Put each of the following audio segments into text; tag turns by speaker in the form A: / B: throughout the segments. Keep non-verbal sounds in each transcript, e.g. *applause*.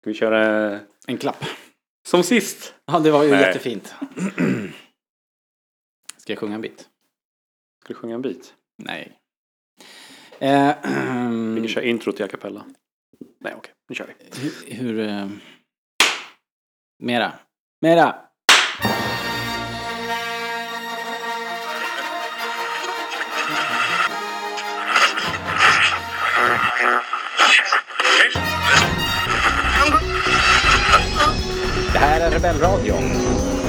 A: Ska vi köra eh,
B: En klapp.
A: som sist?
B: Ja, det var ju
A: Nej.
B: jättefint. *clears throat* Ska jag sjunga en bit?
A: Ska du sjunga en bit?
B: Nej. Eh,
A: Vi
B: *clears throat*
A: kan köra intro till a cappella. Nej, okej. Nu kör vi.
B: hur... hur eh, mera. Mera!
C: Det här är Rebellradion.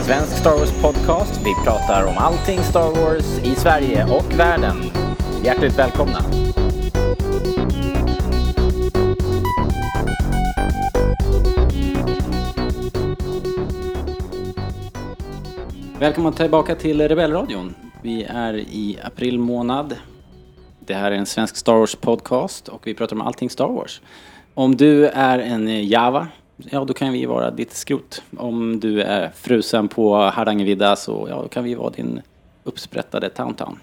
C: Svensk Star Wars podcast. Vi pratar om allting Star Wars i Sverige och världen. Hjärtligt välkomna.
B: Välkomna tillbaka till Rebellradion. Vi är i april månad. Det här är en svensk Star Wars podcast och vi pratar om allting Star Wars. Om du är en Java, ja då kan vi vara ditt skrot. Om du är frusen på Hardangervidda så ja, då kan vi vara din uppsprättade Towntown.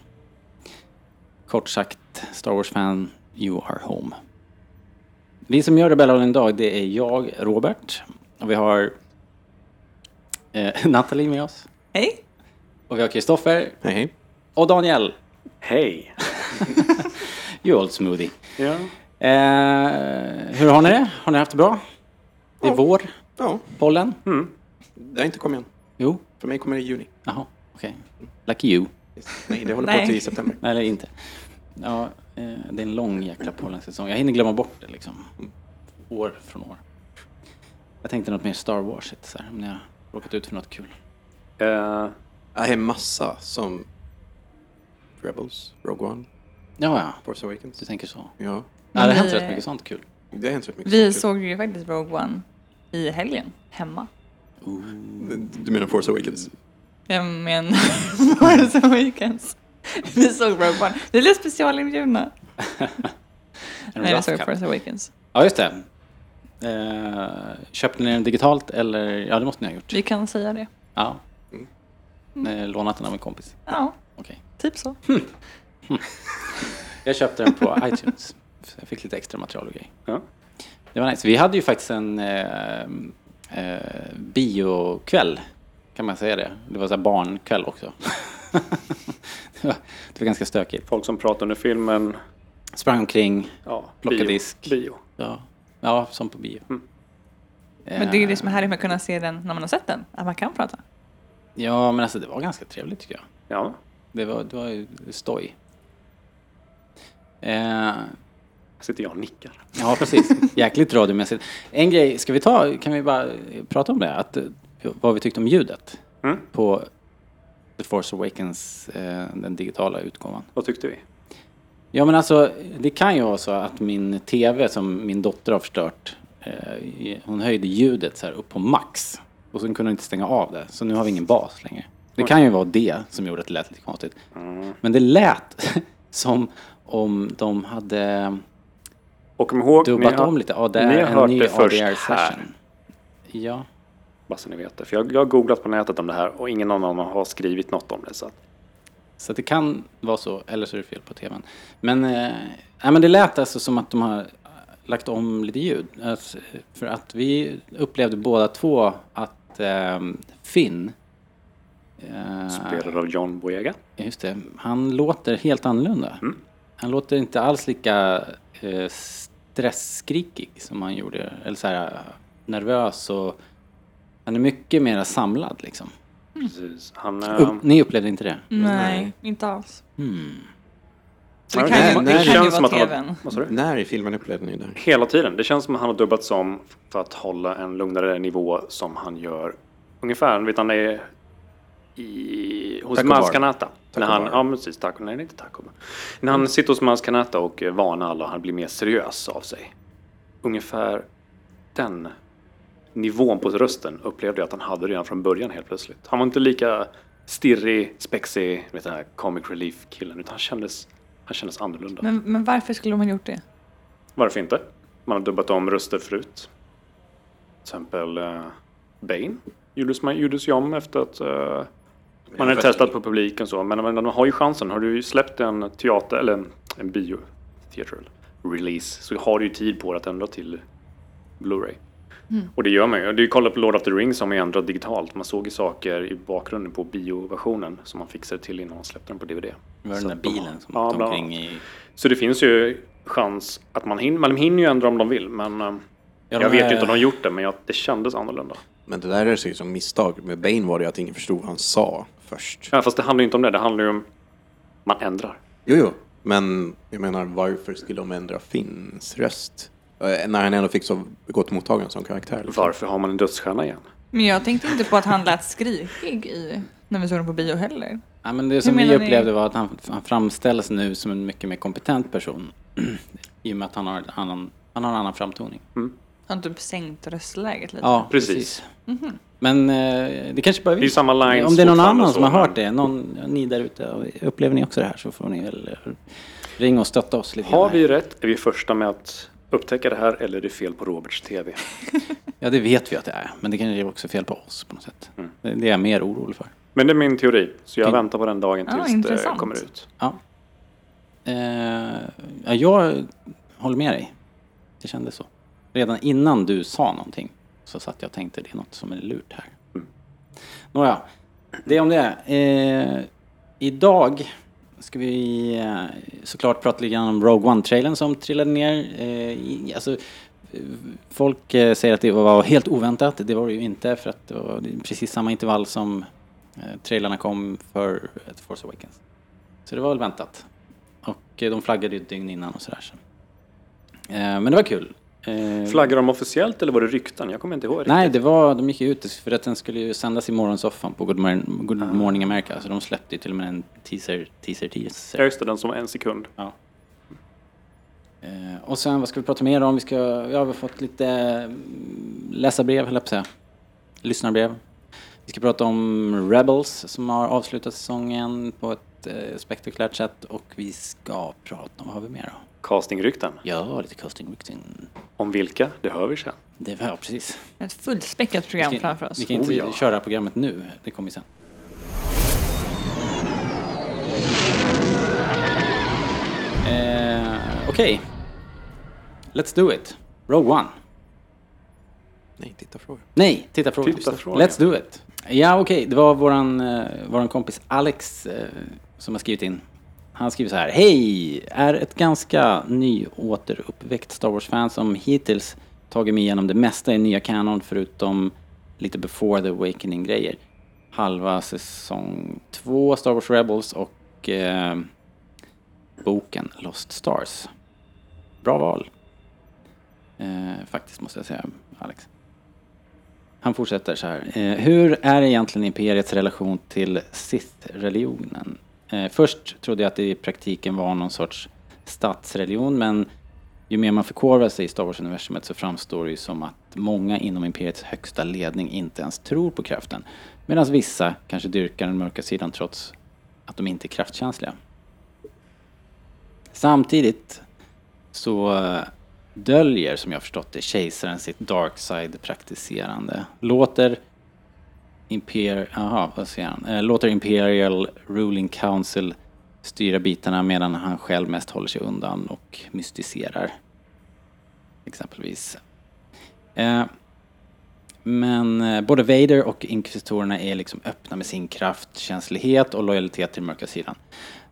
B: Kort sagt, Star Wars-fan, you are home. Vi som gör Rebellradion idag, det är jag, Robert. Och vi har eh, *laughs* Nathalie med oss.
D: Hej!
B: Och vi har Kristoffer
E: Hej, hej.
B: och Daniel.
A: Hej!
B: You old smoothie.
A: Ja.
B: Eh, hur har ni det? Har ni haft det bra? Det är vår.
E: Ja,
B: Pollen?
D: Mm.
E: det har inte kommit än.
B: Jo.
E: För mig kommer det i juni.
B: Jaha, okej. Lucky you.
E: Nej, det håller
D: Nej.
E: på till september.
B: Nej, eller inte. Ja, eh, det är en lång jäkla pollensäsong. Jag hinner glömma bort det liksom. År från år. Jag tänkte något mer Star Wars, så här, om ni har råkat ut för något kul.
A: Eh,
E: Det är massa som Rebels, Rogue One,
B: Ja, ja.
E: Force
B: Du
E: Awakens.
B: tänker så.
E: Ja,
B: Ja, det har
D: Men
B: hänt
D: vi-
B: rätt mycket sånt kul. *laughs*
E: det har hänt rätt mycket.
D: Vi
E: som
D: såg ju faktiskt Rogue One i helgen, hemma.
E: kul. Du menar Force Awakens?
D: Jag men Force Awakens. Vi såg Rogue One. Vi blev specialinbjudna.
B: En
D: Nej, vi
B: rough
D: såg
B: cut.
D: Force Awakens.
B: Ja, just det. Eh, köpte ni den digitalt eller? Ja, det måste ni ha gjort.
D: Vi kan säga det.
B: Ja.
D: Mm.
B: Eh, Lånat den av en kompis.
D: Ja,
B: Okej.
D: typ så.
B: Jag köpte den
D: *laughs*
B: på iTunes. Så jag fick lite extra material och grejer.
A: ja.
B: Det var nice. Vi hade ju faktiskt en eh, eh, biokväll. Kan man säga det? Det var så här barnkväll också. *laughs* det, var, det var ganska stökigt.
A: Folk som pratar under filmen.
B: Sprang omkring.
A: Ja,
B: Plocka
A: bio.
B: disk.
A: Bio.
B: Ja, ja som på bio. Eh,
D: Mm. Men det är ju det som är härligt med att kunna se den när man har sett den. Att man kan prata.
B: Ja, men alltså det var ganska trevligt tycker jag.
A: Ja.
B: Det var, det var ju stoj. Eh,
A: Här sitter jag och nickar.
B: Ja, precis. Jäkligt radiomässigt. En grej, ska vi ta, kan vi bara eh, prata om det? Att, eh, vad vi tyckte om ljudet
A: Mm.
B: på The Force Awakens, eh, den digitala utgåvan.
A: Vad tyckte vi?
B: Ja, men alltså, det kan ju vara så att min tv som min dotter har förstört, eh, i- hon höjde ljudet så här upp på max. Och sen kunde hon inte stänga av det, så nu har vi ingen bas längre. Det kan ju vara det som gjorde att det lät lite konstigt.
A: Mm.
B: Men det lät *laughs* som om de hade
A: Och kom ihåg,
B: dubbat
A: har-
B: om lite. Ja, det
A: ni har
B: är en
A: hört
B: ny
A: det först
B: ADR
A: här.
B: session. Ja.
A: Bara så ni vet det. För jag, jag har googlat på nätet om det här och ingen annan har skrivit något om det. Så att,
B: Så att det kan vara så, eller så är det fel på tvn. Men, eh, nej, men det lät alltså som att de har lagt om lite ljud. Alltså, för att vi upplevde båda två att eh, Finn, eh,
A: spelad av John Boyega.
B: just det, han låter helt annorlunda.
A: Mm.
B: Han låter inte alls lika eh, stresskrikig som han gjorde, eller så här eh, nervös och han är mycket mer samlad liksom.
A: Precis. Han, eh,
B: Upp, ni upplevde inte det?
D: Nej, inte alls.
A: han-
D: kan ju- det
A: det
D: kan ju
A: känns som
D: vara
A: att han har-
D: TV:n.
A: Vad sa du?
E: När i filmen upplevde ni det här?
A: Hela tiden. Det känns som att han har dubbats om för att hålla en lugnare nivå som han gör ungefär. Vet han är i, hos
E: Taco Bar.
A: Maskanata. När han,
E: Bar.
A: ja, men precis. Taco, nej, det är inte taco. Bar. När han sitter hos Maskanata och eh, varnar alla, han blir mer seriös av sig. Ungefär den nivån på rösten upplevde jag att han hade redan från början helt plötsligt. Han var inte lika stirrig, spexig, vet den här comic relief-killen, utan han kändes, han kändes annorlunda.
D: Men, men varför skulle de ha gjort det?
A: Varför inte? Man har dubbat om röster förut. Till exempel eh, Bane gjordes, man, gjordes ju om efter att eh, man hade testat på publiken så. Men, men de har ju chansen. Har du ju släppt en teater eller en, en bio theater release så har du ju tid på dig att ändra till Blu-ray. Och det gör man ju. Du kollar på Lord of the Rings som är ändrat digitalt. Man såg ju saker i bakgrunden på bioversionen som man fixade till innan man släppte den på DVD.
B: Det var
A: Så
B: den där
A: att de-
B: bilen som
A: Ja,
B: åkte
A: bland
B: omkring
A: annat.
B: i...
A: Så det finns ju chans att man hinner. Man hinner ju ändra om de vill, men eh,
B: de
A: jag vet
B: här-
A: ju inte om de gjort det, men jag, det kändes annorlunda.
E: Men det där är säkert som misstag. Med Bane var det ju att ingen förstod vad han sa först.
A: Ja, fast det handlar ju inte om det. Det handlar ju om man ändrar.
E: Jo, jo. Men jag menar, varför skulle de ändra Finns röst? Eh, När han ändå fick så gott mottagande som karaktär. liksom.
A: Varför har man en dödsstjärna igen?
D: Men jag tänkte inte på att han lät skrikig i, när vi såg den på bio heller.
B: Ja, men det som vi
D: menar ni?
B: upplevde var att han, han framställs nu som en mycket mer kompetent person. *clears throat* I och med att han har, en annan, han har en annan framtoning.
D: Han typ sänkt röstläget lite.
B: Ja,
A: Mm, Precis.
D: Mhm.
B: Men eh, det kanske bara
A: Det är ju samma lines
B: Om det är någon
A: fortfarande
B: annan
A: och
B: som
A: så,
B: har hört
A: men-
B: det, någon, ni där ute, upplever ni också det här så får ni väl eh, ringa och stötta oss lite
A: Har
B: grann här.
A: vi rätt? Är vi första med att upptäcka det här eller är det fel på Roberts TV?
B: Ja, det vet vi att det är. Men det kanske är också fel på oss på något sätt.
A: Mm.
B: Det, det är jag mer orolig för.
A: Men det är min teori, så jag
B: Okej.
A: väntar på den dagen
D: Ah,
A: tills det
D: intressant.
A: kommer ut.
B: Ja. Eh, ja, jag håller med dig. Det kändes så. Redan innan du sa någonting så satt jag och tänkte det är något som är lurt här. Nåja, det om det. Eh, idag ska vi eh, såklart prata lite grann om Rogue One-trailern som trillade ner. Eh, i, alltså, eh, folk eh, säger att det var helt oväntat. Det var det ju inte för att det var precis samma intervall som eh, trailarna kom för eh, The Force Awakens. Så det var väl väntat. Och eh, de flaggade ju ett dygn innan och sådär. Så. Eh, Men det var kul. Eh,
A: Flaggar de officiellt eller var det rykten? Jag kommer inte ihåg. riktigt.
B: Nej, det var, de gick ju ut för att den skulle ju sändas i morgonsoffan på Good Morning, Good Morning America. Så de släppte ju till och med en teaser, teaser,
A: Ja,
B: teaser.
A: just det, den som var en sekund.
B: Ja. Eh, Och sen, vad ska vi prata mer om? Vi ska, ja, vi har fått lite mm, läsarbrev, höll jag på att säga. Lyssnarbrev. Vi ska prata om Rebels som har avslutat säsongen på ett eh, spektakulärt sätt. Och vi ska prata om, vad har vi mer då?
A: Castingrykten.
B: Ja, lite coasting rykten.
A: Om vilka? Det hör vi sen.
B: Det var ja, precis.
D: Ett fullspäckat program
B: Vi kan-
D: framför oss.
B: Vi kan inte
A: Oh, ja.
B: köra programmet nu, det kommer sen. Eh, Okej. Let's do it. Rogue One.
E: Nej, titta fråga.
B: Nej, titta frågan.
A: Titta frågan.
B: Let's do it. Ja, okej. Det var våran, eh, våran kompis Alex eh, som har skrivit in. Han skriver så här. Hej! Är ett ganska nyåteruppväckt Star Wars-fan som hittills tagit mig igenom det mesta i nya kanon förutom lite before the awakening-grejer. Halva säsong två, Star Wars Rebels och eh, boken Lost Stars. Bra val. Eh, faktiskt måste jag säga, Alex. Han fortsätter så här. Eh, hur är egentligen imperiets relation till Sith-religionen? Eh, först trodde jag att det i praktiken var någon sorts statsreligion, men ju mer man förkovrar sig i Star Wars-universumet så framstår det ju som att många inom imperiets högsta ledning inte ens tror på kraften. Medan vissa kanske dyrkar den mörka sidan trots att de inte är kraftkänsliga. Samtidigt så eh, döljer, som jag förstått det, kejsaren sitt dark side praktiserande. Låter Imper... Aha, vad säger han? Eh, Låter Imperial Ruling Council styra bitarna medan han själv mest håller sig undan och mystiserar. Exempelvis. Eh, men eh, både Vader och inkvisitorerna är liksom öppna med sin kraft, känslighet och lojalitet till mörka sidan.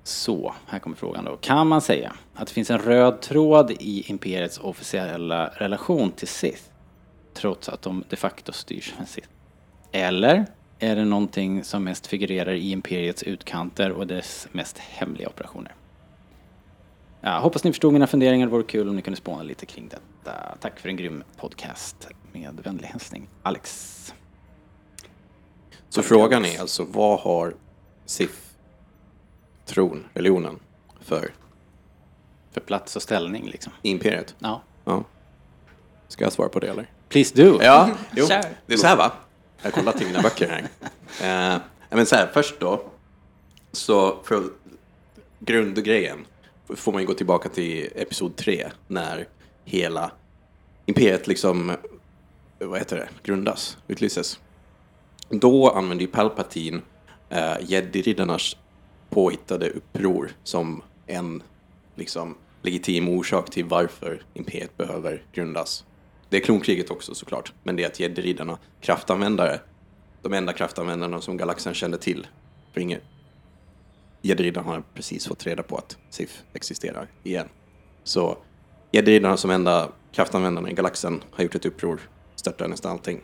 B: Så, här kommer frågan då. Kan man säga att det finns en röd tråd i Imperiets officiella relation till Sith? Trots att de de facto styrs av en Sith. Eller är det någonting som mest figurerar i Imperiets utkanter och dess mest hemliga operationer? Ja, hoppas ni förstod mina funderingar. Det vore kul om ni kunde spåna lite kring detta. Tack för en grym podcast. Med vänlig hälsning, Alex.
E: Så frågan är alltså, vad har SIF, tron, religionen, för
B: För plats och ställning liksom.
E: imperiet?
B: Ja.
E: Ja. Ska jag svara på det eller?
B: Please do!
E: Ja, jo.
D: Kör.
E: det är så här va? Jag har kollat i mina böcker här. Eh, nej, men så här, först då, så för att- grundgrejen får man ju gå tillbaka till episod 3 när hela imperiet liksom, vad heter det, grundas, utlyses. Då använder ju Palpatine eh, jediriddarnas påhittade uppror som en liksom, legitim orsak till varför imperiet behöver grundas. Det är klonkriget också såklart, men det är att gäddridarna, kraftanvändare, de enda kraftanvändarna som galaxen kände till, för ingen gäddridarna har precis fått reda på att SIF existerar igen. Så gäddridarna som enda kraftanvändarna i galaxen har gjort ett uppror, störtar nästan allting.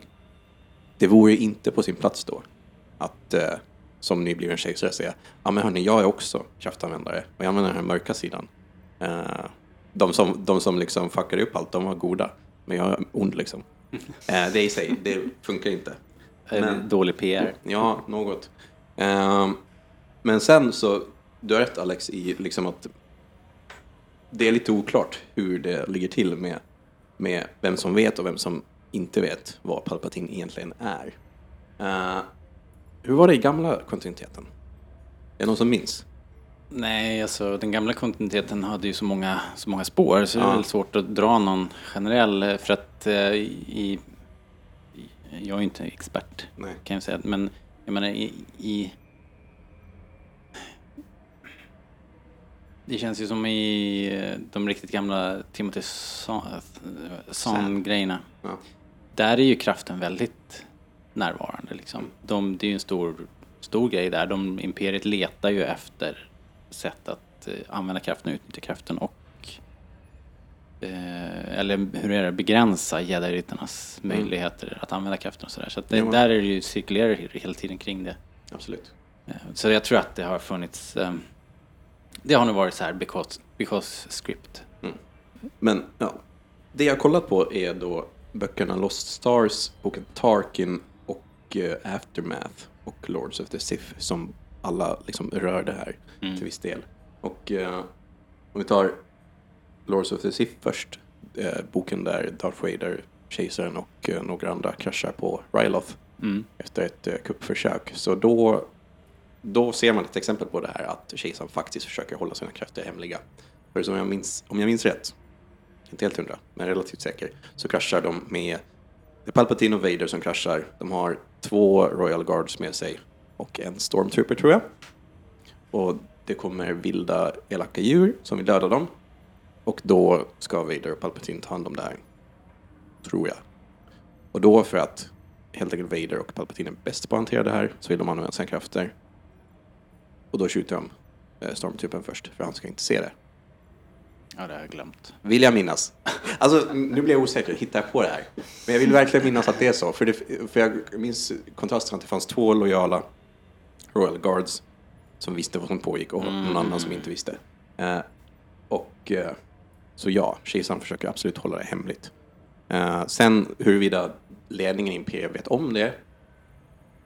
E: Det vore ju inte på sin plats då att eh, som nybliven kejsare säga ja men hörni, jag är också kraftanvändare och jag använder den här mörka sidan. Eh, de, som, de som liksom fuckar upp allt, de var goda, men jag är ond liksom. Eh, det i sig, det funkar inte. Men-
B: Dålig PR.
E: Ja, något. Ehm, men sen så, du har rätt Alex i liksom att det är lite oklart hur det ligger till med, med vem som vet och vem som inte vet vad Palpatine egentligen är. Eh, hur var det i gamla kontinuiteten? Är det någon som minns?
B: Nej, alltså den gamla kontinuiteten hade ju så många, så många spår så det
E: Ja.
B: är väl svårt att dra någon generell eh, för att eh, i, i- jag är ju inte expert
E: Nej.
B: kan jag säga, men jag menar i, i Det känns ju som i eh, de riktigt gamla Timothy Zahn-grejerna.
E: Ja.
B: Där är ju kraften väldigt närvarande. Liksom. De, det är ju en stor, stor grej där. De, imperiet letar ju efter sätt att eh, använda kraften och utnyttja kraften. Och, eh, eller hur är det, begränsa jediryttarnas möjligheter att använda kraften och sådär. Så att det,
E: Jo.
B: där är det ju cirkulerar hela tiden kring det.
E: Absolut.
B: Eh, Så jag tror att det har funnits... ehm, det har nog varit så här because, because script.
E: Men ja, det jag kollat på är då böckerna Lost Stars, boken Tarkin och eh, Aftermath och Lords of the Sith som alla liksom rör det här till viss del. Och eh, om vi tar Lords of the Sith först, eh, boken där Darth Vader, kejsaren och eh, några andra kraschar på Ryloth efter ett eh, kuppförsök. Så då då ser man ett exempel på det här att kejsaren faktiskt försöker hålla sina krafter hemliga. För som jag minns, om jag minns rätt, inte helt hundra, men relativt säker, så kraschar de med det är Palpatine och Vader som kraschar. De har två Royal Guards med sig och en Stormtrooper tror jag. Och det kommer vilda elaka djur som vill döda dem. Och då ska Vader och Palpatine ta hand om det här. Tror jag. Och då för att helt enkelt Vader och Palpatine är bäst på att hantera det här så vill de använda sina krafter. Och då skjuter de eh, stormtroopen först, för han ska inte se det.
B: Ja, det har jag glömt.
E: Vill jag minnas. *laughs* Alltså, nu blir jag osäker. Hittar jag på det här? Men jag vill verkligen minnas att det är så. För, det, för jag minns kontrasten att det fanns två lojala Royal Guards som visste vad som pågick och någon annan som inte visste. Eh, och eh, så ja, kejsaren försöker absolut hålla det hemligt. Eh, sen huruvida ledningen i Imperiet vet om det.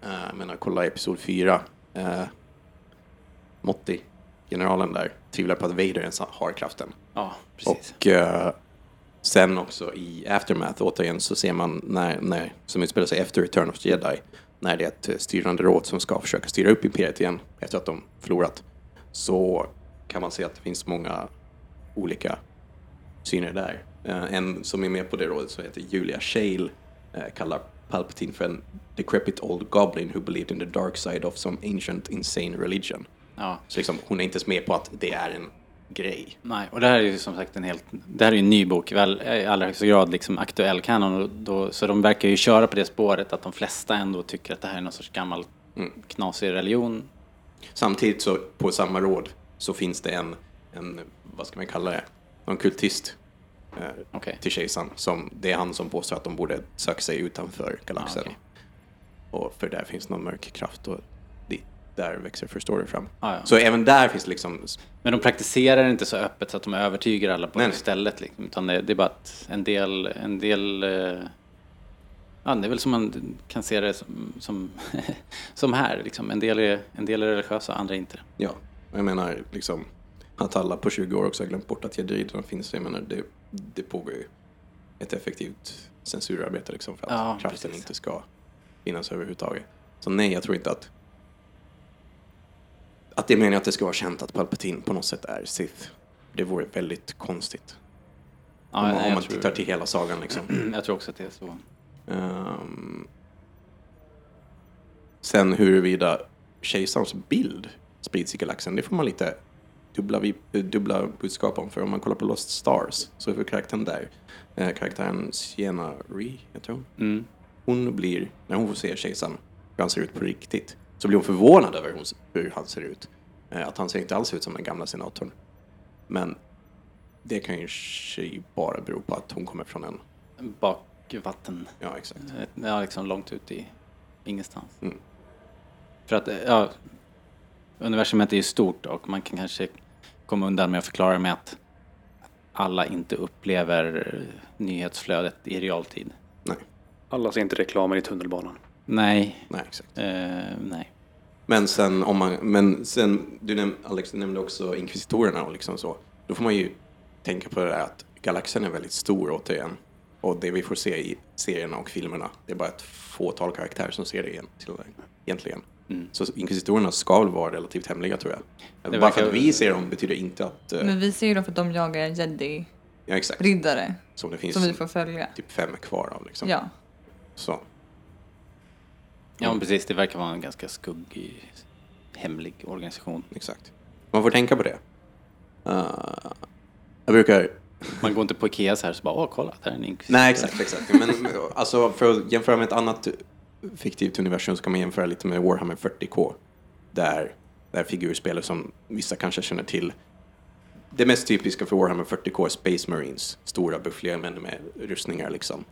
E: Eh, jag menar, kolla Episod 4. Eh, Motti, generalen där, tvivlar på att Vader ens har kraften.
B: Ja, precis.
E: Och eh, sen också i Aftermath, återigen, så ser man när, när, som utspelar sig efter Return of the Jedi, när det är ett eh, styrande råd som ska försöka styra upp Imperiet igen efter att de förlorat, så kan man se att det finns många olika syner där. Eh, en som är med på det rådet som heter Julia Shale eh, kallar Palpatine för en decrepit old goblin who believed in the dark side of some ancient insane religion.
B: Ja.
E: Så liksom, hon är inte ens med på att det är en grej.
B: Nej, och det här är ju som sagt en helt, det här är ju en ny bok, väl, i allra högsta grad liksom aktuell kanon. Och då, så de verkar ju köra på det spåret att de flesta ändå tycker att det här är någon sorts gammal
E: Mm.
B: knasig religion.
E: Samtidigt så på samma råd så finns det en, en vad ska man kalla det, en kultist eh,
B: Okej.
E: till kejsaren. Som, det är han som påstår att de borde söka sig utanför galaxen.
B: Ah, okej.
E: Och för där finns någon mörk kraft och det, där växer förstorer fram.
B: Ah, ja.
E: Så även där finns liksom,
B: Men de praktiserar det inte så öppet så att de övertygar alla på
E: Nej,
B: det
E: nej.
B: stället. Liksom, utan det, det är bara att en del, en del eh, ja, det är väl som man kan se det som, som, *laughs* som här. Liksom. En, del är, en del är religiösa, andra inte.
E: ja, jag menar liksom att alla på 20 år också har glömt bort att jediderna finns. Jag menar det, det pågår ju ett effektivt censurarbete liksom för att
B: Ja,
E: kraften
B: precis.
E: inte ska finnas överhuvudtaget. Så nej, jag tror inte att att det menar att det ska vara känt att Palpatine på något sätt är Sith. Det vore väldigt konstigt.
B: Ja,
E: om,
B: nej,
E: om
B: jag,
E: man tittar
B: tror,
E: till hela sagan liksom.
B: *clears throat* jag tror också att det är så.
E: Ehm, sen huruvida kejsarens bild sprids i galaxen, det får man lite dubbla, vi- eh, dubbla budskap om. För om man kollar på Lost Stars så är väl karaktären där, eh, karaktären Sienna Ree, jag tror
B: Mm.
E: hon blir, när hon får se kejsaren, hur han ser ut på riktigt, så blir hon förvånad över hon- hur han ser ut. Eh, Att han ser inte alls ut som den gamla senatorn. Men det kan ju i sig bara bero på att hon kommer från en...
B: Bakvatten.
E: Ja, exakt.
B: Ja, liksom långt ut i ingenstans.
E: Mm.
B: För att, ja, universumet är ju stort och man kan kanske komma undan med att förklara med att alla inte upplever eh, nyhetsflödet i realtid.
E: Nej,
A: Alla ser inte reklamen i tunnelbanan.
B: Nej,
E: nej exakt.
B: eh, nej.
E: Men sen om man, men sen, du näm, Alex du nämnde också inkvisitorerna och liksom så. Då får man ju tänka på det där att galaxen är väldigt stor återigen. Och det vi får se i serierna och filmerna, det är bara ett fåtal karaktärer som ser det igen, till, egentligen. Så inkvisitorerna ska väl vara relativt hemliga tror jag. bara för
B: verkar-
E: att vi ser dem betyder inte att... eh,
D: Men vi ser ju då för att de jagar en jedi-riddare
E: ja exakt. Som det finns
D: som vi får följa.
E: typ fem kvar av liksom.
D: Ja.
E: Så. Mm.
B: Ja, men precis. Det verkar vara en ganska skuggig, hemlig organisation.
E: Exakt. Man får tänka på det. Eh, jag brukar
B: Man går inte på Ikea så här så bara, åh kolla, där är en inkvisitor.
E: Nej, exakt. exakt. Men alltså, för att jämföra med ett annat fiktivt universum så kan man jämföra lite med Warhammer 40K. Där, där figurspelare som vissa kanske känner till. Det mest typiska för Warhammer 40K är Space Marines. Stora buffliga män med rustningar liksom.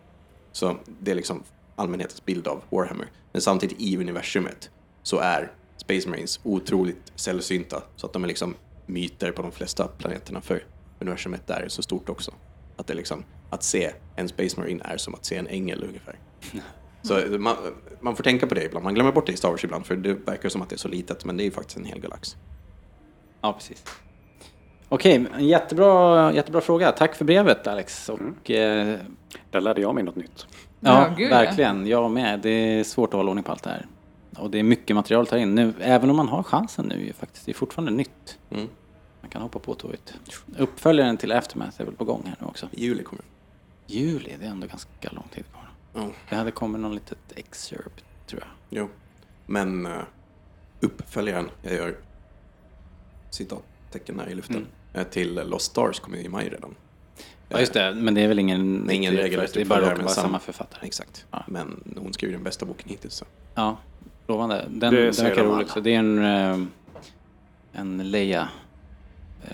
E: Så det är liksom allmänhetens bild av Warhammer. Men samtidigt i universumet så är Space Marines otroligt sällsynta. Så att de är liksom myter på de flesta planeterna för universumet där är så stort också. Att det är liksom, att se en Space Marine är som att se en ängel ungefär. Så eh, man, man får tänka på det ibland. Man glömmer bort det i Star Wars ibland för det verkar som att det är så litet men det är ju faktiskt en hel galax.
B: Ja, precis. Okej, men jättebra, jättebra fråga. Tack för brevet Alex. Och,
E: Mm.
B: eh,
A: Där lärde jag mig något nytt.
B: Ja,
D: Ja, gud, ja.
B: verkligen. Jag med. Det är svårt att hålla ordning på allt det här. Och det är mycket material att ta in. Nu, även om man har chansen nu ju faktiskt. Det är fortfarande nytt.
E: Mm.
B: Man kan hoppa på tåget. Uppföljaren till Aftermath är väl på gång här nu också.
E: I juli kommer
B: Juli, det är ändå ganska lång tid kvar.
E: det. Ja.
B: Det hade kommit någon litet excerpt, tror jag.
E: Jo. Men eh, uppföljaren, jag gör citattecken här i luften, eh, till Lost Stars kommer ju i maj redan.
B: Ja, just det. Men det är väl ingen...
E: Nej, ingen
B: riktig
E: regelrätt
B: uppföljare. Det är bara
E: uppföljare,
B: råkar
E: men
B: vara
E: sam-
B: samma författare.
E: Exakt.
B: Ja.
E: Men hon skriver den bästa boken hittills. Så.
B: Ja, lovande. Den,
A: Det
B: den
A: säger
B: verkar
A: de
B: rolig
A: alla.
B: också. Det är en, eh, en Leia. eh,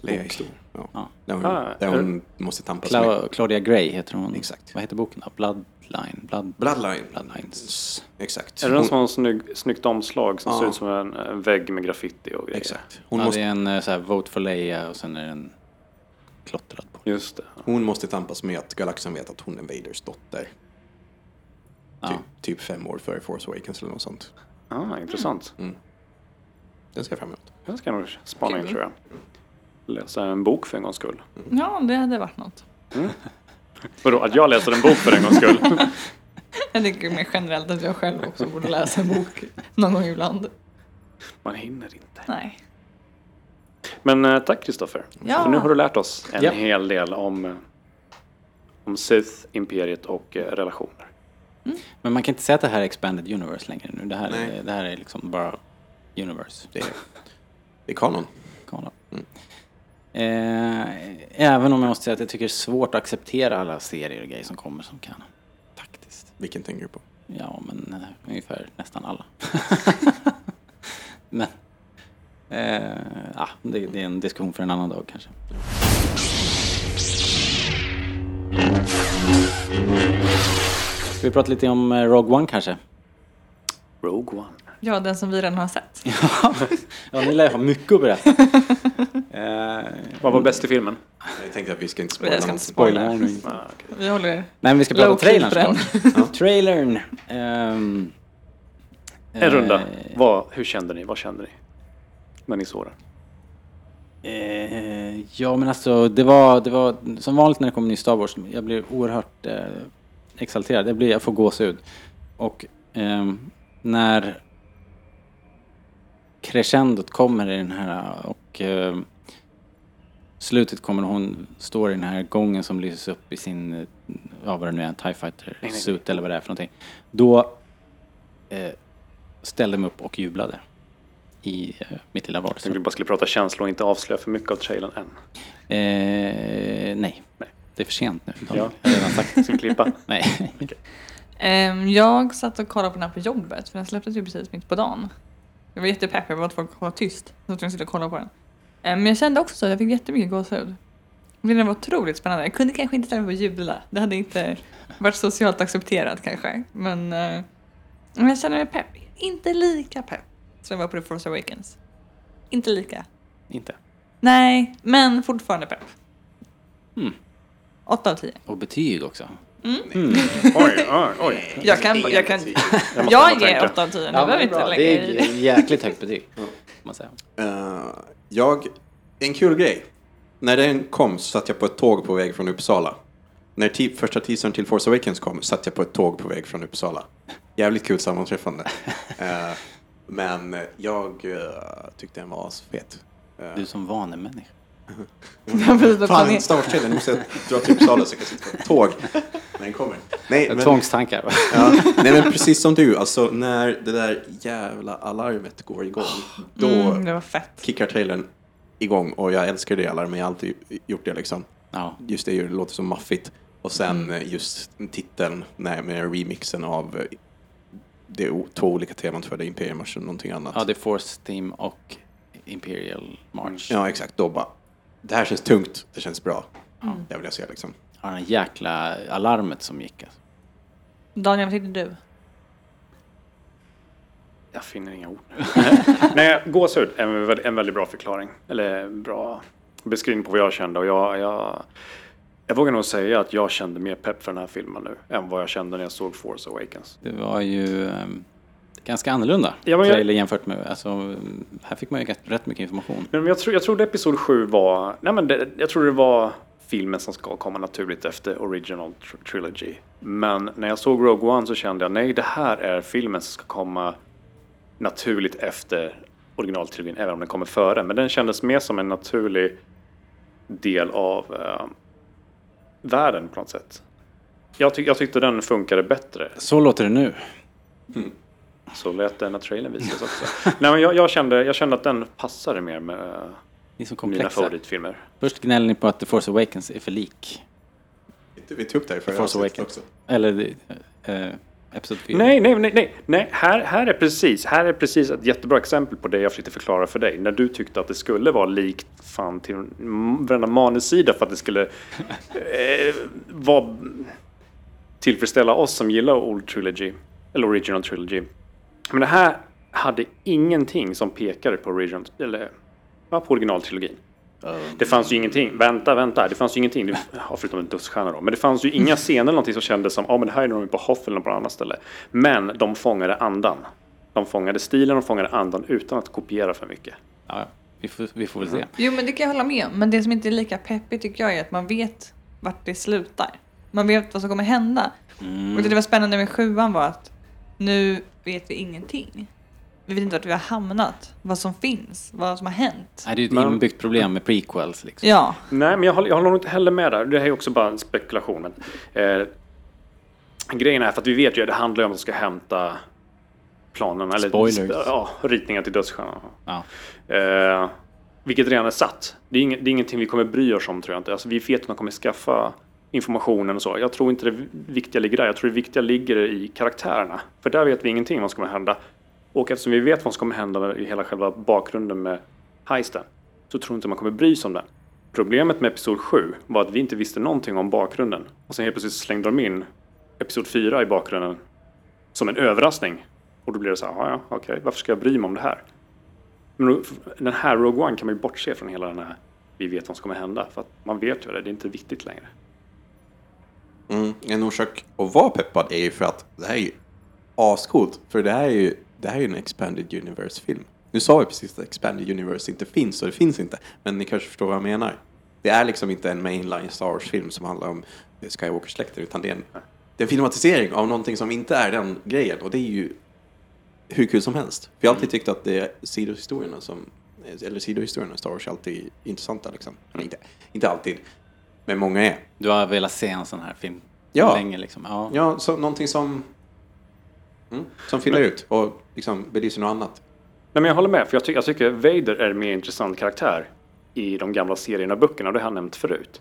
E: Leia
B: Och-
E: historia. Ja.
B: Ja.
E: Där hon,
A: Ah,
E: där hon måste tampas med.
B: Cla- Claudia Gray heter hon.
E: Exakt.
B: Vad heter boken då? Bloodline? Blood...
E: Bloodline.
B: Bloodlines.
E: Exakt.
A: Är det den
E: Hon-
A: som har en snygg, snyggt omslag som
E: Ja.
A: ser ut som en, en vägg med graffiti och grejer?
E: Exakt. Hon,
B: ja,
E: måste,
B: Det är en eh, så här, Vote for Leia och sen är den klottrad på.
A: Just det.
E: hon måste tampas med att galaxen vet att hon är Vaders dotter.
B: Ja.
E: Typ, typ fem år före Force Awakens eller något sånt.
A: Ah, intressant.
E: Den ser jag fram emot.
A: Den ska jag nog spana in
D: Kul.
A: tror jag. Läsa en bok för en gångs skull.
D: ja, det hade varit något.
A: Vadå, att jag läser en bok för en gångs skull?
D: Jag tycker mer generellt att jag själv också borde läsa en bok någon gång ibland.
A: Man hinner inte.
D: Nej.
A: Men eh, tack Kristoffer.
D: Ja.
A: För nu har du lärt oss en
B: Ja.
A: hel del om, eh, om Sith, Imperiet och eh, relationer.
B: Men man kan inte säga att det här är Expanded Universe längre nu. Det här,
E: Nej.
B: är, det här är liksom bara Universe.
E: Det Mm. är, det är kanon.
B: Kanon. Eh, även om jag måste säga att jag tycker det är svårt att acceptera alla serier och grejer som kommer som kan. Faktiskt.
E: Vilken tänker du på?
B: Ja, men eh, ungefär nästan alla. *laughs* men eh, ah, det, det är en diskussion för en annan dag kanske. Ska vi prata lite om eh, Rogue One kanske?
A: Rogue One.
D: Ja, den som vi redan har sett.
B: Ja, ni lär ju ha mycket att *laughs* berätta. Eh,
A: Vad var bäst i filmen?
E: Jag tänkte att vi ska inte
D: Jag
E: spoila
D: ska
E: någonting.
D: inte
B: spoiler warning.
A: Ah, okej.
D: Vi håller...
B: Nej, men vi ska prata om
D: Low-key
B: trailern
D: på den.
B: såklart. Trailern. ehm,
A: En runda.
B: eh,
A: Vad, hur kände ni? Vad kände ni? När ni såg den?
B: Eh, ja men alltså det var, det var som vanligt när det kommer ny Star Wars. Jag blir oerhört eh, exalterad. Jag, blir, jag får gåshud. Och ehm, när crescendot kommer i den här och ehm, slutet kommer när hon står i den här gången som lyses upp i sin, eh, ja vad det nu är, en TIE fighter
A: nej.
B: suit eller vad det är för någonting. Då eh, ställde jag mig upp och jublade. i eh, mitt lilla
A: Jag
B: vardagsrum.
A: tänkte bara skulle prata känslor och inte avslöja för mycket av trailern än.
B: Eh, nej.
A: Nej.
B: det är för sent nu.
A: Ja.
B: Typ. Jag har redan sagt det.
A: Ska vi klippa?
B: *laughs* Nej.
D: Ehm, jag satt och kollade på den här på jobbet, för den släpptes ju precis mitt på dagen. Jag var jättepeppig på att folk var tyst, så att jag skulle kolla på den. Ehm, men jag kände också att jag fick jättemycket gåshud. Men Den var otroligt spännande. Jag kunde kanske inte ställa mig på jula. Det hade inte varit socialt accepterat kanske. Men, eh, men jag kände mig pepp. Inte lika pepp som jag var på The Force Awakens. Inte lika.
B: Inte.
D: Nej, men fortfarande pepp.
A: Hmm.
B: Mm.
D: 8 av 10.
B: Och betyg också.
A: Mm. *laughs* Oj, oj, oj.
D: Mm. Jag kan... Jag, kan,
A: Jag måste
D: jag
A: komma
D: ger
A: tänka.
D: 8 av 10. Nu
B: Ja, men
D: behöver
B: bra.
D: inte lägga
B: Det
D: i
B: är
D: det.
B: jäkligt högt betyg. får Man säga.
E: Eh, jag, en kul grej. När den kom så satt jag på ett tåg på väg från Uppsala. När te- första teasern till Force Awakens kom satt jag på ett tåg på väg från Uppsala. Jävligt kul sammanträffande.
D: *laughs*
E: Eh, men jag eh, tyckte den var Eh, asfet.
B: Du som vanemänniska.
D: *laughs*
E: Fan, Star Wars-trailern, nu måste jag dra till Uppsala så jag kan sitta på ett tåg när den kommer. Nej, men,
B: Tvångstankar. va?
E: ja, nej, men precis som du, alltså när det där jävla alarmet går igång, då
D: Mm, det var fett.
E: kickar trailern igång och jag älskar det alarmet, jag har alltid gjort det liksom.
B: Ja.
E: Just det, det låter så maffigt. Och sen eh,
B: Mm.
E: just titeln nej, med remixen av eh, det är o- två olika teman för det, Imperium och någonting annat.
B: ja, det är Force Team och Imperial March.
E: Ja, exakt. Då bara, det här känns tungt, det känns bra.
B: Mm.
E: Det vill jag se liksom.
B: Ja, den jäkla alarmet som gick. Alltså.
D: Daniel, vad tyckte du?
A: *laughs* Jag finner inga ord. *laughs* Nej, gåshud är en, vä- en väldigt bra förklaring. Eller bra beskrivning på vad jag kände. Och jag, jag, jag vågar nog säga att jag kände mer pepp för den här filmen nu än vad jag kände när jag såg Force Awakens.
B: Det var ju ehm, ganska annorlunda
A: Ja, men jag-
B: trailer jämfört med... Alltså, mm, här fick man ju rätt- rätt mycket information.
A: Men jag, tror, jag trodde episod 7 var... Nej men det, jag trodde det var filmen som ska komma naturligt efter Original tr- Trilogy. Men när jag såg Rogue One så kände jag nej, det här är filmen som ska komma naturligt efter originaltrilogin, även om den kommer före. Men den kändes mer som en naturlig del av eh, världen på något sätt. Jag, ty- jag tyckte den funkade bättre.
B: Så låter det nu.
A: Så lät den när trailern visades också. Nej, men jag, jag, kände, jag kände att den passade mer med eh,
B: Ni
A: mina
B: som komplexa.
A: favoritfilmer.
B: Först gnäller ni på att The Force Awakens är för lik.
E: Vi tog upp det här i förra
B: Force
E: avsnittet
B: Awakens.
E: också.
B: Eller eh, Episod 4.
A: Nej, nej, nej, nej, nej. Här, här är precis, här är precis ett jättebra exempel på det jag försökte förklara för dig. När du tyckte att det skulle vara likt fan till m- varenda manussida för att det skulle eh, vara tillfredsställa oss som gillar Old Trilogy, eller Original Trilogy. Men det här hade ingenting som pekade på, original, eller, ja, på originaltrilogin. Det fanns ju ingenting. Vänta, vänta. Det fanns ju ingenting. Det, ja, förutom en duschstjärna då. Men det fanns ju inga scener eller någonting som kändes som ja men det här är när de är på Hoth eller på något annat ställe. Men de fångade andan. De fångade stilen, de fångade andan utan att kopiera för mycket.
B: Ja, vi, får, vi får väl se.
D: Jo, men det kan jag hålla med om. Men det som inte är lika peppigt tycker jag är att man vet vart det slutar. Man vet vad som kommer hända. Och det, det var spännande med sjuan var att nu vet vi ingenting. Vi vet inte vart vi har hamnat, vad som finns, vad som har hänt.
B: Nej, det är ju ett
A: Men-
B: inbyggt problem med prequels. Liksom.
D: Ja,
A: Nej, men jag håller, jag håller nog inte heller med där. Det här är också bara en spekulation. Men, eh, grejen är för att vi vet ju att det handlar ju om att de ska hämta planen. Eller,
B: Spoilers.
A: Ja, ritningar till dödsstjärnan.
B: Ja.
A: Eh, vilket redan är satt. Det är, inget, det är ingenting vi kommer bry oss om tror jag inte. Alltså, vi vet att de kommer skaffa informationen och så. Jag tror inte det viktiga ligger där. Jag tror det viktiga ligger i karaktärerna. För där vet vi ingenting vad som kommer hända. Och eftersom vi vet vad som kommer hända i hela själva bakgrunden med heisten så tror jag inte man kommer bry sig om den. Problemet med Episod 7 var att vi inte visste någonting om bakgrunden. Och sen helt plötsligt slängde de in Episod 4 i bakgrunden som en överraskning. Och då blir det så här, "Ja, ja, okej, varför ska jag bry mig om det här? Men då- den här Rogue One kan man ju bortse från hela den här vi vet vad som kommer hända. För att man vet ju det, det är inte viktigt längre.
E: Mm. En orsak att vara peppad är ju för att det här är ju ascoolt. För det här är ju, det här är ju en expanded universe-film. Nu sa vi precis att expanded universe inte finns och det finns inte. Men ni kanske förstår vad jag menar. Det är liksom inte en mainline Star Wars-film som handlar om Skywalker-släkten utan det är, en, det är en filmatisering av någonting som inte är den grejen. Och det är ju hur kul som helst. För jag har alltid tyckt att det är sidohistorierna som, eller sidohistorierna i Star Wars är alltid intressanta liksom. Eller inte, inte alltid, men många är.
B: Du har velat se en sån här film
E: Ja.
B: länge. Liksom. Ja.
E: Ja, så, någonting som, mm, som fyller ut och liksom belyser något annat.
A: Nej, men jag håller med, för jag, ty- jag tycker Vader är en mer intressant karaktär i de gamla serierna och böckerna, och det har jag nämnt förut.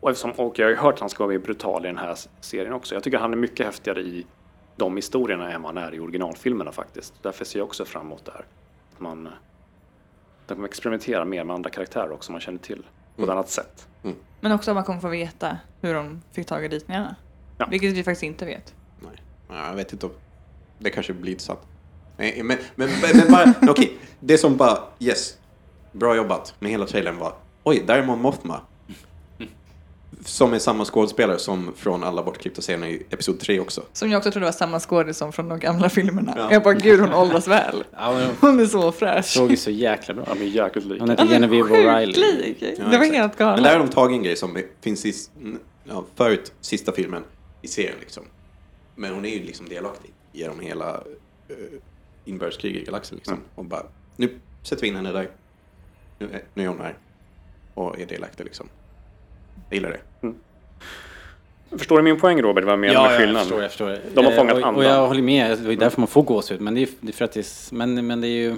A: Och, eftersom, och jag har ju hört att han ska vara mer brutal i den här s- serien också. Jag tycker han är mycket häftigare i de historierna än vad han är i originalfilmerna faktiskt. Därför ser jag också fram emot det här. Att Man, eh, de kommer experimentera mer med andra karaktärer också, som man känner till på ett annat sätt.
D: Men också att man kommer få veta hur de fick tag i ritningarna.
A: Ja.
D: Vilket vi faktiskt inte vet.
E: Nej, Ja, jag vet inte om... Det kanske blir inte sant. Nej, Men, men, men, men bara, men okej. Det som bara, yes, bra jobbat med hela trailern var, oj, där är Mon Mothma. Som är samma skådespelare som från alla bortklippta scener i Episod 3 också.
D: Som jag också trodde var samma skådis som från de gamla filmerna.
E: Ja.
D: Jag bara, gud hon åldras väl. Hon är så fräsch.
B: Såg ju så jäkla bra
A: Ja, men jäkligt lik.
B: Hon heter
D: Hon är
B: Genevieve
D: sjukt
B: O'Reilly.
D: lik.
E: Ja,
D: det var
E: exakt. Men
D: helt
E: där har
D: galet.
E: de tagit en grej som finns i, ja, förut, sista filmen i serien liksom. Men hon är ju liksom delaktig genom hela eh, inbördeskriget i galaxen liksom.
B: Mm.
E: Och bara, nu sätter vi in henne där. Nu är, nu är hon här. Och är delaktig liksom. Jag gillar det.
A: Förstår du min poäng Robert, vad jag menar med skillnaden?
B: förstår.
A: De har
B: Eh,
A: fångat
B: och,
A: andan.
B: Och jag håller med, det är därför man får gåshud. Men det är, det är för att det är, s- men, men det är ju... eh,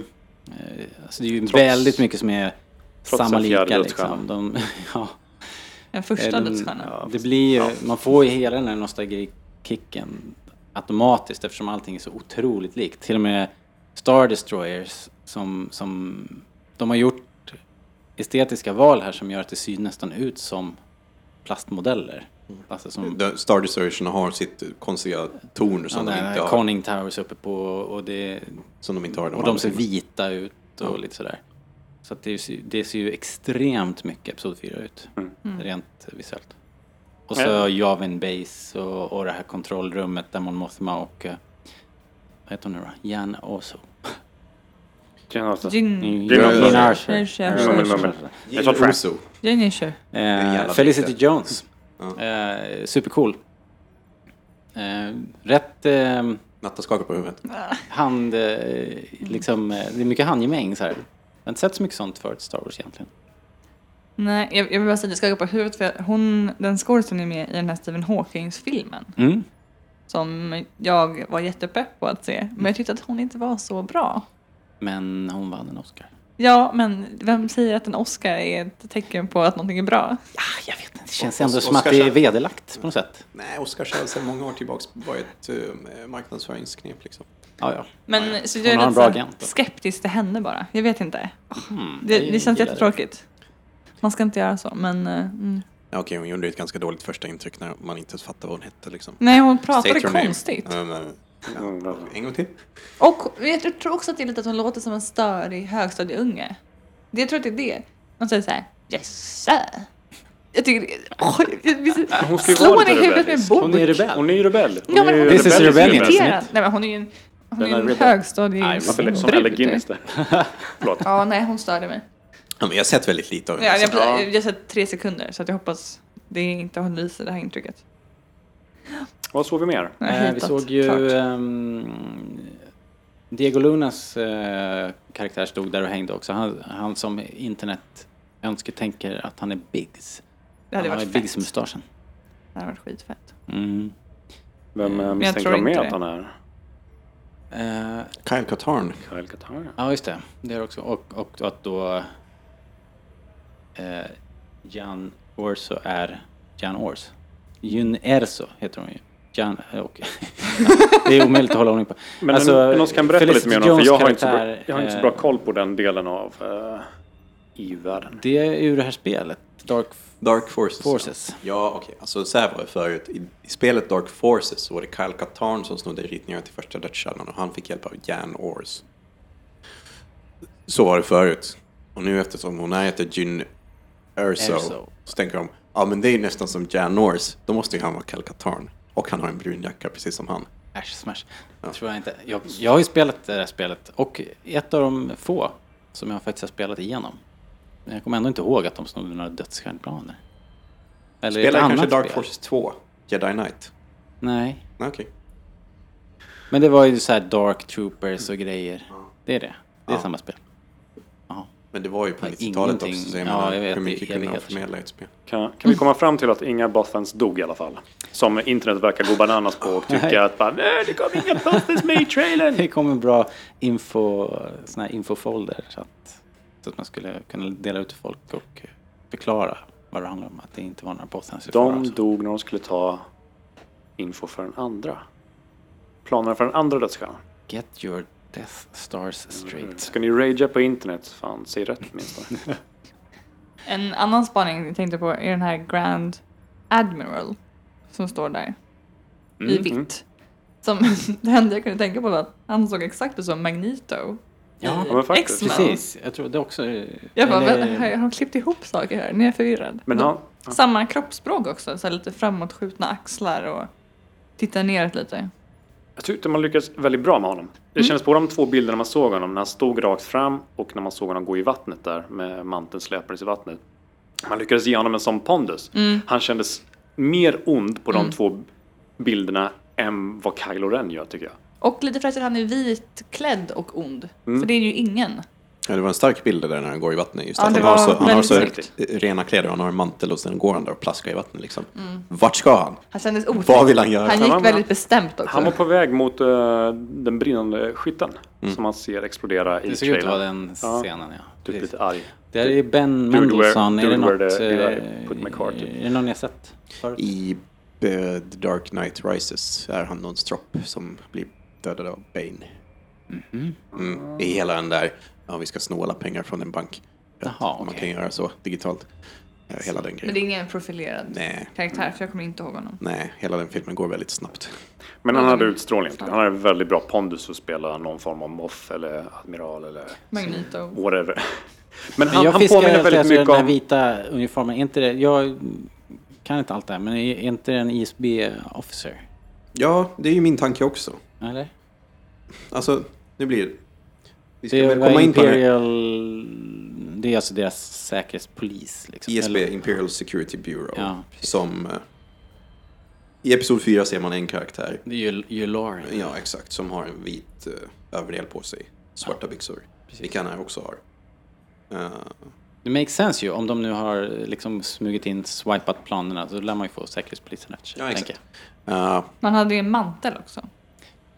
B: Alltså det är ju
A: Trots-
B: väldigt mycket som är
A: trots
B: samma
A: en fjärde
B: lika
A: dödsstjärna.
B: liksom. De, *laughs* ja,
D: Den första
B: Eh, de-
D: dödsstjärnan.
B: Ja, det blir ju, Man får ju hela den här nostalgikicken automatiskt eftersom allting är så otroligt likt. Till och med Star Destroyers som, som de har gjort estetiska val här som gör att det ser nästan ut som plastmodeller. Alltså som
E: Mm. De- Star Destroyersen har sitt konstiga torn som, de, inte
B: ja,
E: har,
B: Conning Towers uppe på och, det,
E: som de inte har.
B: och
E: i andra
B: de ser
E: filmerna.
B: vita ut och lite sådär. Så att det, ser- det ser ju extremt mycket Episod 4 ut, rent visuellt. Och så
A: Ja.
B: Javin Base och, och det här kontrollrummet där Mon Mothma och eh, vad heter hon nu då? Jan Oso.
A: Känner alltså-
D: Jin...
A: Jane Arthur.
B: Jane Arthur.
D: Jane Arthur.
B: Arthur.
A: Mummin, mummin. Jag tror
E: Gillar
A: Frank.
E: Oso.
D: Jane Isher.
B: Eh,
E: jävla
B: Felicity
E: dikter.
B: Jones. Eh, supercool. Eh, rätt eh,
E: Natta skakar på huvudet.
B: hand... Eh, liksom, eh, det är mycket handgemäng så här. Jag har inte sett så mycket sånt förut i Star Wars egentligen.
D: Nej, jag, jag vill bara säga att jag skakar på huvudet för hon, den skådisen är med i den här Stephen Hawkings-filmen.
B: Mm.
D: Som jag var jättepepp på att se. Men jag tyckte att hon inte var så bra.
B: Men hon vann en Oscar.
D: Ja, men vem säger att en Oscar är ett tecken på att någonting är bra?
B: jag vet inte. Det känns
E: Och-
B: ändå
E: och-
B: som att det är
E: Oscars-
B: vederlagt på något sätt.
E: Nej, Oscars har sedan många år tillbaka varit eh, marknadsföringsknep liksom.
B: Ja, ja.
D: Men så jag
B: Hon
D: är
B: har en
D: lite
B: bra
D: så
B: agent då.
D: här skeptisk till henne bara. Jag vet inte.
B: Mm.
D: Det, det känns jättetråkigt. Man ska inte göra så, men... eh, Mm.
E: Ja, Okej, hon gjorde ett ganska dåligt första intryck när man inte ens fattade vad hon hette. Liksom.
D: Nej, hon
E: Say
D: pratade
E: your name.
D: konstigt.
E: Ja, men-
A: Mm, bra.
E: En gång till.
D: Och jag tror också att det är lite att hon låter som en störig högstadieunge. Det- Jag tror att det är det. Hon säger så här, yes sir." Jag tycker det åh, jag- jag-
A: Hon ska ju
D: Slå
A: vara
D: hon i
A: lite
D: huvudet med en
A: rebellisk.
D: bok.
B: Hon är rebell.
A: Hon är ju rebell. Hon
D: Ja, men
A: är ju
D: hon
B: This is
A: rebellisk
B: rebellion,
A: rebell.
B: isn't it?
D: irriterad. Nej, men hon är ju en, hon är
A: Den
D: ju
A: är
D: en
A: rebell. Varför lät det som Elle Guinness
D: högstadiebrud.
A: där? Förlåt.
D: Ja, nej, hon störde mig.
E: Ja, men jag har sett väldigt lite av
D: Ja,
E: henne.
D: jag,
E: så-
A: Ja.
D: jag har sett tre sekunder, så att jag hoppas det inte har lyser det här intrycket.
A: Vad såg vi mer?
D: Jag har
B: Eh, vi
D: hittat,
B: såg ju...
D: klart.
B: ehm, Diego Lunas eh, karaktär stod där och hängde också. Han, han som internet önsketänker att han är Biggs.
D: Det hade
B: han har
D: varit
B: ju
D: fett.
B: Biggs-mustaschen.
D: Det hade varit skitfett.
B: Mm.
A: Vem eh, misstänker
D: tror
A: de med
D: inte
A: att
D: det.
A: han är?
B: Eh,
E: Kyle Katarn.
A: Kyle Katarn.
B: Ja, just det. Det är också. Och, och att då eh, Jan Orso är Jan Ors. Jun Erso heter hon ju. Jan, eh, och, *laughs* det är omöjligt att hålla ordning på.
A: Men
B: Alltså,
A: alltså, någon som kan berätta lite
B: Felicity
A: mer om honom, för jag
B: Jones
A: har, inte så bra,
B: karaktär,
A: jag har inte så
B: eh,
A: bra koll på den delen av uh, EU-världen.
B: Det är ur det här spelet, Dark
E: Dark Forces.
B: Forces.
E: Ja, okej. Alltså, så här var det förut. I, I spelet Dark Forces så var det Kyle Katarn som snodde ritningarna till första dödsstjärnan och han fick hjälp av Jan Ors. Så var det förut. Och nu eftersom hon här heter Jyn Erso,
B: Erso.
E: så tänker de, ja men det är ju nästan som Jan Ors, då måste ju han vara Kyle Katarn. Och han har en brun jacka precis som han.
B: Ash Smash. Tror jag, inte. Jag, jag har ju spelat det här spelet och ett av de få som jag faktiskt har spelat igenom. Men jag kommer ändå inte ihåg att de snodde några dödsstjärnplaner. Eller ett
E: Spelar jag kanske
B: annat
E: Dark
B: spel.
E: Forces 2, Jedi Knight?
B: Nej.
E: Nej, Okej.
B: Men det var ju så här Dark Troopers och grejer. Det är det. Det är
E: Ja.
B: samma spel. Jaha.
E: Men det var ju på
B: Ja,
E: 90-talet
B: ingenting.
E: också, så jag
B: Ja,
E: menar,
B: jag vet,
E: hur
B: det är
E: mycket kunde han
B: evigheter.
E: förmedla i ett spel?
A: Kan, kan vi komma fram till att inga Bothans dog i alla fall? Som internet verkar gå bananas på och tycka att bara, nej, det kom inga Bothans med i trailern.
B: Det kom en bra info, sån här infofolder så att, så att man skulle kunna dela ut till folk och förklara vad det handlar om. Att det inte var några bossens i fara
A: De
B: och så.
A: dog när de skulle ta info för den andra. Planerna för den andra dödsstjärnan.
B: Get your death stars
A: Mm.
B: straight.
A: Ska ni ragea på internet? Fan, säg rätt åtminstone.
D: En annan spaning jag tänkte på är den här Grand Admiral som står där i
A: Mm, mm.
D: vitt. Som, *laughs* det enda jag kunde tänka på var att han såg exakt ut som Magneto.
B: Ja,
A: Ja, men faktiskt.
D: X-Men.
B: Precis, jag tror det också...
D: Jag bara,
B: eller-
D: "Vä- har de klippt ihop saker här? Nu är jag förvirrad.
A: Men han,
D: Samma kroppsspråk också, så här lite framåtskjutna axlar och titta neråt lite.
A: jag tyckte man lyckades väldigt bra med honom.
D: Mm.
A: Det kändes på de två bilderna man såg honom, när han stod rakt fram och när man såg honom gå i vattnet där med manteln släpandes i vattnet. Man lyckades ge honom en sån pondus.
D: Mm.
A: Han kändes mer ond på de två bilderna än vad Kylo Ren gör tycker jag.
D: Och lite för att han är vitklädd och ond. För det är ju ingen.
E: Ja, det var en stark bild där när han går i vattnet. Just
D: Ja,
E: att
D: det
E: han har så,
D: var
E: han har
D: väldigt
E: så
D: snyggt.
E: rena kläder, han har en mantel och sen går han där och plaskar i vattnet. Liksom.
D: Mm.
E: Vart ska han?
D: Han kändes
E: Vad
D: otrygg.
E: vill han göra?
D: Han
A: Han-
D: gick väldigt bestämt också.
A: Han var på väg mot eh, den brinnande skytten
B: Mm.
A: som man ser explodera i
B: Det ser ut att vara
A: trailern.
B: den
A: Ja.
B: scenen, ja.
A: Typ
B: Precis.
A: lite arg.
B: Det här är Ben
A: Dude
B: Mendelsohn.
A: where-
B: Är det
A: dude where
B: något...
A: the-
B: eh,
A: put my card to.
B: Är det någon ni har sett? förut?
E: I eh, The Dark Knight Rises är han någon stropp som blir dödad av Bane.
B: Mhm.
E: Mm. I hela den där, ja vi ska sno alla pengar från en bank.
B: Jaha,
E: Att Man
B: okej.
E: kan göra så digitalt. Eh, Hela den
D: Men
E: grejen.
D: det är ingen profilerad
E: Nej.
D: karaktär, för jag kommer inte ihåg honom.
E: Nej, hela den filmen går väldigt snabbt.
A: Men han
B: Mm.
A: hade utstrålning. Han hade väldigt bra pondus att spela någon form av moff eller admiral eller
D: Magneto.
A: whatever. *laughs* Men
B: Men
A: han,
B: jag
A: han
B: fiskar
A: påminner
B: efter
A: väldigt
B: alltså,
A: mycket
B: den här
A: om...
B: vita uniformen. Är inte det, jag kan inte allt det här, men är inte det en ISB-officer?
E: Ja, det är ju min tanke också.
B: Eller?
E: Alltså, nu blir det... Vi ska
B: Det
E: väl
B: är
E: komma in på det.
B: Imperial... Det är alltså deras säkerhetspolis. Liksom.
E: ISB,
B: Eller-
E: Imperial Security Bureau.
B: Ja, precis.
E: som... eh, I Episod 4 ser man en karaktär.
B: Det är ju, ju Lauren.
E: Ja, exakt. Som har en vit eh, överdel på sig. Svarta byxor. Vilka han här också har. Eh,
B: Det makes sense ju. Om de nu har liksom smugit in, swipat planerna, så lär man ju få säkerhetspolisen efter sig.
E: Ja, exakt.
B: tänker
E: eh,
D: Man hade ju en mantel också.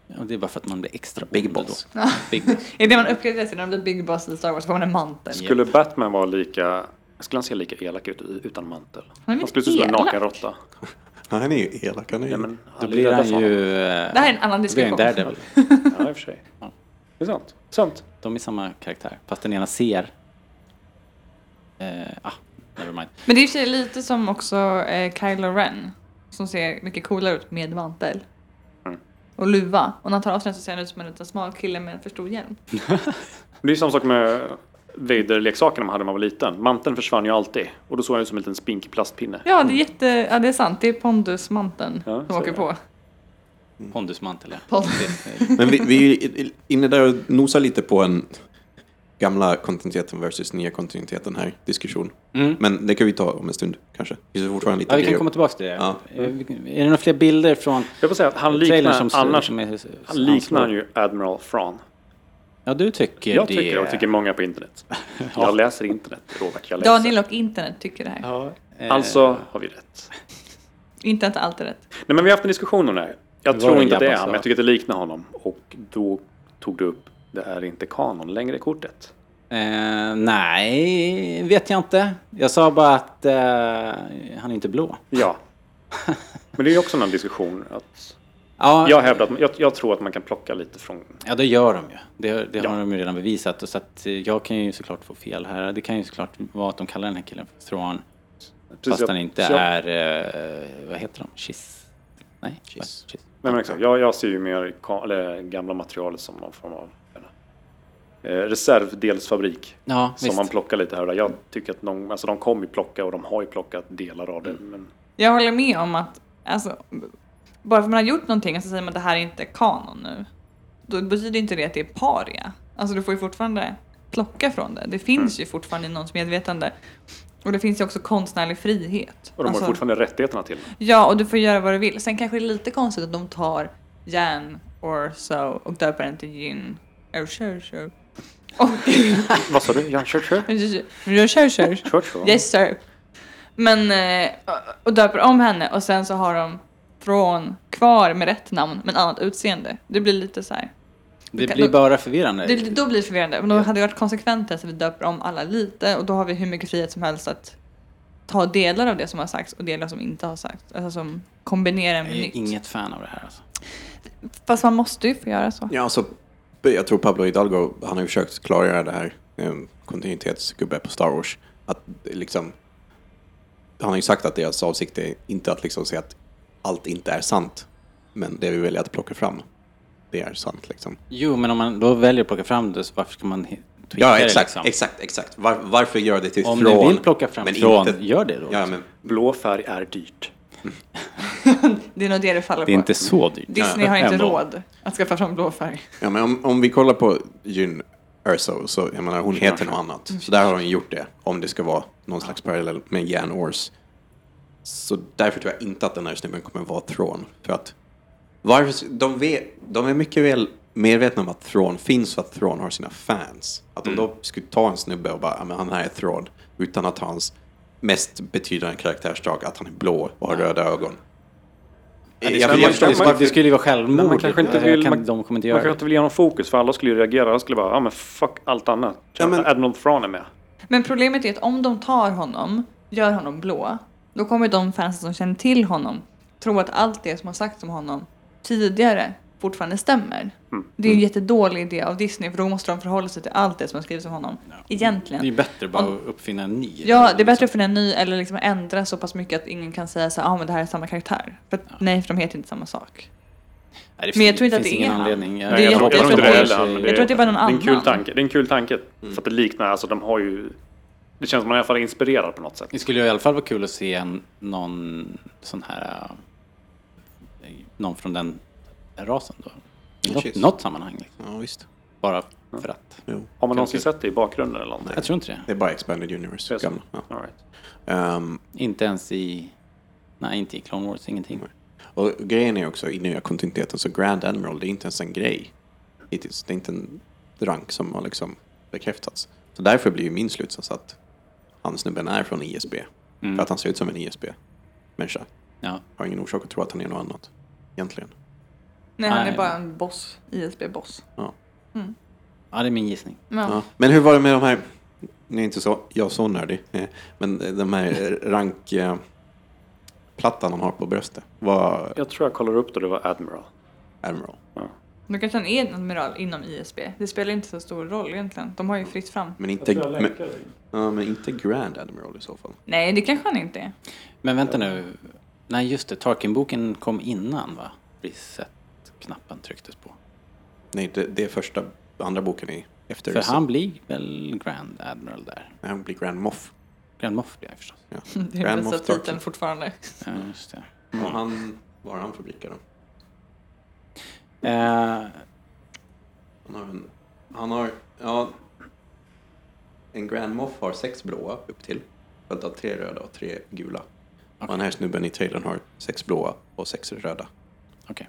B: jag. Och det är bara för att man blir extra
E: Big
B: ond
E: boss.
B: då. Big boss.
E: *laughs*
D: Är det man uppgraderar sig när man blir Big Boss i Star Wars? Får man en mantel?
A: Skulle Batman vara lika... Skulle han se lika elak ut utan mantel?
D: men
A: Han skulle se ut som en
D: elak.
A: naken råtta.
E: han är ju elak. Han är ju...
A: Ja, men
B: Mm. Då
A: han
B: blir
A: rädd
B: han
A: för honom.
B: ju... eh,
D: Det här är en annan diskussion.
B: Daredevil.
A: Ja, i och för sig. Det är sant. Sant.
B: De är samma karaktär, fast den ena ser... Eh, ah, never mind.
D: Men det är i och för sig lite som också eh, Kylo Ren. Som ser mycket coolare ut med mantel.
A: Mm.
D: Och luva. Och när han tar av sig den så ser han ut som en liten smal kille med en för stor hjälm.
A: Men Det är ju samma sak med Vader-leksakerna man hade när man var liten. Manteln försvann ju alltid. Och då såg han ut som en liten spinkig plastpinne.
D: Ja, det är jätte... Ja, det är sant. Det är pondusmanteln
A: Mm. Ja,
D: som
A: så
D: åker
A: är det.
D: på.
B: Pondusmantel, ja.
D: Pondus.
E: Men vi, vi är inne där och nosar lite på en gamla kontinuiteten versus nya kontinuiteten här diskussion.
B: Mm.
E: Men det kan vi ta om en stund kanske. Det finns fortfarande lite
B: Ja, vi kan
E: grejer.
B: komma tillbaka till det.
E: Ja.
B: Eh, Är det några fler bilder från
A: Jag får säga att han
B: trailern
A: liknar
B: som,
A: annars...
B: som är,
A: Han liknar ju Admiral Thrawn.
B: Ja, du tycker
A: Jag
B: det.
A: tycker det och tycker många på
B: *laughs*
A: internet. Jag läser internet, Robert. Jag läser.
D: Daniel och internet tycker det här.
B: Ja, eh,
A: Alltså har vi rätt.
D: Internet är alltid rätt.
A: Nej, men vi har haft en diskussion om det här. Jag
B: Det var
A: tror
B: det
A: inte att det är
B: Jabba
A: han,
B: sa.
A: men jag tycker att det liknar honom. Och då tog du upp, det är inte kanon längre i kortet.
B: Eh, nej, vet jag inte. Jag sa bara att eh, han är inte blå. *laughs*
A: Ja. Men det är ju också en annan diskussion. Att
B: Ja,
A: jag hävdar att jag, jag tror att man kan plocka lite från...
B: ja, det gör de ju. Det, det
A: Ja.
B: har de ju redan bevisat. Och Så att eh, jag kan ju såklart få fel här. Det kan ju såklart vara att de kallar den här killen för Thrawn. fast
A: jag-
B: han inte
A: så jag,
B: är... eh, vad heter de? Chiss? Nej?
E: Chiss.
B: vad- Chiss.
A: Nej, men exakt. Jag, jag ser ju mer ka, eller, gamla materialet som någon form av... Eh, reservdelsfabrik.
B: Ja,
A: Som
B: visst.
A: man plockar lite här och där. Jag tycker att de, alltså de kommer ju plocka och de har ju plockat delar av det.
D: Mm.
A: Men
D: Jag håller med om att, alltså, bara för att man har gjort någonting så säger man att det här är inte kanon nu. Då betyder inte det att det är paria. Alltså du får ju fortfarande plocka från det. Det finns
A: Mm.
D: ju fortfarande i någons medvetande. Och det finns ju också konstnärlig frihet.
A: och de har
D: alltså,
A: ju fortfarande rättigheterna till det.
D: Ja, och du får göra vad du vill. Sen kanske det är lite konstigt att de tar Jan or so och döper den till Gin. Oh, sure, sure.
A: Vad sa du? Jan Churchill?
D: Jag kör, kör.
A: Churchill?
D: Yes sir. Men, eh, och döper om henne och sen så har de från kvar med rätt namn men annat utseende. Det blir lite så här.
B: Det
D: kan-
B: blir bara förvirrande.
D: Det, då blir det förvirrande. Men då hade det varit konsekvent att vi döper om alla lite och då har vi hur mycket frihet som helst att ta delar av det som har sagts och delar som inte har sagts. Alltså som kombinerar
B: Jag
D: med
B: är ju
D: nytt.
B: inget fan av det här alltså.
D: Fast man måste ju få göra så.
E: Ja, alltså, jag tror Pablo Hidalgo, han har ju försökt klargöra det här, um, kontinuitetsgubbe på Star Wars, att det liksom, han har ju sagt att deras avsikt är inte att liksom säga att allt inte är sant, men det vi väljer att plocka fram, det är sant liksom.
B: Jo, men om man då väljer att plocka fram det, så varför ska man he- tweaka
E: Ja, exakt,
B: det liksom?
E: exakt, exakt. Var, varför gör det till
B: Om
E: från?
B: du vill plocka fram
E: men
B: från,
E: inte-
B: gör det då. liksom.
E: Ja, men
A: Blå färg är dyrt.
D: Det är nog det det faller
B: Det är
D: på.
B: inte så dyrt.
D: Disney har inte
B: Ändå.
D: råd att skaffa fram blå färg.
E: Ja, men om, om vi kollar på Jyn Erso, så jag menar, hon heter något annat. Så där har hon gjort det, om det ska vara någon slags parallell med Jan Ors. Så därför tror jag inte att den här snubben kommer vara Thrawn. För att varför, de, vet, de är mycket väl medvetna om att Thrawn finns och att Thrawn har sina fans. Att
A: Mm.
E: om de då skulle ta en snubbe och bara, "Ja, men han här är Thrawn, utan att ha hans mest betydande karaktärsdrag, att han är blå och har röda ögon.
A: är
E: Jag-
A: så-
E: jag förstår
A: man-
E: inte
A: man-
E: varför-
B: Det skulle ju vara
A: Men man
B: självmord. liksom.
A: kanske inte
B: Jag
A: vill,
B: kan-
A: man,
B: de kommer inte
A: man
B: göra
A: kanske
B: det.
A: inte vill ge någon fokus för alla skulle ju reagera. Alla skulle bara, ja men fuck allt annat.
E: Ja, men-
A: Admiral Thrawn är med.
D: Men problemet är att om de tar honom, gör honom blå, då kommer de fansen som känner till honom tro att allt det som har sagts om honom tidigare fortfarande stämmer.
B: Mm.
D: Det är en jättedålig idé av Disney för då måste de förhålla sig till allt det som har skrivits om honom.
B: Det är ju
D: Egentligen.
B: bättre bara att uppfinna en ny.
D: Ja, det är bättre för en ny eller liksom ändra så pass mycket att ingen kan säga så här, ah, men det här är samma karaktär. För att, nej, för de heter inte samma sak.
B: Nej, det
D: Men jag
B: fin-
D: tror inte att
B: finns
D: det
B: ingen
D: är han.
B: anledning.
D: Det är
A: jag,
D: jätte-
A: tror- jag tror
D: jag
A: inte
D: tror-
A: det heller. men
D: jag tror att det var någon
A: Det är en kul
D: annan. Mm.
A: tanke. Det är en kul tanke. För att det liknar, alltså de har ju... Det känns som man i alla fall är inspirerad på något sätt.
B: Det skulle ju i alla fall vara kul att se en, någon sån här... eh, Någon från den rasen då. I något,
E: Precis.
B: något sammanhang. Liksom.
E: Ja, visst.
B: Bara för att.
E: Jo.
A: Har man någonsin sett det i bakgrunden eller någonting?
B: Jag tror inte det.
E: Det är bara Expanded Universe.
A: Det är så.
E: Gamla. Ja.
A: All right.
E: Ehm,
B: Inte ens i... Nej, inte i Clone Wars. Ingenting.
E: och grejen är också i nya kontinuiteten så Grand Admiral det är inte ens en grej hittills. Det är inte en rank som har liksom bekräftats. Så därför blir ju min slutsats att han snubben är från ISB. För att han ser ut som en ISB-människa.
B: Ja.
E: Har ingen orsak att tro att han är något annat. Egentligen.
D: Nej, han
B: Nej.
D: är bara en boss. ISB-boss.
E: Ja.
B: ja, det är min gissning.
E: Ja. Men hur var det med de här, ni är inte så, jag är så nördig, eh, men de här rankplattan han har på bröstet var
A: Jag tror jag kollar upp då det var Admiral.
E: Admiral.
D: Nu kanske han är en admiral inom ISB. Det spelar inte så stor roll egentligen. De har ju fritt fram.
E: Men inte, men, ja, men inte Grand Admiral i så fall.
D: Nej, det kanske han inte är.
B: Men vänta nu. Nej, just det. Tarkin-boken kom innan, va? Reset-knappen trycktes på.
E: Nej, det, det är första, andra boken i efter.
B: För han blir väl Grand Admiral där?
E: Nej, han blir Grand Moff.
B: Grand Moff blir jag förstås. *laughs*
E: Ja.
D: *laughs* Det är den
E: Grand Moff
D: bästa
E: Tarkin.
D: titeln fortfarande.
B: Ja,
E: Mm.
B: just det.
E: Och han, var är han förbrukar då?
B: Eh,
E: Han har en, han har, ja. En Grand Moff har sex blåa upp till. Följt av tre röda och tre gula. Och den här snubben i trailern har sex blåa och sex röda.
B: Okej.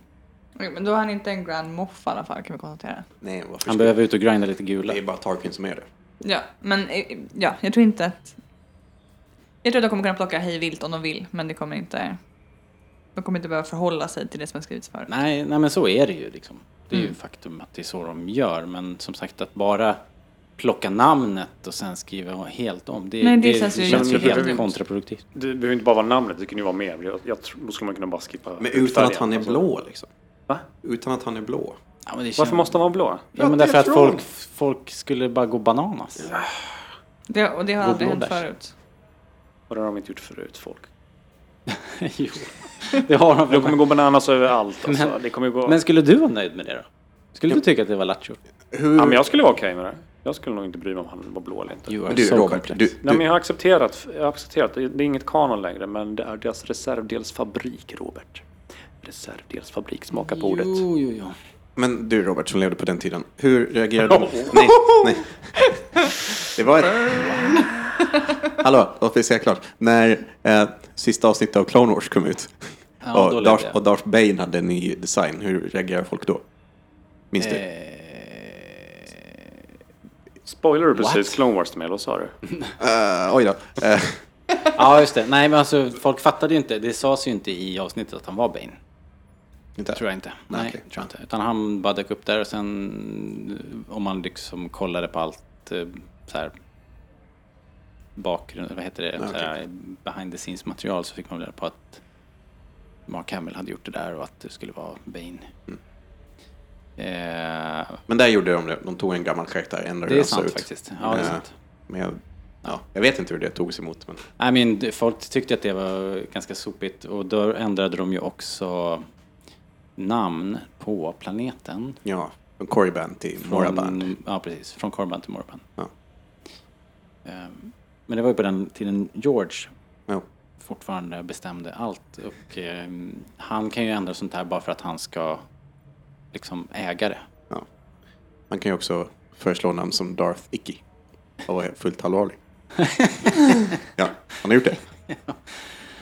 D: Okej, Men då är han inte en Grand Moff i alla fall kan vi konstatera.
E: Nej, varför
B: Han
E: skulle-
B: behöver ut och grinda lite gula.
E: Det är bara Tarkin som är det.
D: Ja, men eh, ja, jag tror inte att... Jag tror att de kommer kunna plocka hej vilt om de vill, men det kommer inte... De kommer inte behöva förhålla sig till det som har skrivits förut.
B: Nej, nej, men så är det ju liksom. Det är
D: Mm.
B: ju faktum att det är så de gör. Men som sagt, att bara plocka namnet och sen skriva helt om. Det,
D: Nej, det känns ju
A: jättedumt.
B: helt kontraproduktivt.
A: Det behöver inte bara vara namnet, det kan ju vara mer. Jag, jag, tror- då skulle man kunna bara skippa
E: Men utan att
A: hudfärgen,
E: han är
A: alltså.
E: blå liksom.
A: Va?
E: Utan att han är blå.
B: Ja, men det känns...
A: Varför måste han vara blå?
B: Ja, men
E: Ja,
B: därför att
E: därifrån.
B: folk, folk skulle bara gå bananas.
D: Det, och det har
B: Gå
D: aldrig hänt
B: blåbärs.
D: förut.
A: Och det har de inte gjort förut, folk.
B: *laughs* jo, det har de
A: De kommer
B: väl.
A: gå bananas över allt. Alltså.
B: Men-
A: det kommer gå...
B: Men skulle du vara nöjd med det då? Skulle du tycka att det var lattjo?
E: Hur...
A: ja, men jag skulle vara okej med det. Jag skulle nog inte bry mig om han var blå eller inte.
B: You
E: Men
B: are
E: du
B: so
E: Robert,
B: complex.
E: du,
A: Nej, men
E: du,
A: jag har accepterat. Jag har accepterat. Det det är inget kanon längre, men det är deras reservdelsfabrik, Robert. Reservdelsfabrik, smaka på ordet.
B: Jo, jo, jo.
E: men du Robert som levde på den tiden. Hur reagerade du?
B: Oh.
E: Nej, nej. Det var ett... Hallå, låt mig säga klart. När eh, sista avsnittet av Clone Wars kom ut
B: Ja, då
E: och,
B: levde
E: Darth,
B: jag.
E: och Darth Bane hade en ny design, hur reagerade folk då? Minns du?
B: Eh,
A: Spoiler du precis Clone Wars till mig, eller vad sa du?
E: Eh, oj då. Eh,
B: Ja, just det. Nej, men alltså folk fattade ju inte. Det sades ju inte i avsnittet att han var Bane.
E: inte.
B: Tror jag inte. Nej,
E: Nej, okej.
B: tror jag inte. Utan han bara dök upp där och sen om man liksom kollade på allt eh, så här bakgrund, vad heter det, så här, behind the scenes material så fick man reda på att Mark Hamill hade gjort det där och att det skulle vara Bane. Eh,
E: Men där gjorde de det. De tog en gammal karaktär, ändrade
B: det är
E: hur han såg
B: sant
E: ut.
B: faktiskt. Ja, det är
E: Eh,
B: sant.
E: Men jag, ja, jag vet inte hur det togs emot. Men
B: I mean, d- folk tyckte att det var ganska sopigt och då ändrade de ju också namn på planeten.
E: ja, från Corriban till Moraban.
B: Ja, precis. Från Korban till Moraban.
E: Ja.
B: Ehm, Men det var ju på den tiden George
E: Ja.
B: fortfarande bestämde allt. Och ehm, han kan ju ändra sånt här bara för att han ska liksom äga det.
E: Ja. Man kan ju också föreslå namn som Darth Icky. Och vara fullt allvarlig. ja, han har gjort det.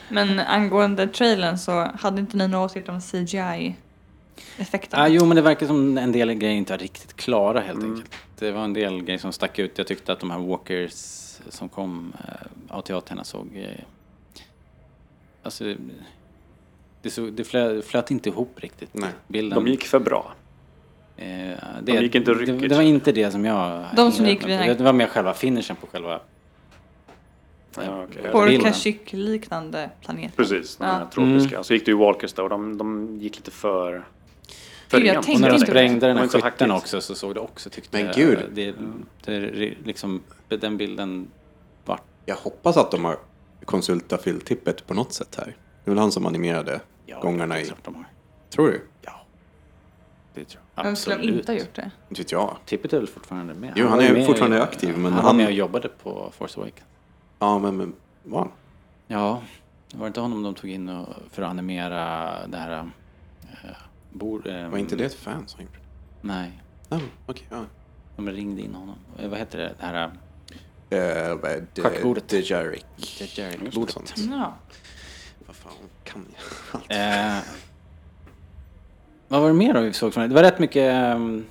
D: Men angående trailern så hade inte ni några åsikter om CGI-effekterna?
B: Ah, jo, men det verkar som en del grejer inte var riktigt klara helt
E: Mm.
B: enkelt. Det var en del grejer som stack ut. Jag tyckte att de här walkers som kom eh, av teaterna såg... Eh, alltså, det, såg, det flö, flöt inte ihop riktigt.
E: Nej.
B: Bilden.
A: De gick för bra.
B: Eh, det,
A: De gick inte ryckigt.
B: det, det var inte det som jag...
D: De som gick vid den här-
B: det, det var mer själva finishen på själva...
A: Ja, okej.
B: På-
D: På
B: bilden.
D: Kashyyyk-liknande planet.
A: Precis, de
D: Ja.
A: här tropiska.
B: Mm.
A: Så gick det ju Walkers där och de, de gick lite för... för
D: Gud, jag
A: rent.
B: Och
D: tänkte
B: när de
D: inte på det.
B: sprängde
A: Det
B: den
A: var
B: här
A: inte så
B: skytten
A: hackigt.
B: också så såg det också tyckte
E: Men
B: jag.
E: gud.
B: Det, det, det, liksom, den bilden vart...
E: Jag hoppas att de har konsultat filtippet på något sätt här. Det är väl han som animerade gångarna
B: det är
E: i...
B: klart de har.
E: Tror du?
B: liksom. Ja. Det tror jag.
D: Vem skulle inte ha gjort det?
E: Inte vet jag.
B: Tippet är väl fortfarande med?
E: Jo, han
B: var
E: är
B: ju med
E: fortfarande
B: i-
E: aktiv, men
B: han var
E: han-
B: med och jobbade på Force Awakens.
E: Ja, men, men var han?
B: Ja, det var inte honom de tog in och, för att animera det här... eh, bor, eh,
E: Var inte det ett fan som gjorde det?
B: Nej,
E: Ja, okej. ja.
B: de ringde in honom. Eh, vad heter det? Det här... eh,
E: Eh, vad är det?
B: Schackbordet.
E: Dejaric.
B: Dejaric-bordet.
E: Något sånt.
D: Ja.
E: Vad fan kan jag? Allt.
B: Eh, vad var det mer då vi såg från det? Det var rätt mycket... ehm,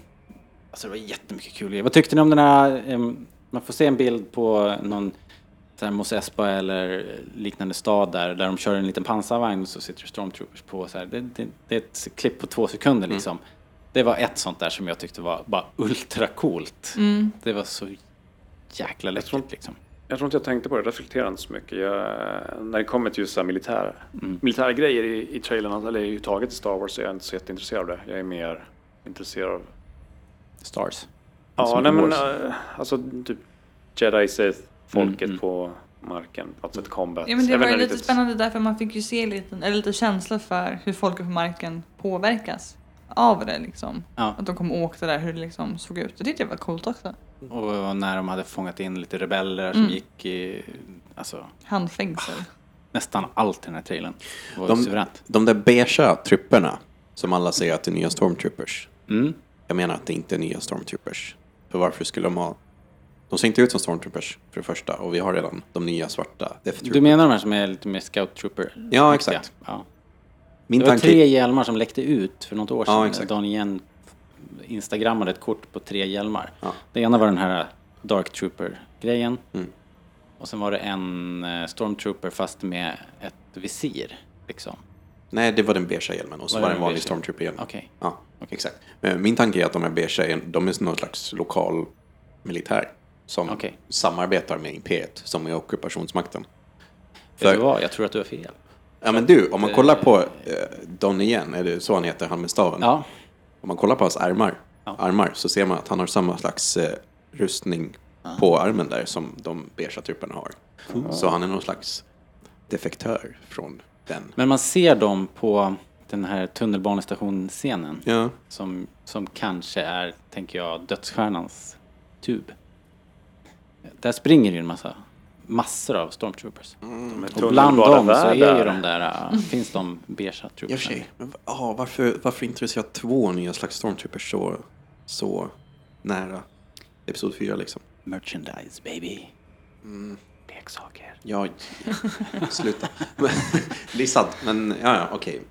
B: alltså det var jättemycket kul grejer. Vad tyckte ni om den här... ehm, man får se en bild på någon så här Mos Espa eller liknande stad där, där de kör en liten pansarvagn och så sitter det stormtroopers på. Så här. Det, det, det är ett klipp på två sekunder
A: Mm.
B: liksom. Det var ett sånt där som jag tyckte var bara ultracoolt. Det var så jäkla läckert liksom.
A: Jag Mm. tror inte jag tänkte på det, jag reflekterade inte så mycket. Jag, när det kommer till just så här militär,
B: Mm.
A: militära grejer i, i trailern, alltså, eller i taget i Star Wars, så är jag inte så jätteintresserad av det. Jag är mer intresserad av...
B: Stars.
A: Ja,
B: som
A: nej,
B: i
A: men,
B: Wars.
A: eh, alltså typ Jedi Sith, folket
B: Mm,
A: på marken, på något sätt combat.
D: Ja, men det
A: Jag
D: var
A: vet
D: ju
A: inte
D: lite
A: riktigt.
D: spännande därför man fick ju se lite, eller lite känsla för hur folket på marken påverkas av det liksom.
B: Ja.
D: Att de kom och åkte där, hur det liksom såg ut. Det tyckte jag var coolt också.
B: Och när de hade fångat in lite rebeller som gick i... Alltså,
A: *laughs*
D: Handfängsel.
B: nästan allt i den här trailern. Det var
E: De-
B: suveränt.
E: De där beigea trupperna som alla säger att det är nya stormtroopers. Jag menar att det inte är nya stormtroopers. För varför skulle de ha... De ser inte ut som stormtroopers för det första och vi har redan de nya svarta Death
B: Du
E: Troopers.
B: menar de här som är lite mer scout trooper?
E: Ja, exakt.
B: Ja.
E: Min
B: Det var
E: tanke-
B: tre hjälmar som läckte ut för något år sedan.
E: Ja, exakt.
B: Dan igen instagrammade ett kort på tre hjälmar.
E: Ja. Mm.
B: Det ena var den här Dark Trooper-grejen. Och sen var det en eh, Stormtrooper fast med ett visir. Liksom.
E: Nej, det var den beigea hjälmen och så
B: Var
E: var,
B: det
E: det en
B: den
E: vanlig
B: beigea?
E: stormtrooper hjälm.
B: Okej.
E: Ja, exakt. Men Min tanke är att de här beigea, hjälmen, de är någon slags lokal militär som
B: Okej.
E: samarbetar med imperiet, som är ockupationsmakten.
B: Vet
E: För-
B: du vad? Jag tror att du har fel.
E: Ja men du, om man kollar på eh, Don igen, är det så han heter, han med staven?
B: Ja,
E: Om man kollar på hans armar,
B: Ja.
E: armar så ser man att han har samma slags eh, rustning på armen där som de beigea trupperna har. Så han är någon slags defektör från den.
B: men man ser dem på den här tunnelbanestationsscenen.
E: Ja,
B: som, som kanske är, tänker jag, dödsstjärnans tub. Där springer ju en massa, massor av stormtroopers.
E: Mm,
A: De är
B: Och bland dem så är ju
A: tunnelbanevärdar.
B: de där, äh, finns de beigea
E: i och
B: trooperna.
E: för sig. Men, ja, varför, varför introducerar två nya slags stormtroopers så, så nära Episod 4 liksom?
B: Merchandise baby.
E: Mm.
B: Leksaker.
E: *laughs* Ja, sluta. Men- det är sant, men ja, ja, okej.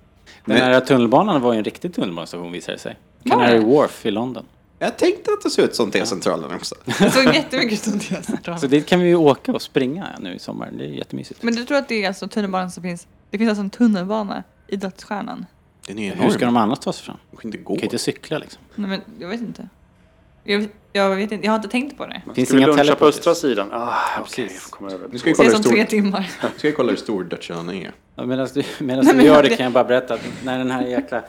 B: Den
E: Men-
B: här tunnelbanan var ju en riktig tunnelbanestation visade det sig. Canary Wharf i London.
E: Jag tänkte att det såg ut som T-centralen också.
D: Det såg jättemycket ut som T-centralen.
B: Så dit kan vi ju åka och springa nu i sommar. Det är jättemysigt.
D: Men du tror att det är alltså tunnelbanan som finns? Det finns alltså en tunnelbana i Dödsstjärnan?
E: Den är
B: Hur ska de annars ta sig fram?
E: De kan inte
B: De
E: gå.
B: kan ju inte cykla liksom.
D: Nej men jag vet inte. Jag, jag vet inte, jag har inte tänkt på det.
B: Finns
A: Ska vi
B: inga
A: luncha på
B: teleporters?
A: östra sidan? Ah, okej.
B: precis.
A: jag får komma över.
E: Nu ska vi
D: Det
E: kolla
D: är
E: hur
D: som
E: stor,
D: tre timmar.
E: nu ska vi kolla hur stor Dutchland är.
B: Ja, medan
D: *laughs*
B: du, medan
D: Nej,
B: du
D: men
B: gör
D: jag-
B: det kan jag bara berätta att när den här jäkla eh,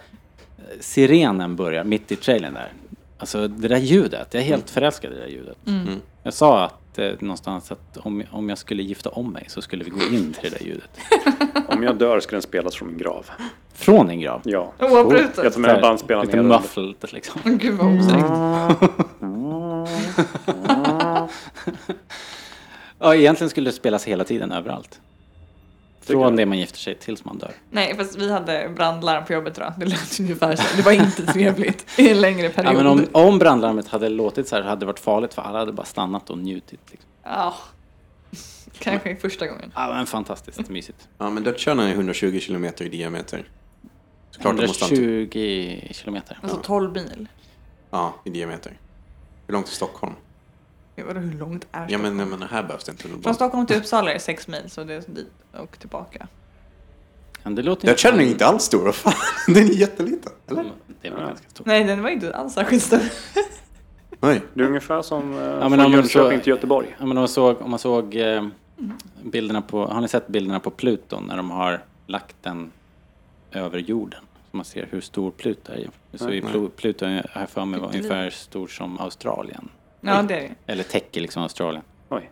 B: sirenen börjar mitt i trailern där. Alltså det där ljudet, jag är
D: Mm.
B: helt förälskad i det där ljudet.
A: Mm.
B: Jag sa att eh, någonstans att om, om jag skulle gifta om mig så skulle vi gå in till det där ljudet.
A: Om jag dör ska den spelas från min grav.
B: Från en grav.
D: *laughs*
A: Ja. Oh, Jag
D: Oavbrutet.
A: tar med bandspelaren
B: Lite
A: ner den.
B: muffled liksom.
D: Åh, Gud vad osäkert.
B: Ja, egentligen skulle det spelas hela tiden överallt. Från
A: jag.
B: det man gifter sig tills man dör.
D: Nej fast vi hade brandlarm på jobbet idag. Det lät ungefär så. Det var inte trevligt i en längre
B: Ja,
D: period.
B: men om, om brandlarmet hade låtit så här hade det varit farligt för alla hade bara stannat och njutit. Liksom.
D: Ja. Kanske första gången.
B: Ja, men
D: Mm.
B: fantastiskt mysigt.
E: Ja, men Dutchland är 120 kilometer i diameter. Såklart de måste ha en typ-
B: 120 kilometer.
D: Alltså 12 mil.
E: Ja, i diameter. Hur långt är Stockholm?
D: Ja, vadå, hur långt är
E: Ja,
D: Stockholm?
E: men, men här behövs det inte någon
D: Från
E: bana.
D: Stockholm till Uppsala är det 6 mil så det är dit och tillbaka.
B: Ja, det låter
E: Jag känner inte alls stor, vad fan. *laughs* Den är jätteliten.
D: Mm.
E: Eller?
B: Det var ganska stort.
D: Nej den var inte alls särskilt stor.
E: Nej.
A: Det är ungefär som eh,
B: men om
A: från
B: man
A: Jönköping
B: så-
A: till Göteborg.
B: Ja, men om man såg, om man såg eh, bilderna på, har ni sett bilderna på Pluton när de har lagt den över jorden? Så man ser hur stor Pluto är. Så är Plu- Pluto, har jag för mig, var
D: Pytteliten.
B: ungefär stor som Australien.
D: Ja det är det.
B: Eller täcker liksom Australien.
A: Oj,